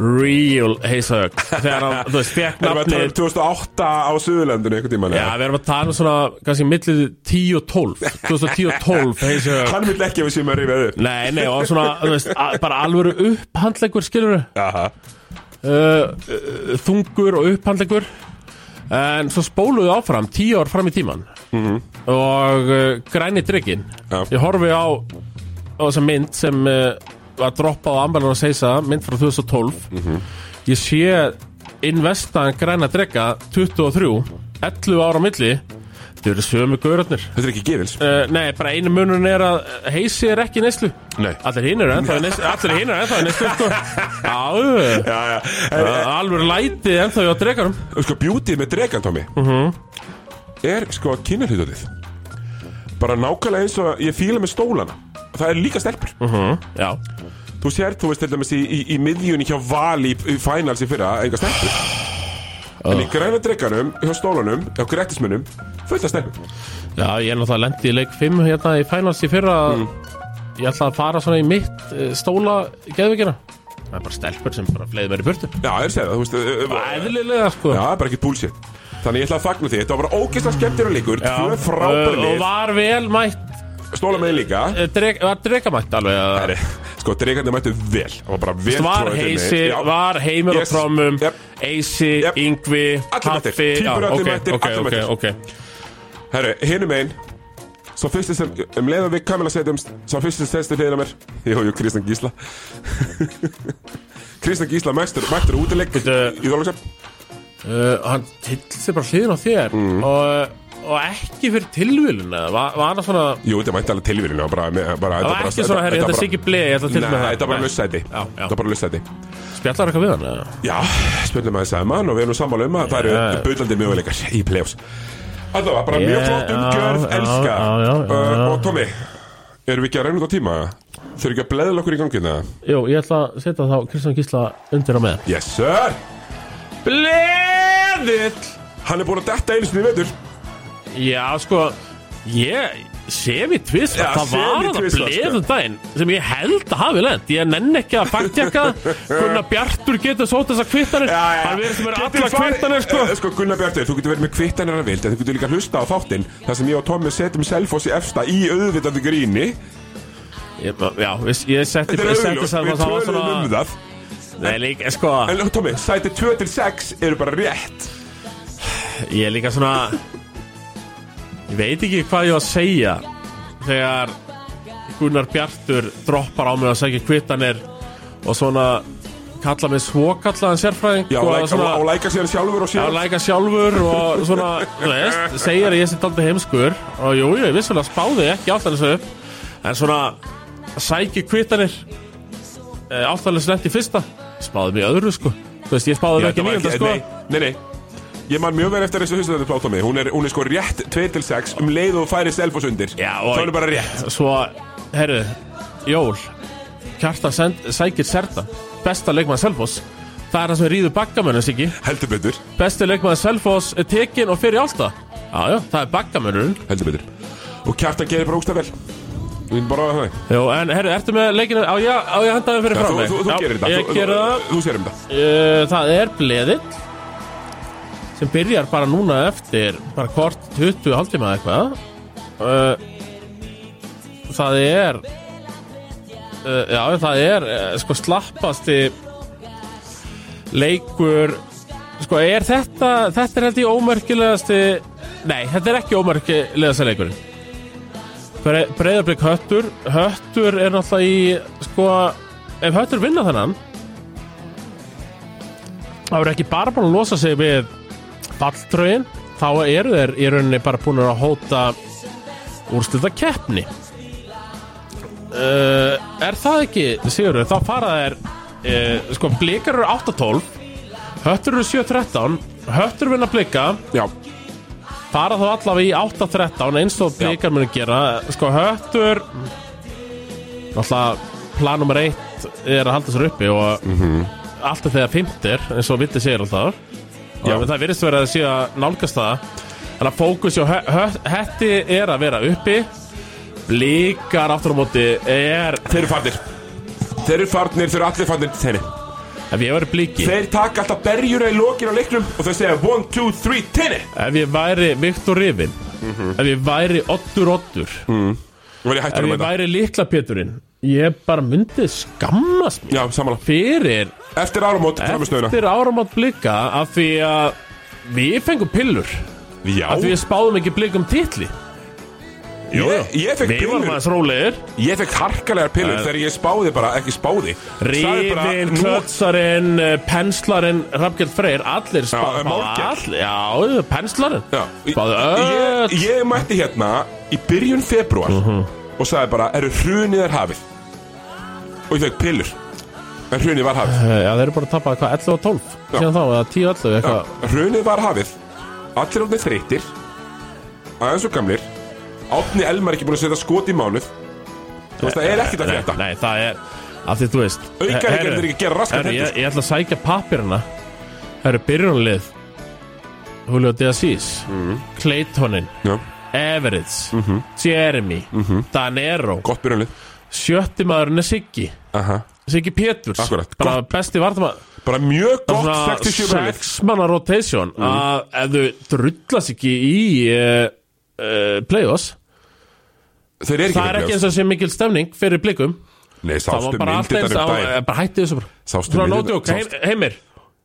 B: real heisög þegar hann þú veist fekk
A: Erum við að tala um
B: nafnið
A: 2008 á Suðurlandinu einhvern tímann
B: Já,
A: eða?
B: við erum að tala um svona, kannski millið 10 og 12 2010 og 12 heisög
A: Hann vil ekki að við séum að rifja þau
B: Nei, nei, og svona, þú veist, a- bara alvöru upphandlegur, skilur uh,
A: Aha.
B: uh, Þungur og upphandlegur En svo spóluðu áfram, tíu ár fram í tíman -hmm. Og uh, græni drikkin
A: Já.
B: Ég horfi á, á þessa mynd sem uh, var droppað á Ambalun og Seisa Mynd frá 2012 -hmm. Ég sé investaðan græna drikka 23, 11 ára á milli Þau eru sömu gaurarnir
A: Þetta er ekki gefils
B: Uh, nei, bara einu munurinn er að uh, heisi er ekki í neyslu
A: Nei.
B: Allir hinn eru ennþá í neyslu Allir hinn eru ennþá í neyslu sko. Já,
A: Já, já
B: uh, alveg lætið ennþá í á dregarum
A: sko, bjútið með dregan, Tommy
B: Mhm.
A: er sko kynarhlutotið bara nákvæmlega eins og ég fíla með stólana það er líka stelpur
B: Já,
A: þú sér, þú veist, til dæmis í, í, í miðjunni hjá Val í, í finals í fyrra enga stelpur en í græna dreganum, hjá stólanum hjá grættismunum, fullt af stelpur
B: já, ég er náttúrulega lendi í leik 5 hérna í finals í fyrra
A: Mm.
B: Ég ætla að fara svona í mitt uh, stóla geðveikina Það er bara stelpur sem bara fleiði mér í burtu
A: já, ég segja það, þú veist ö- ö-
B: Æðlilega sko
A: já, bara ekki bullshit þannig ég ætla að fagna því, þetta var bara ógeðslega skemmtir og leikur, tvö
B: Uh,
A: frábæri
B: Og
A: lið
B: var vel mætt,
A: stóla með líka
B: uh, dreg, var dregamætt alveg að
A: Herri, sko, dregandi mættu vel það var bara vel
B: var
A: troðið inn í-
B: heisi,
A: Já.
B: var heimur
A: Yes.
B: og trómum
A: Yep.
B: Eisi,
A: Yep.
B: Yngvi,
A: Allir mættir.
B: Kaffi já,
A: Tvíburar, allir
B: ok,
A: mættir,
B: ok,
A: allir
B: ok,
A: mættir.
B: ok.
A: Herru, hinum einn Svo fyrsti sem, um leiðan við Kamila setjumst Svo fyrsti sem stendst í hliðina á mér Jú, jú, Kristján Gísla Kristján Gísla mæstur, mættur útileik Í
B: Bíddu.
A: Þorlóksöp
B: Uh, Hann tildi sér bara hliðin á þér
A: Mm.
B: og, og ekki fyrir tilvílun var, var hann svona
A: Jú, þetta mætti alveg tilvílinu bara, með- bara,
B: Það var ekki svona, herri, þetta er sikki blei, ég ætla að til
A: Nei,
B: með það
A: þetta var bara lussæti
B: Já, já.
A: Þetta var bara lussæti
B: Spjallar eitthvað við hann? eða?
A: Já, spjöldum aðeins saman og við erum sammála um að það eru
B: Yeah.
A: bullandi möguleikar í play-offs Alltaf, bara mjög
B: Yeah,
A: flott umgjörð,
B: já,
A: elska
B: já, já, já,
A: Uh,
B: já.
A: Og Tommy, erum við ekki að reyna út á tíma? Þau eru ekki að bleðla okkur í gangina?
B: Jú, ég ætla að setja þá Kristján Gísla undir á með
A: Yes, sir!
B: Bleðill
A: Hann er búin að detta einu sinni í vetur
B: Já, sko, ég sem í tvist,
A: Já,
B: það var
A: semi
B: það
A: tvisvar,
B: bleið um daginn sem ég held að hafi lent, ég nenn ekki að faktjaka Gunnar Bjartur getur sót þessar kvittanir, hann verður sem er
A: Getur
B: allar
A: farið-
B: kvittanir, sko
A: Eh, Sko Gunnar Bjartur, þú getur verið með kvittanir að vild En þú getur líka hlusta á þáttinn þar sem ég og Tommi setjum Selfoss í efsta í auðvitandi gríni
B: Ég- Já, ég, ég setti
A: Þetta er
B: ég setti
A: auðljóst,
B: sem
A: við
B: að það var
A: tölum um
B: svona
A: það
B: Nei, líka, sko,
A: En eh, Tommi, sæti 2 til 6 eru bara rétt
B: ég er líka svona Ég veit ekki hvað ég var að segja Þegar Gunnar Bjartur droppar á mig að segja kvittanir Og svona kalla mig svokallaðan sérfræðing
A: Já, og,
B: og
A: læka,
B: Sko, svona-
A: og, og læka sér sjálfur og
B: að
A: sér
B: læka sjálfur og svona, þú veist, segir að ég sé aldrei heimskur og jú, jú, ég vissulega spáði ekki áttanis upp, en svona sæki eh, kvitanir áttanis lett í fyrsta spáði mér öðru, sko þú veist, ég spáði
A: þetta
B: mér ekki
A: var
B: nýjönda, sko
A: Nei, nei, nei Ég man mjög vel eftir þessu hlustu þetta Tommi Hún er, hún er sko rétt 2 til 6 um leið og þú færi Selfoss undir
B: Já, og-
A: Þá er bara rétt
B: svo, herru, Jól Kjartan send, sækir Serta besta leikmann Selfoss það er það sem rýður bakkamönnum, Siggi
A: Heldur betur,
B: besti leikmann Selfoss er tekin og fyrir alltaf já, já, það er bakkamönnum
A: heldur betur Og kjartan gerir bara ógsta vel Ég vil bara að það
B: Jú, en herru, ertu með leikinu á ég, á ég handaði fyrir
A: Já,
B: frá
A: þú,
B: mig?
A: þú, þú
B: Já,
A: gerir þetta
B: Ég
A: Þú-
B: gerir
A: þú-
B: það
A: Þú sér um það
B: uh, Það er bleðill sem byrjar bara núna eftir bara hvort 20 hálftíma eða eitthvað uh, Það er uh, Já, það er uh, sko slappasti leikur Sko, er þetta þetta er held ég ómerkilegasti Nei, þetta er ekki ómerkilegasti leikurinn Bre Breiðarblik höttur Höttur er náttúrulega í sko, ef höttur vinna þennan þá eru ekki bara búin að losa sig við falltrögin, þá eru þeir í rauninni bara búin að hóta úrslita keppni uh, er það ekki, Sigurður, þá fara þær uh, sko, blikar eru 8-12 höttur eru 7-13 höttur vinna blika
A: Já,
B: fara þá allavega í 8-13 eins og blikar munu gera sko, höttur náttúrulega plan nummer 1 er að halda sér uppi og mm
A: Mhm.
B: -hmm. alltaf þegar 5 er, eins og vitið segir alltaf
A: Já.
B: og það virðist verið að sé að nálgast það þannig að fókus hjá hö- hö- hetti er að vera uppi blikar aftur á móti er
A: þeir eru farnir Þeir eru farnir, þeir eru allir farnir Þeir,
B: Ef ég væri blíki
A: þeir taka alltaf berjura í lokin á leiknum Og þau segja 1, 2, 3, 10
B: Ef ég væri Viktor Rifin
A: Mhm.
B: Ef ég væri Oddur Oddur
A: Mm. Þú verður
B: Ef
A: hættur um
B: ég
A: þetta
B: væri Likla Péturinn Ég bara myndi skammast mér
A: Já, samanlega
B: Fyrir
A: Eftir áramót, framistöðuna
B: eftir áramót blika Af því að við fengum pillur
A: Já,
B: Af því við spáðum ekki blikum titli
A: ég, ég fekk
B: Við
A: pillur
B: varum aðeins rólegir
A: Ég fekk harkalegar pillur þegar ég spáði bara, ekki spáði Sagði bara,
B: Rifin,
A: nú-
B: klötsarinn, penslarinn, Rafgjörn Freyr Allir
A: Já,
B: spáðu
A: Málgjarn.
B: all, Já, penslarinn
A: Já,
B: Spáðu
A: ég,
B: öll
A: ég mætti hérna í byrjun februar og sagði bara, eru hrunið er hafið og ég fekk pillur en hrunið var hafið
B: Já, þeir eru bara að tapa eitthvað 11 og 12
A: Já.
B: síðan þá, eða 10 og 11
A: Já,
B: eitthvað
A: hrunið var hafið allir átni þreytir aðeins og gamlir átni Elmar ekki búin að setja skot í mánuð þú veist, það er ekkert að frétta
B: Nei, nei, það er, af því þú veist
A: aukaði
B: Herru,
A: gerðir ekki að gera raskat
B: herru,
A: hendur
B: ég, ég ætla að sækja pappirina Það eru byrjunlið Julio De Assis
A: Mhm.
B: Claytonin,
A: Já,
B: Everitts
A: Mhm.
B: Jeremy, Danero
A: gott byrjunlið
B: Sjötti maðurinn er Siggi
A: Aha.
B: Siggi Péturs,
A: Akkurat,
B: bara besti vartamað
A: bara mjög
B: Svona
A: gott 67 byrjunlið
B: sex manna rotation
A: Mhm.
B: að ef þau drullast ekki í uh, uh, play-offs
A: þeir eru ekki
B: það
A: með
B: er ekki
A: playoffs.
B: eins og sé mikil stemning fyrir blikum
A: nei,
B: það
A: sástu
B: var bara allt
A: myndirnar
B: eins eh,
A: um
B: að
A: daginn
B: bara hætti þessu bara
A: Sástu
B: svona
A: myndirnar-
B: nótjók
A: sástu-
B: heimir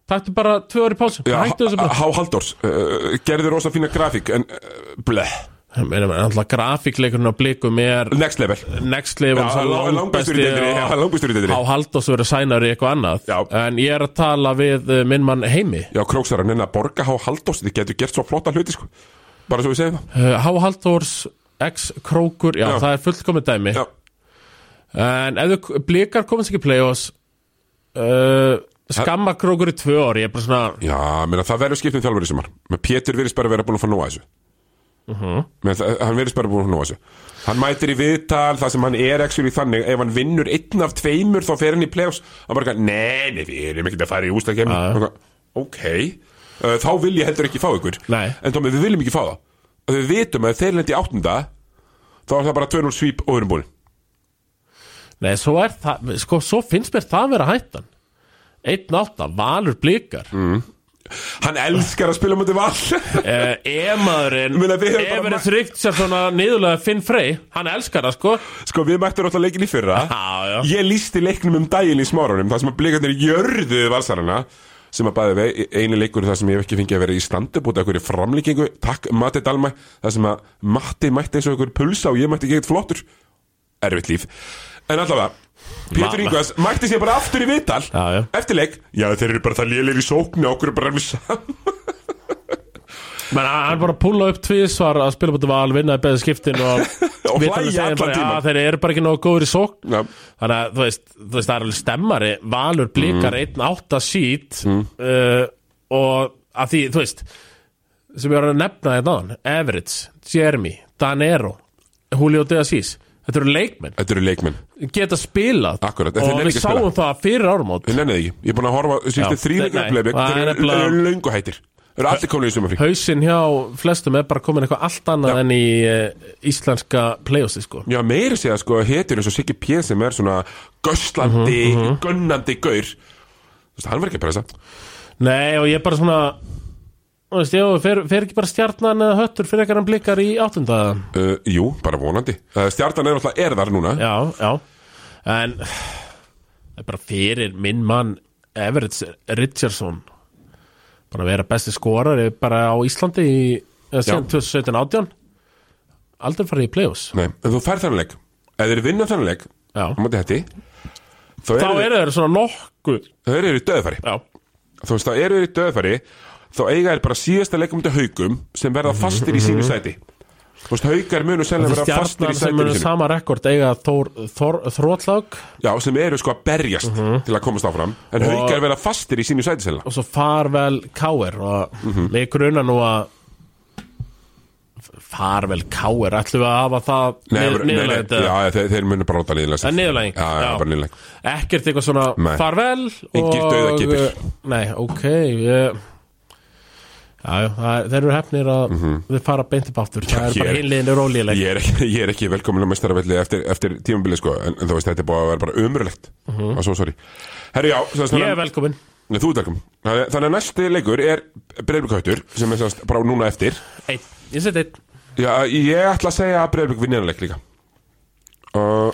B: taktu bara tvö orði pásu
A: Já,
B: hætti þessu bara
A: Há Halldórs uh, gerði rosa fína grafík en uh, bleh,
B: heimir er alltaf grafíkleikurinn á blikum er
A: next level
B: next level
A: Já,
B: sá
A: lang- langbestur í
B: langbesti
A: deildinni,
B: og-
A: já, langbestur í
B: Há
A: deildinni.
B: Haldós verið sænar í eitthvað annað
A: Já.
B: En ég er að tala við eh, minn mann heimi
A: Já, króksarinn en að borga Há Halldórs þið getur gert svo flotta hluti sko bara svo við segjum það
B: Eh, Há Haldós X Krókur Já,
A: Já.
B: það er fullkomið dæmi
A: Já,
B: En ef þau blikar komast ekki í play-offs uh, Skamma krókur í tvö ár Ég er bara svona
A: já menna, það verður skipt um þjálfur í sumar menn Pétur virðist bara vera búin að fá nóa þessu uh menn, það- hann virðist bara búin að fá nóa þessu hann mætir í viðtal það sem hann er ekki þannig ef hann vinnur einn af tveimur þá fer hann í play-offs hann bara, eitthvað, nei, nei, við erum ekki að fara í ústakefni ok uh, þá vil ég heldur ekki fá ykkur
B: Nei.
A: en Tómi, við viljum ekki fá það og við vitum að ef þeir lendi í áttunda þá er það bara 2-0 svíp og við erum búin
B: Nei, svo er það Sko, svo finnst mér það vera hættan Einn átta, valur blikar mm.
A: Hann elskar að spila mútið val Sko,
B: Ef maðurinn
A: Ég meina, við höfum bara
B: Ef er
A: mætt-
B: þrygt sér svona niðurlega Finn Frey Hann elskar það, sko
A: Sko við mættum alltaf leikin í fyrra
B: Já, já.
A: Ég lísti leiknum um daginn í smárunum Það sem að blikarnir jörðuðu valsarana Sem að bæði vei, e- eini leikur það sem ég hef ekki fengið að vera í standi Bútið að hverju framlíkingu Takk Matti Dalmæ Það sem að Matti mætti eins og einhver pulsa Og ég mætti ekki eitt flottur Erfitt líf En allavega Pétur
B: Ma-
A: Ingvars mætti sér bara aftur í viðtal
B: Já, já.
A: Eftir leik Já þeir eru bara það lélir í sóknu Okkur er bara alveg saman
B: Men hann hann bara púla upp tvísvar Að spila búti val, vinna í beðið skiptin Og,
A: Og
B: vitanlega
A: hlæja
B: segja
A: allan
B: bara,
A: tímann."
B: "Já, Þeir eru bara ekki nógu góður í sókn
A: Já,
B: Þannig að þú veist, þú veist það er alveg stemmari Valur
A: Mm.
B: blikar einn átta sít uh, og að því, þú veist sem ég var að nefna þetta án Everits, Jeremy, Danero Julio De Assis Þetta eru leikmenn,
A: þetta eru leikmenn
B: geta spilað
A: Akkurat, en þeir
B: og
A: nenna
B: við
A: ekki að spila.
B: sáum það fyrir árumót
A: Þið nennið ekki, ég er búin að horfa Sýstu
B: Já.
A: þrýleikna
B: Nei,
A: uppleifleik
B: það er
A: Þeir eru-
B: nefnilega-
A: eru löngu hættir Þeir eru allir komin í sumafrí
B: Hauðsinn hjá flestum er bara komin eitthvað allt annað en í uh, íslenska playhousi sko
A: Já, meiri segja sko Hetur eins og Siggi P. sem er svona Göslandi,
B: Mhm,
A: gönnandi gaur Þú veist, hann verður ekki að pressa
B: Nei og ég er bara svona þú veist, já, fer, fer ekki bara stjarnan eða höttur fyrir ekkert hann blikar í áttundaðan
A: uh, Jú, bara vonandi uh, Stjartan er alltaf erðar núna
B: Já, já En Það er bara fyrir minn mann Everett Richardson Bara að vera besti skorar bara á Íslandi í eða síðan 2017-18 Aldrei farið í play-offs
A: Nei, en þú færð þannig leik Ef þeir vinna þannig leik
B: Já.
A: á móti hætti Þá
B: Þá
A: eru
B: eru þeir svona nokkuð
A: þeir eru í döðfæri
B: Já,
A: Þú veist, þá eru
B: Mhm,
A: þeir í döðfæri Þá eiga þeir bara síðasta leikum til haugum sem verða fastir í sínu sæti Þú veist, haukar munu sennilega vera fastir
B: stjarnar
A: í
B: sem
A: sætinu
B: eru
A: sinu
B: sama rekord eiga Þór, Þór, Þrótlag
A: Já, sem eru sko að berjast
B: Mhm.
A: til að komast áfram En haukar vera fastir í sínu sæti sinna
B: og svo farvel Káir og
A: Mhm.
B: mig grunar nú að farvel Káir ætlum við að hafa það
A: bara-
B: niðurlega
A: nei, já, þeir, þeir munu bara láta niðurlega sig.
B: Það er niðurlæging
A: Já, já, bara niðurlega
B: Ekkert eitthvað svona
A: Nei.
B: farvel
A: Engir
B: og- eh,
A: dauðakipir.
B: Nei, ok ég... Já, já, það er- þeir eru hefnir að þeir fara beint upp aftur Það er
A: ég
B: bara
A: er-
B: hinliðin er ólíðileg
A: Mhm. Ég er ekki, ég er ekki velkomin að mestarafelli eftir, eftir tímabili sko en, en þú veist, þetta er búið að vera bara umröðlegt mm -hmm. Svo sorry Herru, já, svo,
B: Mhm. Ég er velkomin
A: Nei, þú ert velkomin Þannig þannig að næsti leikur er breyðbrukhættur sem er sást bara núna eftir
B: Einn, ég seti einn
A: Já, ég ætla að segja að breyðbruk vinna leik líka uh,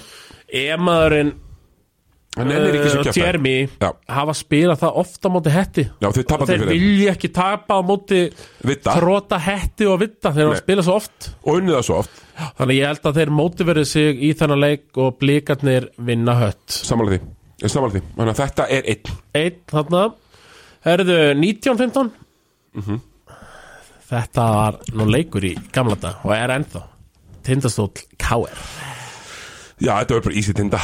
B: Ef maðurinn
A: Hann ennir ekki sem
B: uh,
A: kjæftar
B: Jeremy
A: Já.
B: hafa spilað það ofta á móti hetti
A: Já, þau tapa
B: Og þeir
A: aldrei fyrir þeim.
B: vilja ekki tapa á móti
A: Vidda.
B: tróta hetti og vitta þeir hafa
A: Nei.
B: spilað svo oft
A: Og unnið það svo oft,
B: þannig ég held að þeir mótiverið sig í þennan leik og blíkarnir vinna hött
A: samanlega því Ég er Samanlega því, þannig að þetta er einn
B: einn þarna herðu 19-15
A: Mhm.
B: þetta var nú leikur í gamla dag og er ennþá tindastóll K.R.
A: Já, þetta var bara ísitt enda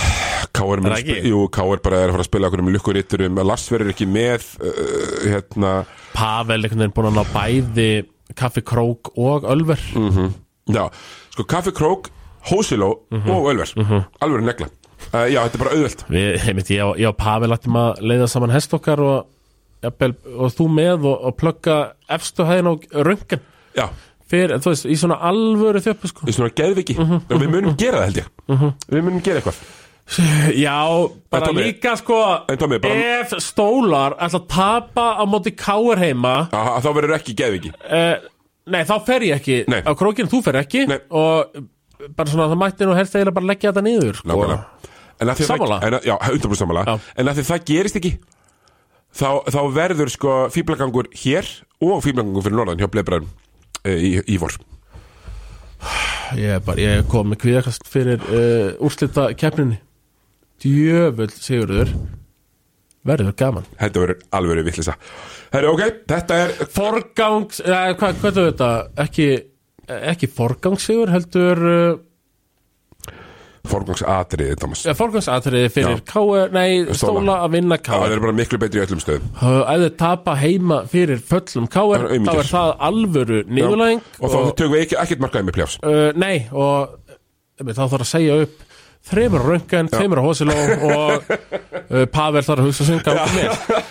A: K.R. mun
B: það
A: sp-
B: ekki?
A: Jú, K.R. bara er að fara að spila okkur um lukkuriturum Lars verður ekki með uh, hérna,
B: Pavel einhvern veginn búin að ná bæði kaffi krók og ölver
A: Mm. Já, sko Kaffi Krók, Hósiló
B: Mhm.
A: og Ölver Alveg negla uh, Já, þetta er bara auðvelt
B: Við, heimitt, ég, og- ég og Pavel ættum að leiða saman hest okkar og, jafnvel, og þú með og, og plugga efstu hæðin og röngan
A: Já,
B: fyrir, þú veist, í svona alvöru þjöppu sko.
A: við svona geðviki Og við munum gera það held ég
B: Mhm.
A: Við munum gera eitthvað
B: Já, bara
A: En Tommi-
B: líka sko
A: En Tommi, bara-
B: ef stólar ætla að tapa á móti káir heima
A: Já, Þá verður ekki geðviki
B: eh, nei, þá fer ég ekki
A: Nei.
B: á krókinn, þú fer ekki
A: Nei.
B: og bara svona, það mætti nú helst eiginlega bara leggja þetta niður sko.
A: Nákvæmlega En að því að það-
B: Sammála?
A: en að- Já, 100% sammála
B: Já.
A: En að því að það gerist ekki Þá, þá verður sko fýblagangur hér Og fýblagangur fyrir norðan hjá Bleibræðum í, í vor
B: Ég er bara, ég kom með kvíðakast fyrir uh, úrslita keppninni Djöfull Sigurður Verður gaman
A: Þetta verður alveg vittlisa Herri, ok, þetta er
B: Forgangs, eh, hvað, hvað er þetta? Ekki, eh, ekki forgangssigur heldur uh,
A: forgangsatriði, Thomas Já,
B: eh, Forgangsatriði fyrir K.R. Nei,
A: Stóla.
B: stóla að vinna
A: það
B: K.R.
A: er bara miklu betri í öllum stöðum
B: Ef þið tapa heima fyrir föllum K.R.
A: Það eru
B: Þá
A: aumingjar.
B: er það alvöru
A: Já.
B: niðurlæðing
A: Og þá tökum við ekki, ekkert markaði með pljáfs
B: uh, Nei, og emi, þá þarf að segja upp Þreymur á röngan, þreymur á hosiló og uh, Pavel þarf að hugsa sem gangi með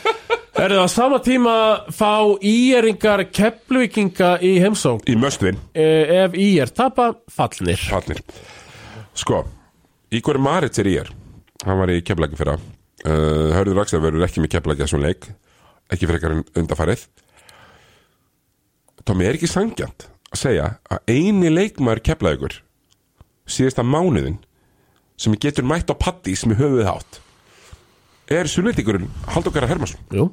B: Erðu á sama tíma fá íeringar kepluvikinga í heimsókn uh,
A: Í möstvin,
B: Ef íer tapa, fallnir
A: hallnir Sko, Ígor Maritz er í er Hann var í keflæki fyrra uh, Hörður Axel verður ekki með keflæki þessum leik Ekki frekar en undarfarið Tommy er ekki sangjant að segja að eini leikmaður keflækur síðasta mánuðin sem getur mætt á pattís með höfuðið hátt er sunnildingurinn Halldókara Hermansson
B: Jú,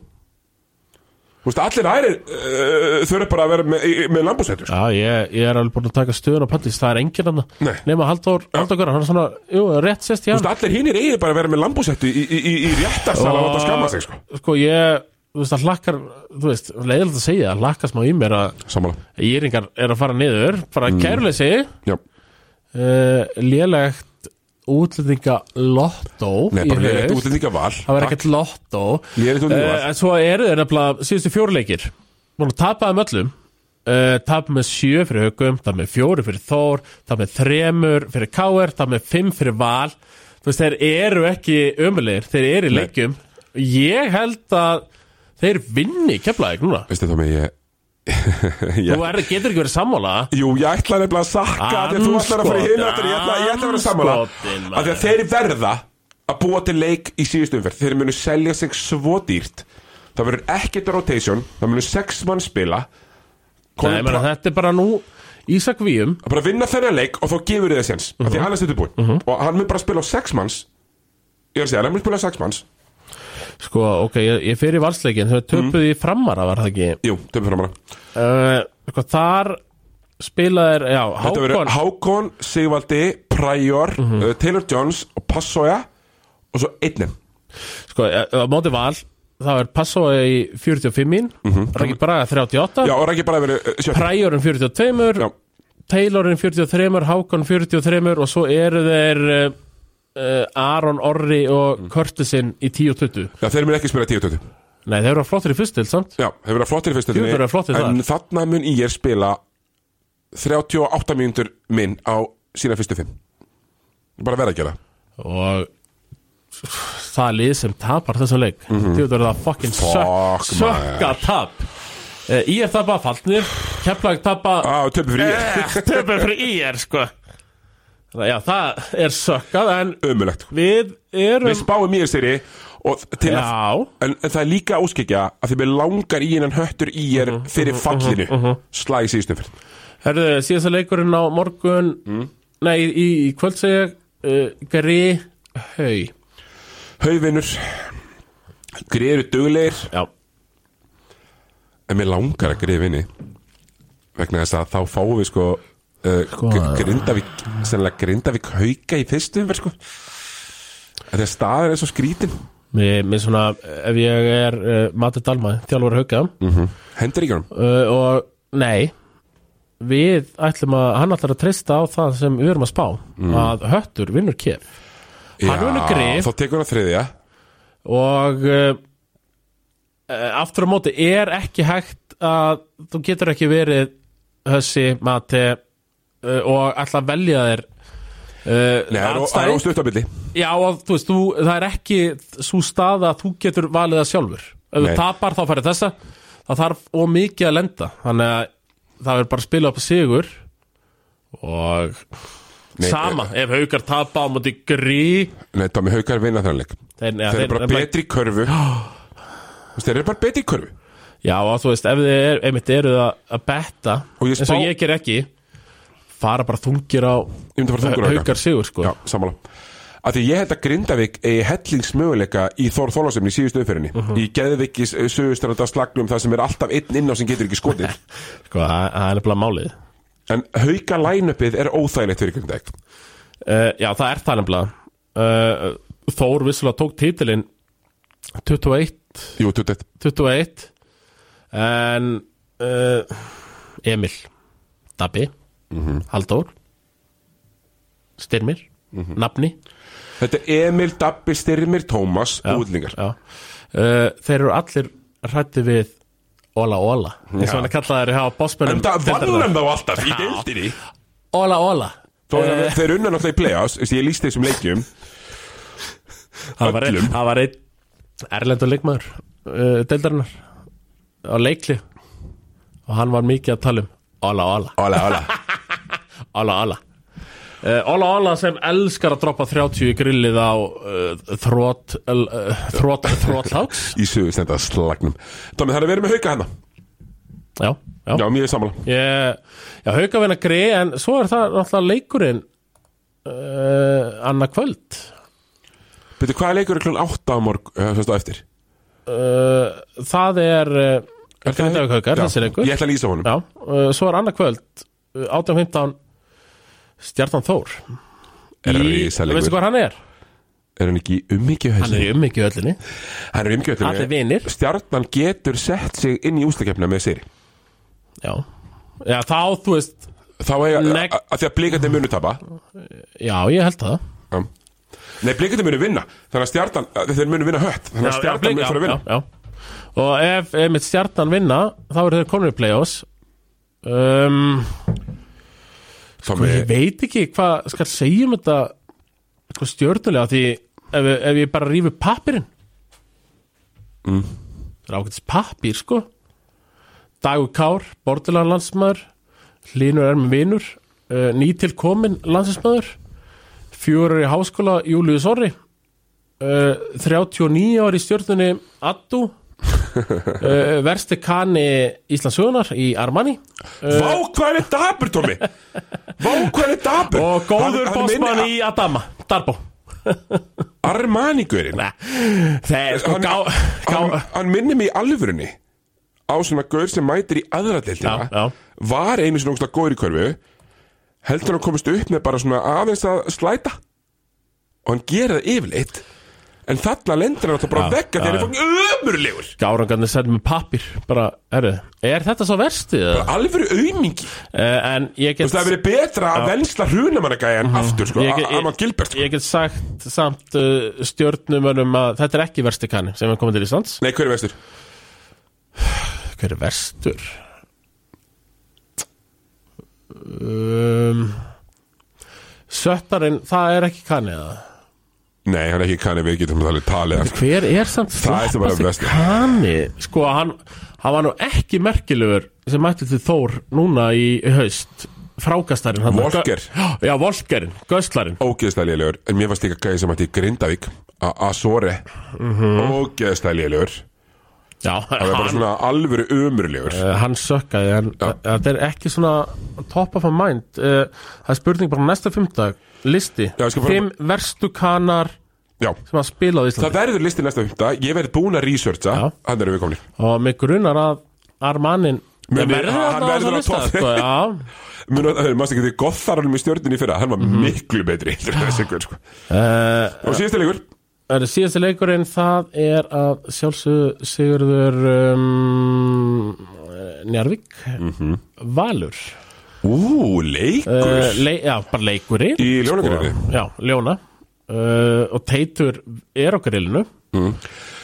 A: Þú veist, allir aðrir uh, þurfa bara að vera með, í- með sko. lambúsætur
B: já, ég, ég er alveg búin að taka stöðun á pallis Það er enginn hann
A: Nei.
B: Nefna Halldór, Halldór Göran, hann er svona Jú, rétt sest í
A: Þú
B: hann
A: veist, allir hinnir eigið bara að vera með lambúsættu í, í, í, í réttarsal að láta skamma sig, sko
B: Sko, ég, þú veist, það hlakkar Þú veist, leiðilegt að segja, það hlakkar smá í mér að
A: Sammála
B: Íringar er að fara niður Bara mm. kæruleysi
A: Já,
B: uh, Lélegt útlendinga lottó
A: nei,
B: í
A: bara leiðilegt
B: haust.
A: útlendingaval
B: Það var ekkert lottó
A: Lélegt útlendingaval.
B: Eh, En svo eru þeir nefnilega síðustu fjórleikir Búin að tapa þeim öllum Uh, tap með sjö fyrir haugum tap með fjóru fyrir Þór tap með þremur fyrir Káer tap með fimm fyrir Val þú veist, þeir eru ekki ömulegir þeir eru í leikjum ég held að þeir vinni keflaðið núna
A: Veistu þá með ég
B: þú er, getur ekki verið sammála
A: Jú, ég ætla nefnilega að sakka af Því að þú ætlar að fara í hinn aftur Ég ætla, ég ætla að vera sammála
B: Andskotin, maður.
A: Af því að þeir verða að búa til leik í síðustu umferð Þeir munu selja sig svo dýrt Það verður ekkert rotation Það munu sex mann spila
B: Nei, mena, þetta er bara nú Ísak Víum
A: að bara vinna þennan leik og þá gefur þið það séns af því
B: Mhm.
A: að hann er stundum búinn og hann mun bara spila á sex manns ég er að segja, hann mun spila á sex manns
B: sko, ok, ég, ég fer í valsleikin þau töpuð í framara var það ekki
A: jú, töfum framara
B: uh, sko, þar spilaðir já,
A: Eh, þetta verður
B: Hákon Mhm.
A: Hákon, Sigvaldi, Pryor uh, Taylor Jones og Passoja og svo einnig
B: sko, eh, á móti val það er Passoa í
A: Mhm.
B: 45 mm -hmm. Rækki Braga 38
A: já, og ekki bara verið uh, sjö
B: Præjórun 42
A: Já.
B: Taylorin 43, Hákon 43 og svo eru þeir uh, uh, Aron Orri
A: Mm.
B: og Curtisin í 10-20
A: Já, þeir mun ekki spila 10-20
B: Nei, þeir eru flottir í fyrst til samt
A: Já, þeir verða flottir í fyrstu
B: Jú, þeir verða flottir
A: En þarna mun ég spila 38 mínútur minn á sína fyrstu fimm Bara verða að gera það.
B: og það er lið sem tapar þessum leik mm -hmm. Þú verður það fucking
A: Mhm. Fuck,
B: sök- sökka
A: maður.
B: tap Eh, Í er tapa fallnir Keflag tapa
A: Á, töpum fyrir ég
B: töpum fyrir í er sko Það- Já, það er sökkað en
A: Ömulegt
B: við
A: sko. Við
B: erum
A: spáum ég þeirri Og til að
B: Já,
A: En, en það er líka áskikja að því við langar í hennan höttur í er
B: Mhm,
A: fyrir fallinu uh -huh. slæði síðustu fyrir
B: herðu, síðasta leikurinn á morgun
A: Mm.
B: Nei, í, í kvöld segja uh, Gri Hau
A: Hauvinur Greiður dugleir
B: Já,
A: en mér langar að greið vinni vegna þess að þá fáum við sko uh, gr- Grindavík sennilega Grindavík hauka í fyrstu umferð sko Þetta er staðan er svo skrítin
B: mér, mér svona Ef ég er uh, Mati Dalma, þjálfur hauka
A: Hendur ekki honum
B: uh, og nei við ætlum að, hann ætlar að treysta á það sem við erum að spá að höttur vinnur kef Hann
A: Já,
B: vinnur Grif.
A: Þá tekur hann þriðja
B: og uh, uh, aftur á móti er ekki hægt að þú getur ekki verið hössi, mati uh, og ætla að velja þér eh,
A: Nei, það er ó- það er
B: andstæðing.
A: óstutt á milli
B: Já, og þú veist, þú, það er ekki svo staða að þú getur valið það sjálfur Ef þú
A: Nei.
B: tapar þá færið þessa Það þarf of mikið að lenda Þannig að það er bara að spila upp á sigur Og
A: Nei, eh,
B: sama, ef haukar tapa á móti grí
A: Nei, Tommy Haukar vinna þannleik
B: þeir, ja,
A: Þeir eru bara betri í körfu Þú veist, Þeir eru bara betri í körfu
B: Já, og þú veist, ef þið er, einmitt eru að að betta
A: Og ég
B: eins og
A: spá-
B: ég ger ekki fara bara þungir á
A: Ég myndi að fara þungur á
B: haukar sigur sko
A: Já, sammála Af því ég held að Grindavík eigi hellingsmöguleika í Þór Þólasefni í síðustu umferðinni Í Geðvikis sögustranda slagnum það sem er alltaf einn inn á sem getur ekki skotið
B: Sko, það það er nefnilega málið
A: En hauka line-upið er óþægilegt fyrir Grindavík
B: uh, Já, það er það nefnilega uh, Þór vissulega tók títilinn 21
A: Jú, tuttet
B: 21 En uh, Emil Dabbi
A: Mhm.
B: Halldór Styrmir
A: Mhm.
B: Nafni
A: Þetta er Emil, Dabbi, Styrmir, Tómas, útlingar
B: já. Uh, Þeir eru allir hrætti við Óla Óla eins og hann er kallaður hjá bossmönnum
A: En það vann
B: deildarinnar.
A: þá alltaf í deildinni
B: Óla Óla
A: Þó er það- Þeir unna náttúrulega í play-offs Þessi ég líst þessum leikjum
B: Það var einn-
A: öllum.
B: það var einn erlendur leikmaður uh, deildarinnar á leikli og hann var mikið að tala um Óla Óla,
A: Óla, óla
B: Óla Óla uh, Óla Óla sem elskar að droppa 30 í grillið á uh, þrótt uh, þrótt þróttláks
A: Í sögustranda slagnum Tómi, það er að vera með hauka hana
B: já, já,
A: Já, mér er sammála
B: Ég, já, haukavinna grei en svo er það náttúrulega leikurinn uh, annað kvöld
A: Byrju, hvaða leikur er klun 8 á morg uh, sem stóð eftir?
B: uh, það er uh,
A: Er það-
B: Grindavík haukar,
A: Já,
B: þessi leikur
A: Ég ætla að lýsa honum
B: já, uh, svo er annað kvöld uh, 18.15 Stjartan Þór
A: Er
B: Í-
A: risalegur.
B: veistu hvað hann er?
A: Er hann ekki í umhyggju
B: hann er
A: höllinni?
B: í ummyggju öllinni
A: Hann er í umhyggju
B: allir vinir
A: Stjarnan getur sett sig inn í úslakefna með sér
B: já. já, þá þú veist
A: Þá er að,
B: Nei.
A: að, að því að blikandi munu tapa
B: já, ég held það
A: Já. Nei, blikandi munu vinna Þannig að stjarnan, að þeir munu vinna hött Þannig að stjarnan munu fara að vinna
B: já, já. og ef, ef mitt stjarnan vinna þá eru þeir komin í play-offs um,
A: Tommi,
B: ég veit ekki hvað skal segja um þetta eitthvað stjórnulega því ef, ef ég bara rífi pappirinn mm.
A: Mm.
B: það er ákveðtis pappir sko Dagur Kár, Bordilan landsmaður Hlynur er með vinur uh, nýtil komin landsmaður fjórur í háskóla Július Orri uh, 39 ári í stjórnunni Addu uh, versti kanni Íslandsugunar í Armani
A: vá hvað hann er dapur, Tommi Vá hvað hann er dapur
B: og góður bossmann í Adama Darbo
A: Armanigurinn
B: Það er sko
A: hann,
B: gá, gá
A: hann, hann minnir mig í alvörunni á svona gaur sem mætir í aðra
B: Já,
A: deildina
B: já.
A: var einu svona ógsta góður í körfu heldur hann komist upp með bara svona aðeins að slæta og hann gera það yfirleitt En þarna lendir hann alltaf bara
B: Já,
A: vekka þegar hann er fokkin ömurlegur
B: Gárangarnir sendur með pappir Bara, herru, er þetta svo verstið? Uh,
A: Alvöru aumingi
B: Eh, en ég get
A: Það hefur verið betra að vensla hrunamannagæjan aftur sko,
B: Mhm. Ég-
A: að
B: ég-
A: að maður gilbert sko.
B: Ég get sagt samt uh, stjórnumönum að þetta er ekki versti kanni sem er komið til Íslands
A: Nei, hver er vestur?
B: Hver er verstur? Um, Söttarinn, það er ekki kanni eða?
A: Nei, hann er ekki kanni, við getum alveg talið hann.
B: Hver er samt
A: Það er sem bara
B: flottasti
A: verstur.
B: kanni? Sko, hann, hann var nú ekki merkilegur sem mætti til Þór núna í haust Frákastarinn hann-
A: Volker.
B: Já, Volkerinn, Göstlarinn
A: Ógeðslega lélegur, en mér varst líka gæði sem hætti í Grindavík að Azore mm -hmm. Ógeðslega lélegur
B: Já,
A: Það er bara
B: Mhm. hann,
A: svona alvöru ömurlegur
B: Eh, hann sökkaði en eh, þetta er ekki svona top of a mind Eh, það er spurning bara næsta fimmtag listi,
A: Já, ég skal bara-
B: fimm verstu kanar
A: Já,
B: sem að spila á Íslandi
A: það verður listi næsta fymta Ég verði búin að researcha,
B: Já.
A: hann erum við komni
B: og mig grunar að Armanin
A: Mér-
B: Ég verður
A: hann-
B: þarna
A: hann
B: á
A: verður
B: þessum
A: á
B: lista,
A: toppi.
B: sko, já.
A: Mást eh, ekki því gotharunum í stjórninni fyrra Hann var miklu betri heldur en þessi gaur, sko.
B: Eh,
A: Og síðasta leikur
B: er síðasti leikurinn það er að sjálfsögðu Sigurður um, Njarvík
A: Mhm.
B: Valur
A: Ú, leikur Sko.
B: uh, le já, bara leikurinn
A: Eh, Í ljónagrinni
B: Já, Ljóna uh, og Teitur er á grillinu og
A: Mhm.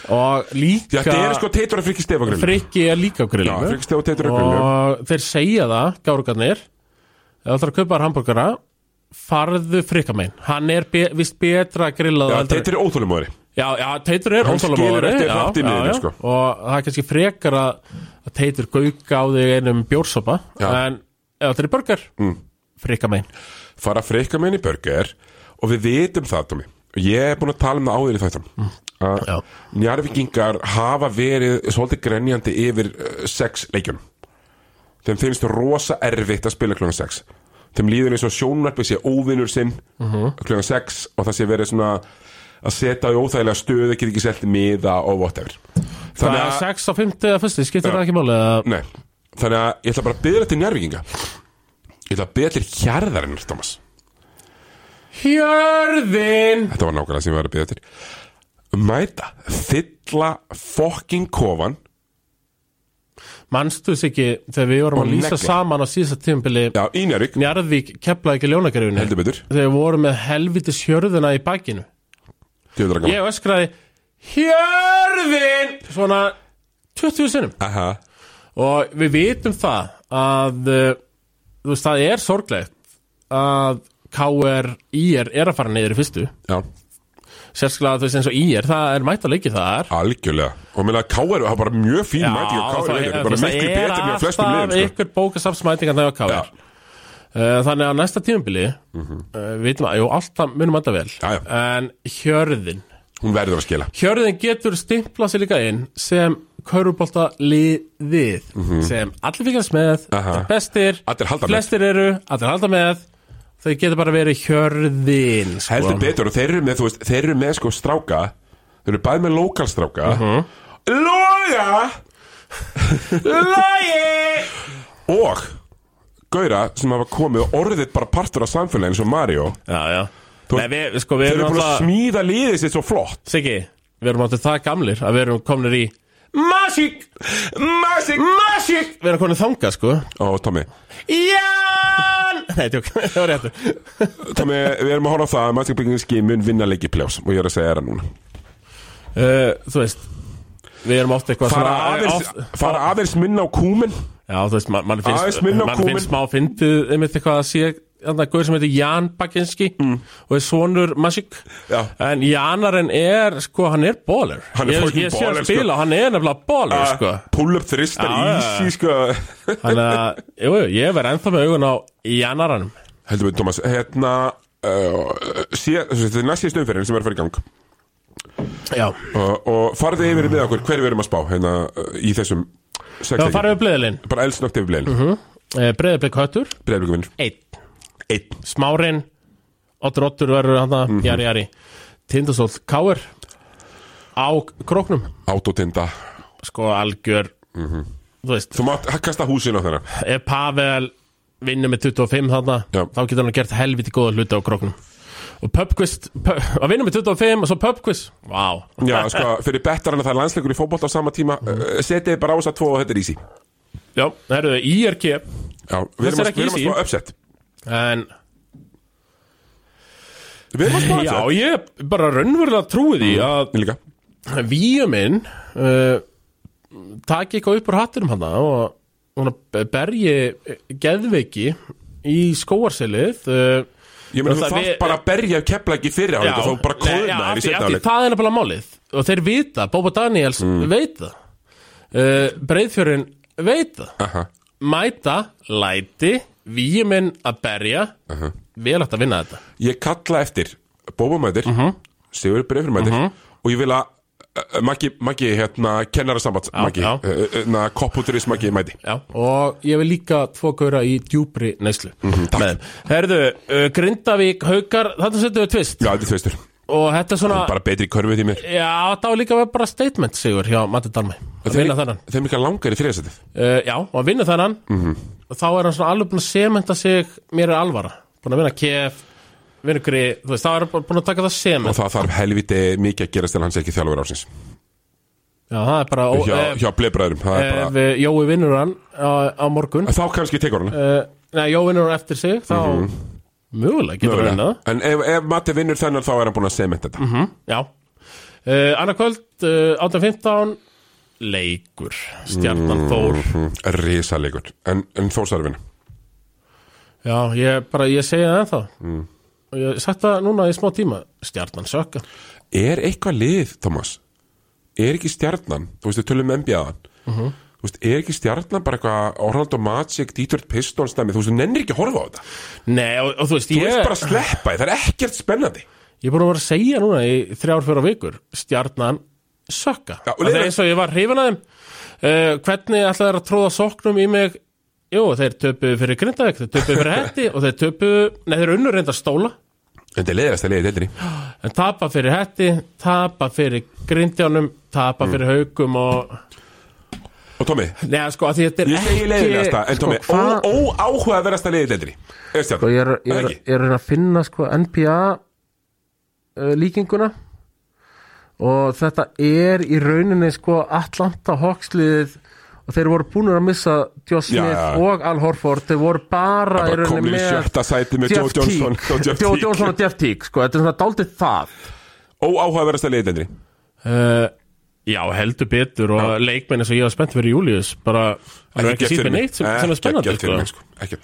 A: Já,
B: líka
A: þetta er sko teitur að frikki stefagrinni
B: Frikki er líka á grillinu
A: Já, Frikki Steff og Teitur er á
B: og þeir segja það, gárugarnir ef það er að kaupa þér hambúrgara farðu frikka megin hann er be vist betra grillað
A: Já,
B: heldur-
A: teitur er óþólumóðari
B: já, já, Teitur er
A: Hann skilur
B: óþolinmóður,
A: eftir
B: já,
A: hratt í
B: já,
A: miðjunni,
B: já.
A: sko.
B: og það er kannski frekar að að Teitur gauka á þig einum bjórsopa
A: Já.
B: en ef þetta er burger mm. frikka megin
A: fara að freyka með henni burger og við vitum það, Tómi og ég er búin að tala um það áður í þættum mm. að
B: Já.
A: njarvikingar hafa verið svolítið grenjandi yfir uh, sex leikjum þeim finnst rosa erfitt að spila klukkan 6 þeim líður eins og sjónvarpið sé óvinnur sinn mm
B: Mhm.
A: klukkan 6 og það sé verið svona að setja í óþægilega stöðu get ekki selt miða og whatever
B: Það er 6 á 5 eða fyrsti, skiptir það ekki máli eða-
A: Nei, þannig að ég ætla bara að byrja til njárvíkinga Ég ætla að byrja til hjarðarinnar, Thomas
B: Hjörðin
A: Þetta var nákvæmlega sem ég var að byrja til Mæta, fylla fokking kofan
B: Manstu þess ekki þegar við vorum
A: Og
B: að lýsa
A: negla.
B: saman á síðasta tímpili
A: Já, í njárvík,
B: Njarðvík keflaði ekki ljónakarjunni
A: heldur betur
B: Þegar við vorum með helvitis hjörðina í bakinu
A: Djöfull er gaman.
B: Ég öskraði Hjörðin Svona 20 sinnum
A: Aha,
B: Og við vitum það að uh, Þú veist það er sorglegt Að KR IR er að fara niður í fyrstu
A: já,
B: Sérstaklega þú veist eins og IR Það er mætt að leikja þar
A: algjörlega Og meðlega K.R. hafa bara mjög fín mæting og K.R. er bara miklu betur en á flestum
B: Það er alltaf
A: liðum sko.
B: ykkur bókasafsmætingar þegar KR
A: Já. Mhm.
B: Eh, Þannig að næsta tímabili mm vitum að, jú, alltaf munum alltaf vel
A: Já, já.
B: En hjörðin
A: Hún verður að skila
B: Hjörðin getur stimplað sér líka inn sem körfubolta liðið sem allir fylgjast með
A: Mhm. Aha.
B: bestir,
A: Allir halda með.
B: flestir eru allir halda með, þau getur bara verið hjörðin sko.
A: Heldur betur og þeir eru með, þú veist, þeir eru með sko stráka Þeir eru bæði með lokalstráka uh Loga Logi Og Gauðra sem hafa komið orðið bara partur af samfélaginu eins og Mario
B: Já, já
A: Þú-
B: Nei, við, sko, við
A: Þeir eru
B: erum
A: búin að
B: alltaf
A: smíða liðið sitt svo flott
B: Siggi, við erum alltaf það gamlir að við erum komnir í Magic,
A: Magic
B: Magic Við erum konið þangað sko
A: Ó, Tommy
B: Ján Nei, tjók, það var réttur
A: Eh, Tommy, við erum að horfa á það að Magic Bygginski mun vinna leiki pljós og ég er að segja það núna
B: uh, Þú veist Við erum oft eitthvað
A: Fara
B: svona-
A: aðeins,
B: oft-
A: fara aðeins minna á kúmin
B: Já, þú veist, man, mann
A: Aðeins
B: finnst
A: minna á
B: Mann
A: kúmin.
B: finnst smá fyndið einmitt eitthvað að sé Þannig að guður sem heitir Ján Bakinski og er svonur Magic
A: Mm. Já.
B: En Jánarinn er, sko, hann er baller
A: Hann er
B: Ég,
A: fucking
B: ég sé
A: baller, Ah.
B: að spila, sko. hann er nefnilega baller, sko
A: Pull up þristar
B: Já, já, já.
A: easy sko
B: Þannig að, jú, jú, ég verð ennþá með augun á Jánarannum
A: Heldur við, Tómas, hérna uh, sé, þetta er næst síðust umferðin sem er að fara í gang
B: Já,
A: uh, og farðu yfir með okkur, hverju við erum að spá hérna uh, í þessum
B: þá Mhm.
A: sexleikin
B: farum við eh, bleðilinn
A: bara elsnögt yfir blein, uh -huh.
B: Breiðarblik Höttur
A: breyðlugum vinnur
B: Einn
A: einn, Mhm.
B: Smárin Otur Otur verður hann að Jari Jari Tindastóll Káir Á króknum
A: autotinda
B: Sko algjör
A: Mhm.
B: Þú veist
A: þú mátt kasta húsinu á þennan
B: Ef Pavel vinnur með 25 þarna
A: Já.
B: Þá getur hann gert helviti góða hluti á króknum og pubquist pub, að vinna með 25 og svo pubquist Vá,
A: Já, sko, fyrir bettarana það er landsleikur í fótbolt á sama tíma
B: Mhm.
A: mm. Setið bara á þess að tvo og þetta er easy
B: já, herruðu, IRK
A: Já, við erum
B: er
A: að
B: ekki
A: við erum að
B: easy.
A: spá uppsett
B: en
A: Við erum að spá
B: já,
A: uppsett
B: ég bara raunverulega trúi því að
A: Ég líka
B: víuminn uh, taki eitthvað upp úr hattinum hann og hún berji geðveiki í skóarsilið uh,
A: Ég meina, þú
B: Það
A: þarf
B: við-
A: bara að berja kepla ekki fyrir áleik og þá bara
B: nei,
A: kóðna þér í
B: já, af því-
A: setna
B: af því
A: áleik
B: Það er nefnilega málið og þeir vita, Bóba Daniels
A: Mm.
B: veit það uh, Breiðfjörin veit það Mæta, læti, víminn að berja
A: Uh-huh.
B: Vel átt að vinna þetta
A: Ég kalla eftir bóbamætir uh
B: Mhm.
A: -huh. Sigur breyfurmætir og ég vil að uh, Maggi, Maggi, hérna, kennarasambands Maggi,
B: já.
A: hérna, kopputuris Maggi mæti
B: Já, og ég vil líka tvo gauðra í djúpri neyslu
A: Mhm, takk.
B: Með þeim. Herðu, uh, Grindavík, Haukar, þetta setjum við tvist
A: Já, þetta er tvistur,
B: Og þetta er svona,
A: bara betri körfið í mér
B: já, það var líka bara statement sigur hjá Matti Dalmæ Að vinna þennan
A: Þeim líka langar í þriðasætið
B: uh, Já, og að vinna þennan og þá er hann svona alveg búin að sementa sig mér er alvara, búin að vinna kef vinna gri, þú veist, þá er hann bara búin að taka það
A: og
B: sement
A: það þarf helviti mikið að gerast til hans er ekki þjálfur ársins
B: Já, það er bara, ó,
A: hjá,
B: ef,
A: hjá blebræðurum það er
B: ef eh,
A: bara,
B: Jói vinnur hann á, á morgun
A: þá kannski tekur hann
B: uh, Nei, Jói vinnur hann eftir sig þá mögulega getur hann vinnað
A: en ef, ef Matti vinnur þennan þá er hann búin að segja þetta mm -hmm.
B: Já uh, Anna kvöld, uh, 18.15 leikur, stjarnan Þór
A: Mm, risalegur en, en þó sær að vinna
B: Já, ég bara, ég segi það ennþá og ég hef sagt það núna í smá tíma stjarnan sökka
A: er eitthvað lið, Thomas er ekki stjarnan, þú veist, við tölum um MBA-an
B: Mhm.
A: þú veist, er ekki stjarnan bara eitthvað Orlando Magic, Detroit Pistons dæmi, þú veist, þú nennir ekki að horfa á þetta
B: Nei, og, og þú veist,
A: þú
B: ég
A: veist bara að sleppa, því, það er ekkert spennandi
B: Ég er búin að vera að segja núna í þrjár fjóra vikur Stjarnan sökka
A: Já, og
B: Það er
A: leiðir-
B: eins og ég var hrifin að þeim uh, Hvernig ætla þeir að tróða soknum í mig Jú, þeir töpuðu fyrir Grindavík Þeir töpuðu fyrir Hetti og þeir töpuðu Nei, þeir unnur reynda stóla
A: en þetta er leiðast að leiði deildinni
B: En tapa fyrir Hetti, tapa fyrir Grindjánum, tapa
A: Mm.
B: fyrir Haukum og...
A: og Tommy,
B: Nei, sko, að því þetta er
A: ég segi leiðilegasta en Tommy,
B: sko, hvað-
A: óáhuga að verast að leiði deildinni er stjarnan,
B: sko, ég er, ég,
A: Það
B: er,
A: ekki?
B: ég er að reyna að finna sko, NBA uh, líkinguna og þetta er í rauninni sko, Atlanta Hawksliðið og þeir voru búin að missa Josh
A: Já,
B: Smith
A: já.
B: og Al Horford þeir voru bara
A: Það
B: í
A: bara
B: rauninni
A: komnir í
B: með
A: sjötta sæti með Joe
B: Jeff
A: Johnson
B: Teague.
A: og Jeff
B: Joe
A: Teague.
B: Johnson og Jeff Teague sko, þetta er svona daldið það
A: óáhugaverðast að leiðendri
B: uh, Já, heldur betur og leikmenn eins og ég var spennt fyrir Július bara,
A: sko. Ekkert.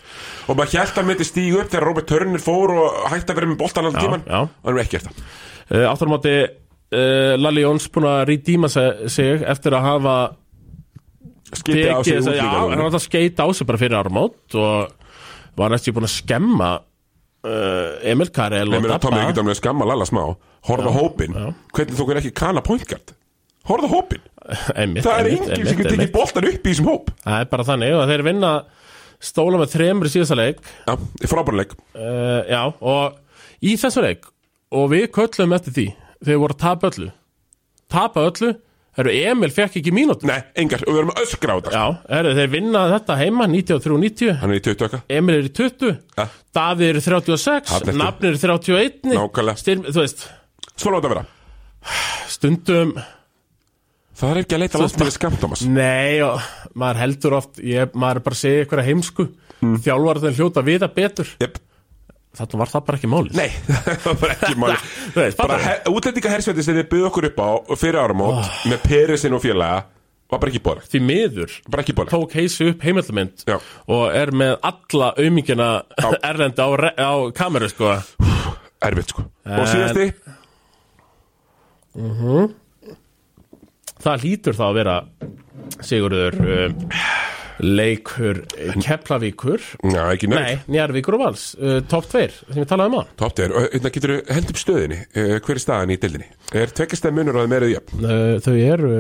A: og maður held að myndi stígu upp þegar Robert Turner fór og hætti að vera með boltan allan tíman
B: já.
A: og hann er ekki eftir
B: Uh, Aftur á móti uh, Lalli Jóns búin að redeema se- sig eftir að hafa
A: skipti á sig
B: þessa- já, hann var
A: útlíka
B: alltaf að skeita á sig bara fyrir áramót og var næstu búin að skemma uh, Emil Karel
A: Nei,
B: og
A: meina, Tommy, ekki
B: Dabba
A: dæmi að skamma Lalla smá Horða hópin, hvernig þú er ekki kana pointgard Horða hópin,
B: Einmitt,
A: það er
B: einmitt,
A: enginn
B: einmitt,
A: sem getur
B: einmitt.
A: tekið boltan upp í þessum hóp
B: Það er bara þannig og þeir vinna stóla með þremur í síðasta leik
A: Já, í frábæranleik
B: uh, Já, og í þessu leik og við köllum eftir því þegar voru að tapa öllu tapa öllu, herru Emil fekk ekki mínútu
A: Nei, engar, og við erum að öskra á þetta
B: Já, herru, þeir vinna þetta heima 93-90
A: Hann er í 20 okkar
B: Emil er í 20
A: Ja.
B: Davíð er í 36
A: Þarna ertu.
B: Nafn er í 31
A: Nákvæmlega.
B: Styrm, Þú veist,
A: Svona átt að vera
B: stundum
A: Það er ekki að leita langt með skamt, Thomas
B: Nei, og maður heldur oft ég, Maður er bara að segja eitthvað heimsku mm. Þjálfar þeir hljóta að vita betur
A: Jep.
B: Þetta var það bara ekki málið
A: Nei, það var ekki máli
B: Þú veist,
A: Bara
B: fattar
A: he- útlendingahersveitin sem þið buð okkur upp á fyrir áramót með Perisinn og félaga var bara ekki bóðlegt
B: Því miður
A: bara ekki bóðlegt
B: tók heisi upp heimildamynd
A: Já.
B: Og er með alla aumingjana
A: Já.
B: Erlendi á, re- á kameru sko.
A: Erfitt sko Og síðasti
B: Það hlýtur þá að vera Sigurður um, Leikur eh, Keplavíkur
A: Já, ekki
B: Nei,
A: nörg
B: Njarvíkur og Vals, uh, top 2 sem um við talaðum á
A: Top 10 Og hérna getur þú held upp stöðinni uh, Hver er staðan í dildinni? Er tvekkastæð munur og það meira jöfn?
B: uh, Þau eru,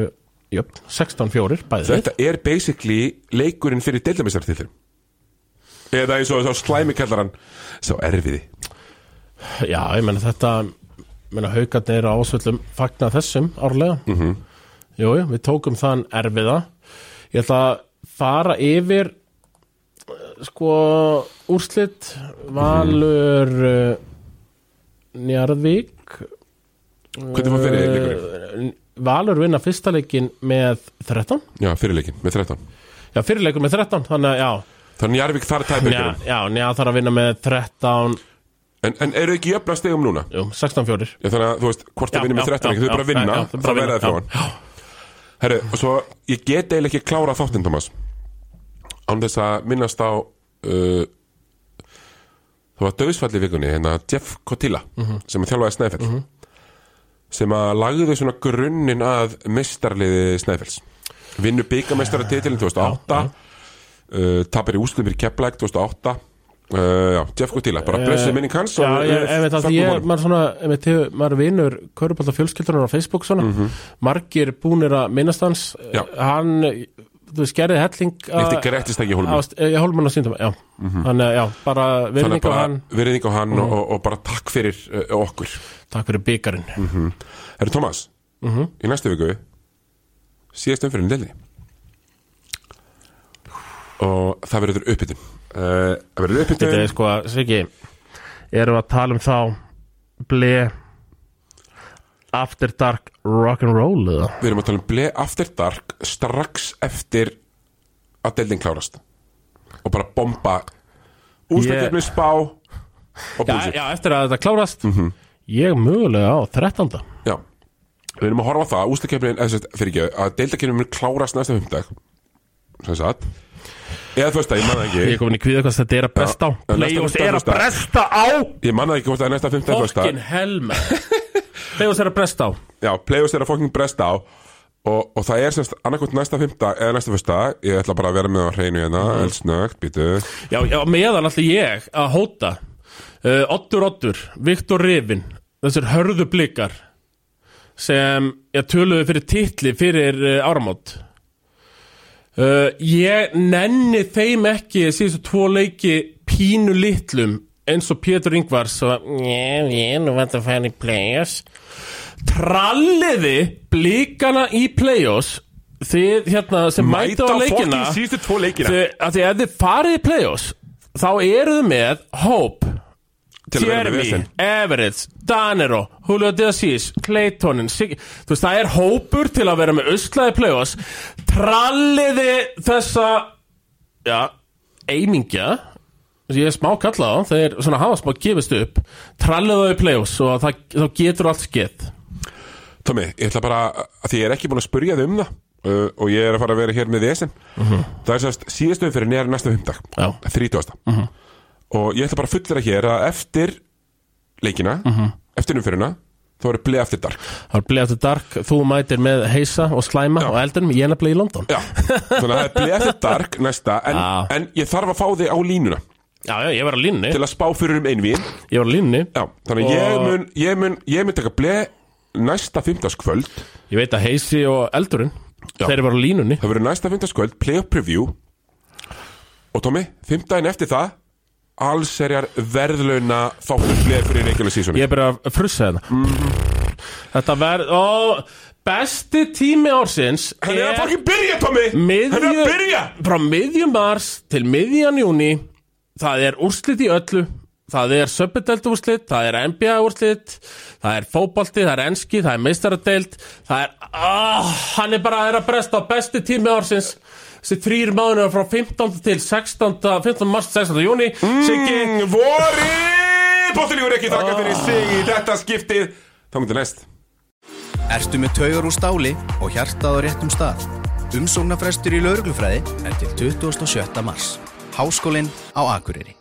B: jöp, 16-4 bæðið
A: Þetta er basically leikurinn fyrir dildamistar til þeim Eða eins og þá slæmi kallar hann Sá erfiði
B: Já, ég menna þetta menna, haukarnir eru ásvöldum fagna þessum árlega mm
A: Mhm.
B: -hmm. Jú, jú, við tókum þann erfiða Ég ætla að fara yfir
A: Mhm.
B: eh, sko úrslit Valur mm eh, Njarðvík eh,
A: Hvernig var fyrir leikurinn?
B: Valur vinna fyrsta leikin með 13
A: Já, fyrir leikin, með 13
B: Já, fyrir leikur með 13, þannig að já
A: Þannig Jarvik þarf
B: Já,
A: tæpleikurinn
B: já njá, þarf að vinna með 13
A: en, en eru ekki jöfna stegum núna?
B: Jú, 16 fjórir
A: Já, þannig að þú veist, hvort
B: Já,
A: það vinnir með
B: já,
A: 13
B: já,
A: ekki, þau bara
B: já,
A: vinna,
B: já, já, þau bara
A: það verða það
B: vinna,
A: frá hann Herru, og svo ég get eiginlega ekki klárað þáttinn, Thomas án þess að minnast á uh, það var döðsfall í vikunni, hérna Jeff Cotilla
B: Mhm.
A: sem er þjálfaði Snæfell sem að lagði svona grunnin að mistarliði Snæfells vinnu byggamestaratitilin 2008 uh, tapir í úsliðum í Keplæk 2008 Uh, já, Jeff Cotilla, bara blessuð minning hans
B: Eh, Já,
A: og,
B: ég,
A: uh,
B: einmitt, að
A: fögnum
B: ég,
A: honum.
B: maður svona, einmitt, hefur- maður vinur Körubálta fjölskyldunar á Facebook svona Margir búnir að minnast hans
A: Mhm. Já.
B: Hann, þú veist, gerði helling
A: Eitt ykkur réttist ekki hólmur
B: Ég hólmann á síndum, já Þannig að, já, bara
A: Mhm. Þannig
B: virðing og
A: bara
B: hann Mhm.
A: virðing á hann og, og bara takk fyrir uh, okkur
B: Takk fyrir byggarinn
A: Mhm. Herru Tómas,
B: Mhm.
A: í næstu viku síðast umfyrir delni og það verður uppbytun uh, það verður
B: Þetta
A: uppbytun
B: er sko, Sviki Erum við að tala um þá Ble After Dark Rock'n'Roll eða?
A: við erum að tala um Ble After Dark strax eftir að deldin klárast og bara bomba úrstakefni spá og
B: Já,
A: búsi
B: já, eftir að þetta klárast
A: Mhm.
B: Ég mögulega á 13.
A: Já, við erum að horfa á það Ústakefnin, eða sérst, fyrir ekki Að deildakefnin mun klárast næsta fymdag Sem sagt Eða þú veist að ég manna
B: Ég
A: ekki
B: er komin í kvíða hvað þetta er að bresta á
A: Já, næsta
B: Playoffs
A: föstudag,
B: er að
A: föstudag.
B: bresta á
A: Ég manna ekki hvort það er næsta fymdag
B: Fokkin helma Playoffs er að bresta á
A: Já, playoffs er að fokkin bresta á Og, og það er semst annarkvæmt næsta fymta eða næsta fyrsta, ég ætla bara að vera með á hreinu hérna, mm. eldsnögt, býtu
B: Já, já meðan allir ég að hóta uh, Oddur Oddur, Viktor Rifin Þessir hörðu blikar Sem ég töluðu fyrir titli Fyrir uh, áramót uh, Ég nenni þeim ekki Síðustu tvo leiki pínu litlum Eins og Pétur Ingvars Svo, njá, ég, nú vant að fara í play-offs Tralliði blikana í play-offs Þið hérna sem mæta á leikina
A: fokkin síðustu tvo leikina
B: Þi, að því ef þið farið í play-offs þá eruð þið með Hope,
A: Til að vera með
B: Jeremy,
A: vesen.
B: Everett, Danero Julio De Assis, Claytonin Sig þú veist, það er hópur til að vera með öslaði play-offs tralliði þessa já, eimingja ég er smá kallað á, þeir svona hafa smá gefist upp tralliði það í play-offs og það, þá getur allt skeitt
A: Tommi, ég ætla bara að því ég er ekki búin að spurja þig um það uh, og ég er að fara að vera hér með vesen það er sérst síðastöðum fyrir nýjar næsta fymdag
B: Mhm. Já. Mhm.
A: 30. og ég ætla bara að fullera hér að eftir leikina,
B: Mhm.
A: eftir umfyrirna þá eru bleið eftir dark
B: það er bleið aftur dark, þú mætir með heisa og slæma og eldunum, ég er nefnilega í London
A: Já. þannig að það er bleið eftir dark næsta en,
B: Já.
A: en ég þarf að fá þig á línuna
B: já, já, ég var á línni,
A: til að spá fyrir um einvíin
B: ég var á línni
A: Já, þannig að ég
B: Og-
A: mun, ég mun, ég mun taka bleið næsta fymtagskvöld
B: Ég veit að Heisi og Eldurinn Þeir eru bara á línunni
A: Það verður næsta fymtaskvöld, playoff preview Og Tommi, fymtdæin eftir það Allserjar verðlauna þáttur bleið fyrir regular season
B: Ég er bara að frussa þetta
A: Mhm.
B: Þetta verð ó, Besti tími ársins
A: Hann er að
B: er
A: fucking byrja, Tommi!
B: miðju,
A: Hann er að byrja!
B: Frá miðjum mars til miðjan júni Það er úrslit í öllu Það er söpudeld úrslit, það er NBA úrslit Það er fótbolti, það er enski Það er meistaradeld Það er, ah, hann er bara að er að bresta á besti tími ársins Þessi þrýr mánuður frá 15. til 16. 15. mars til 16. júni Siggi,
A: Mm, Vori! Bóttilíkur ekki
B: Ah.
A: þakka fyrir sig í þetta skiptið Þá myndi næst
C: Ertu með taugar úr stáli og hjartað á réttum stað? Umsóknarfrestur í lauruglufræði er til 27. mars. Háskólinn á Akureyri.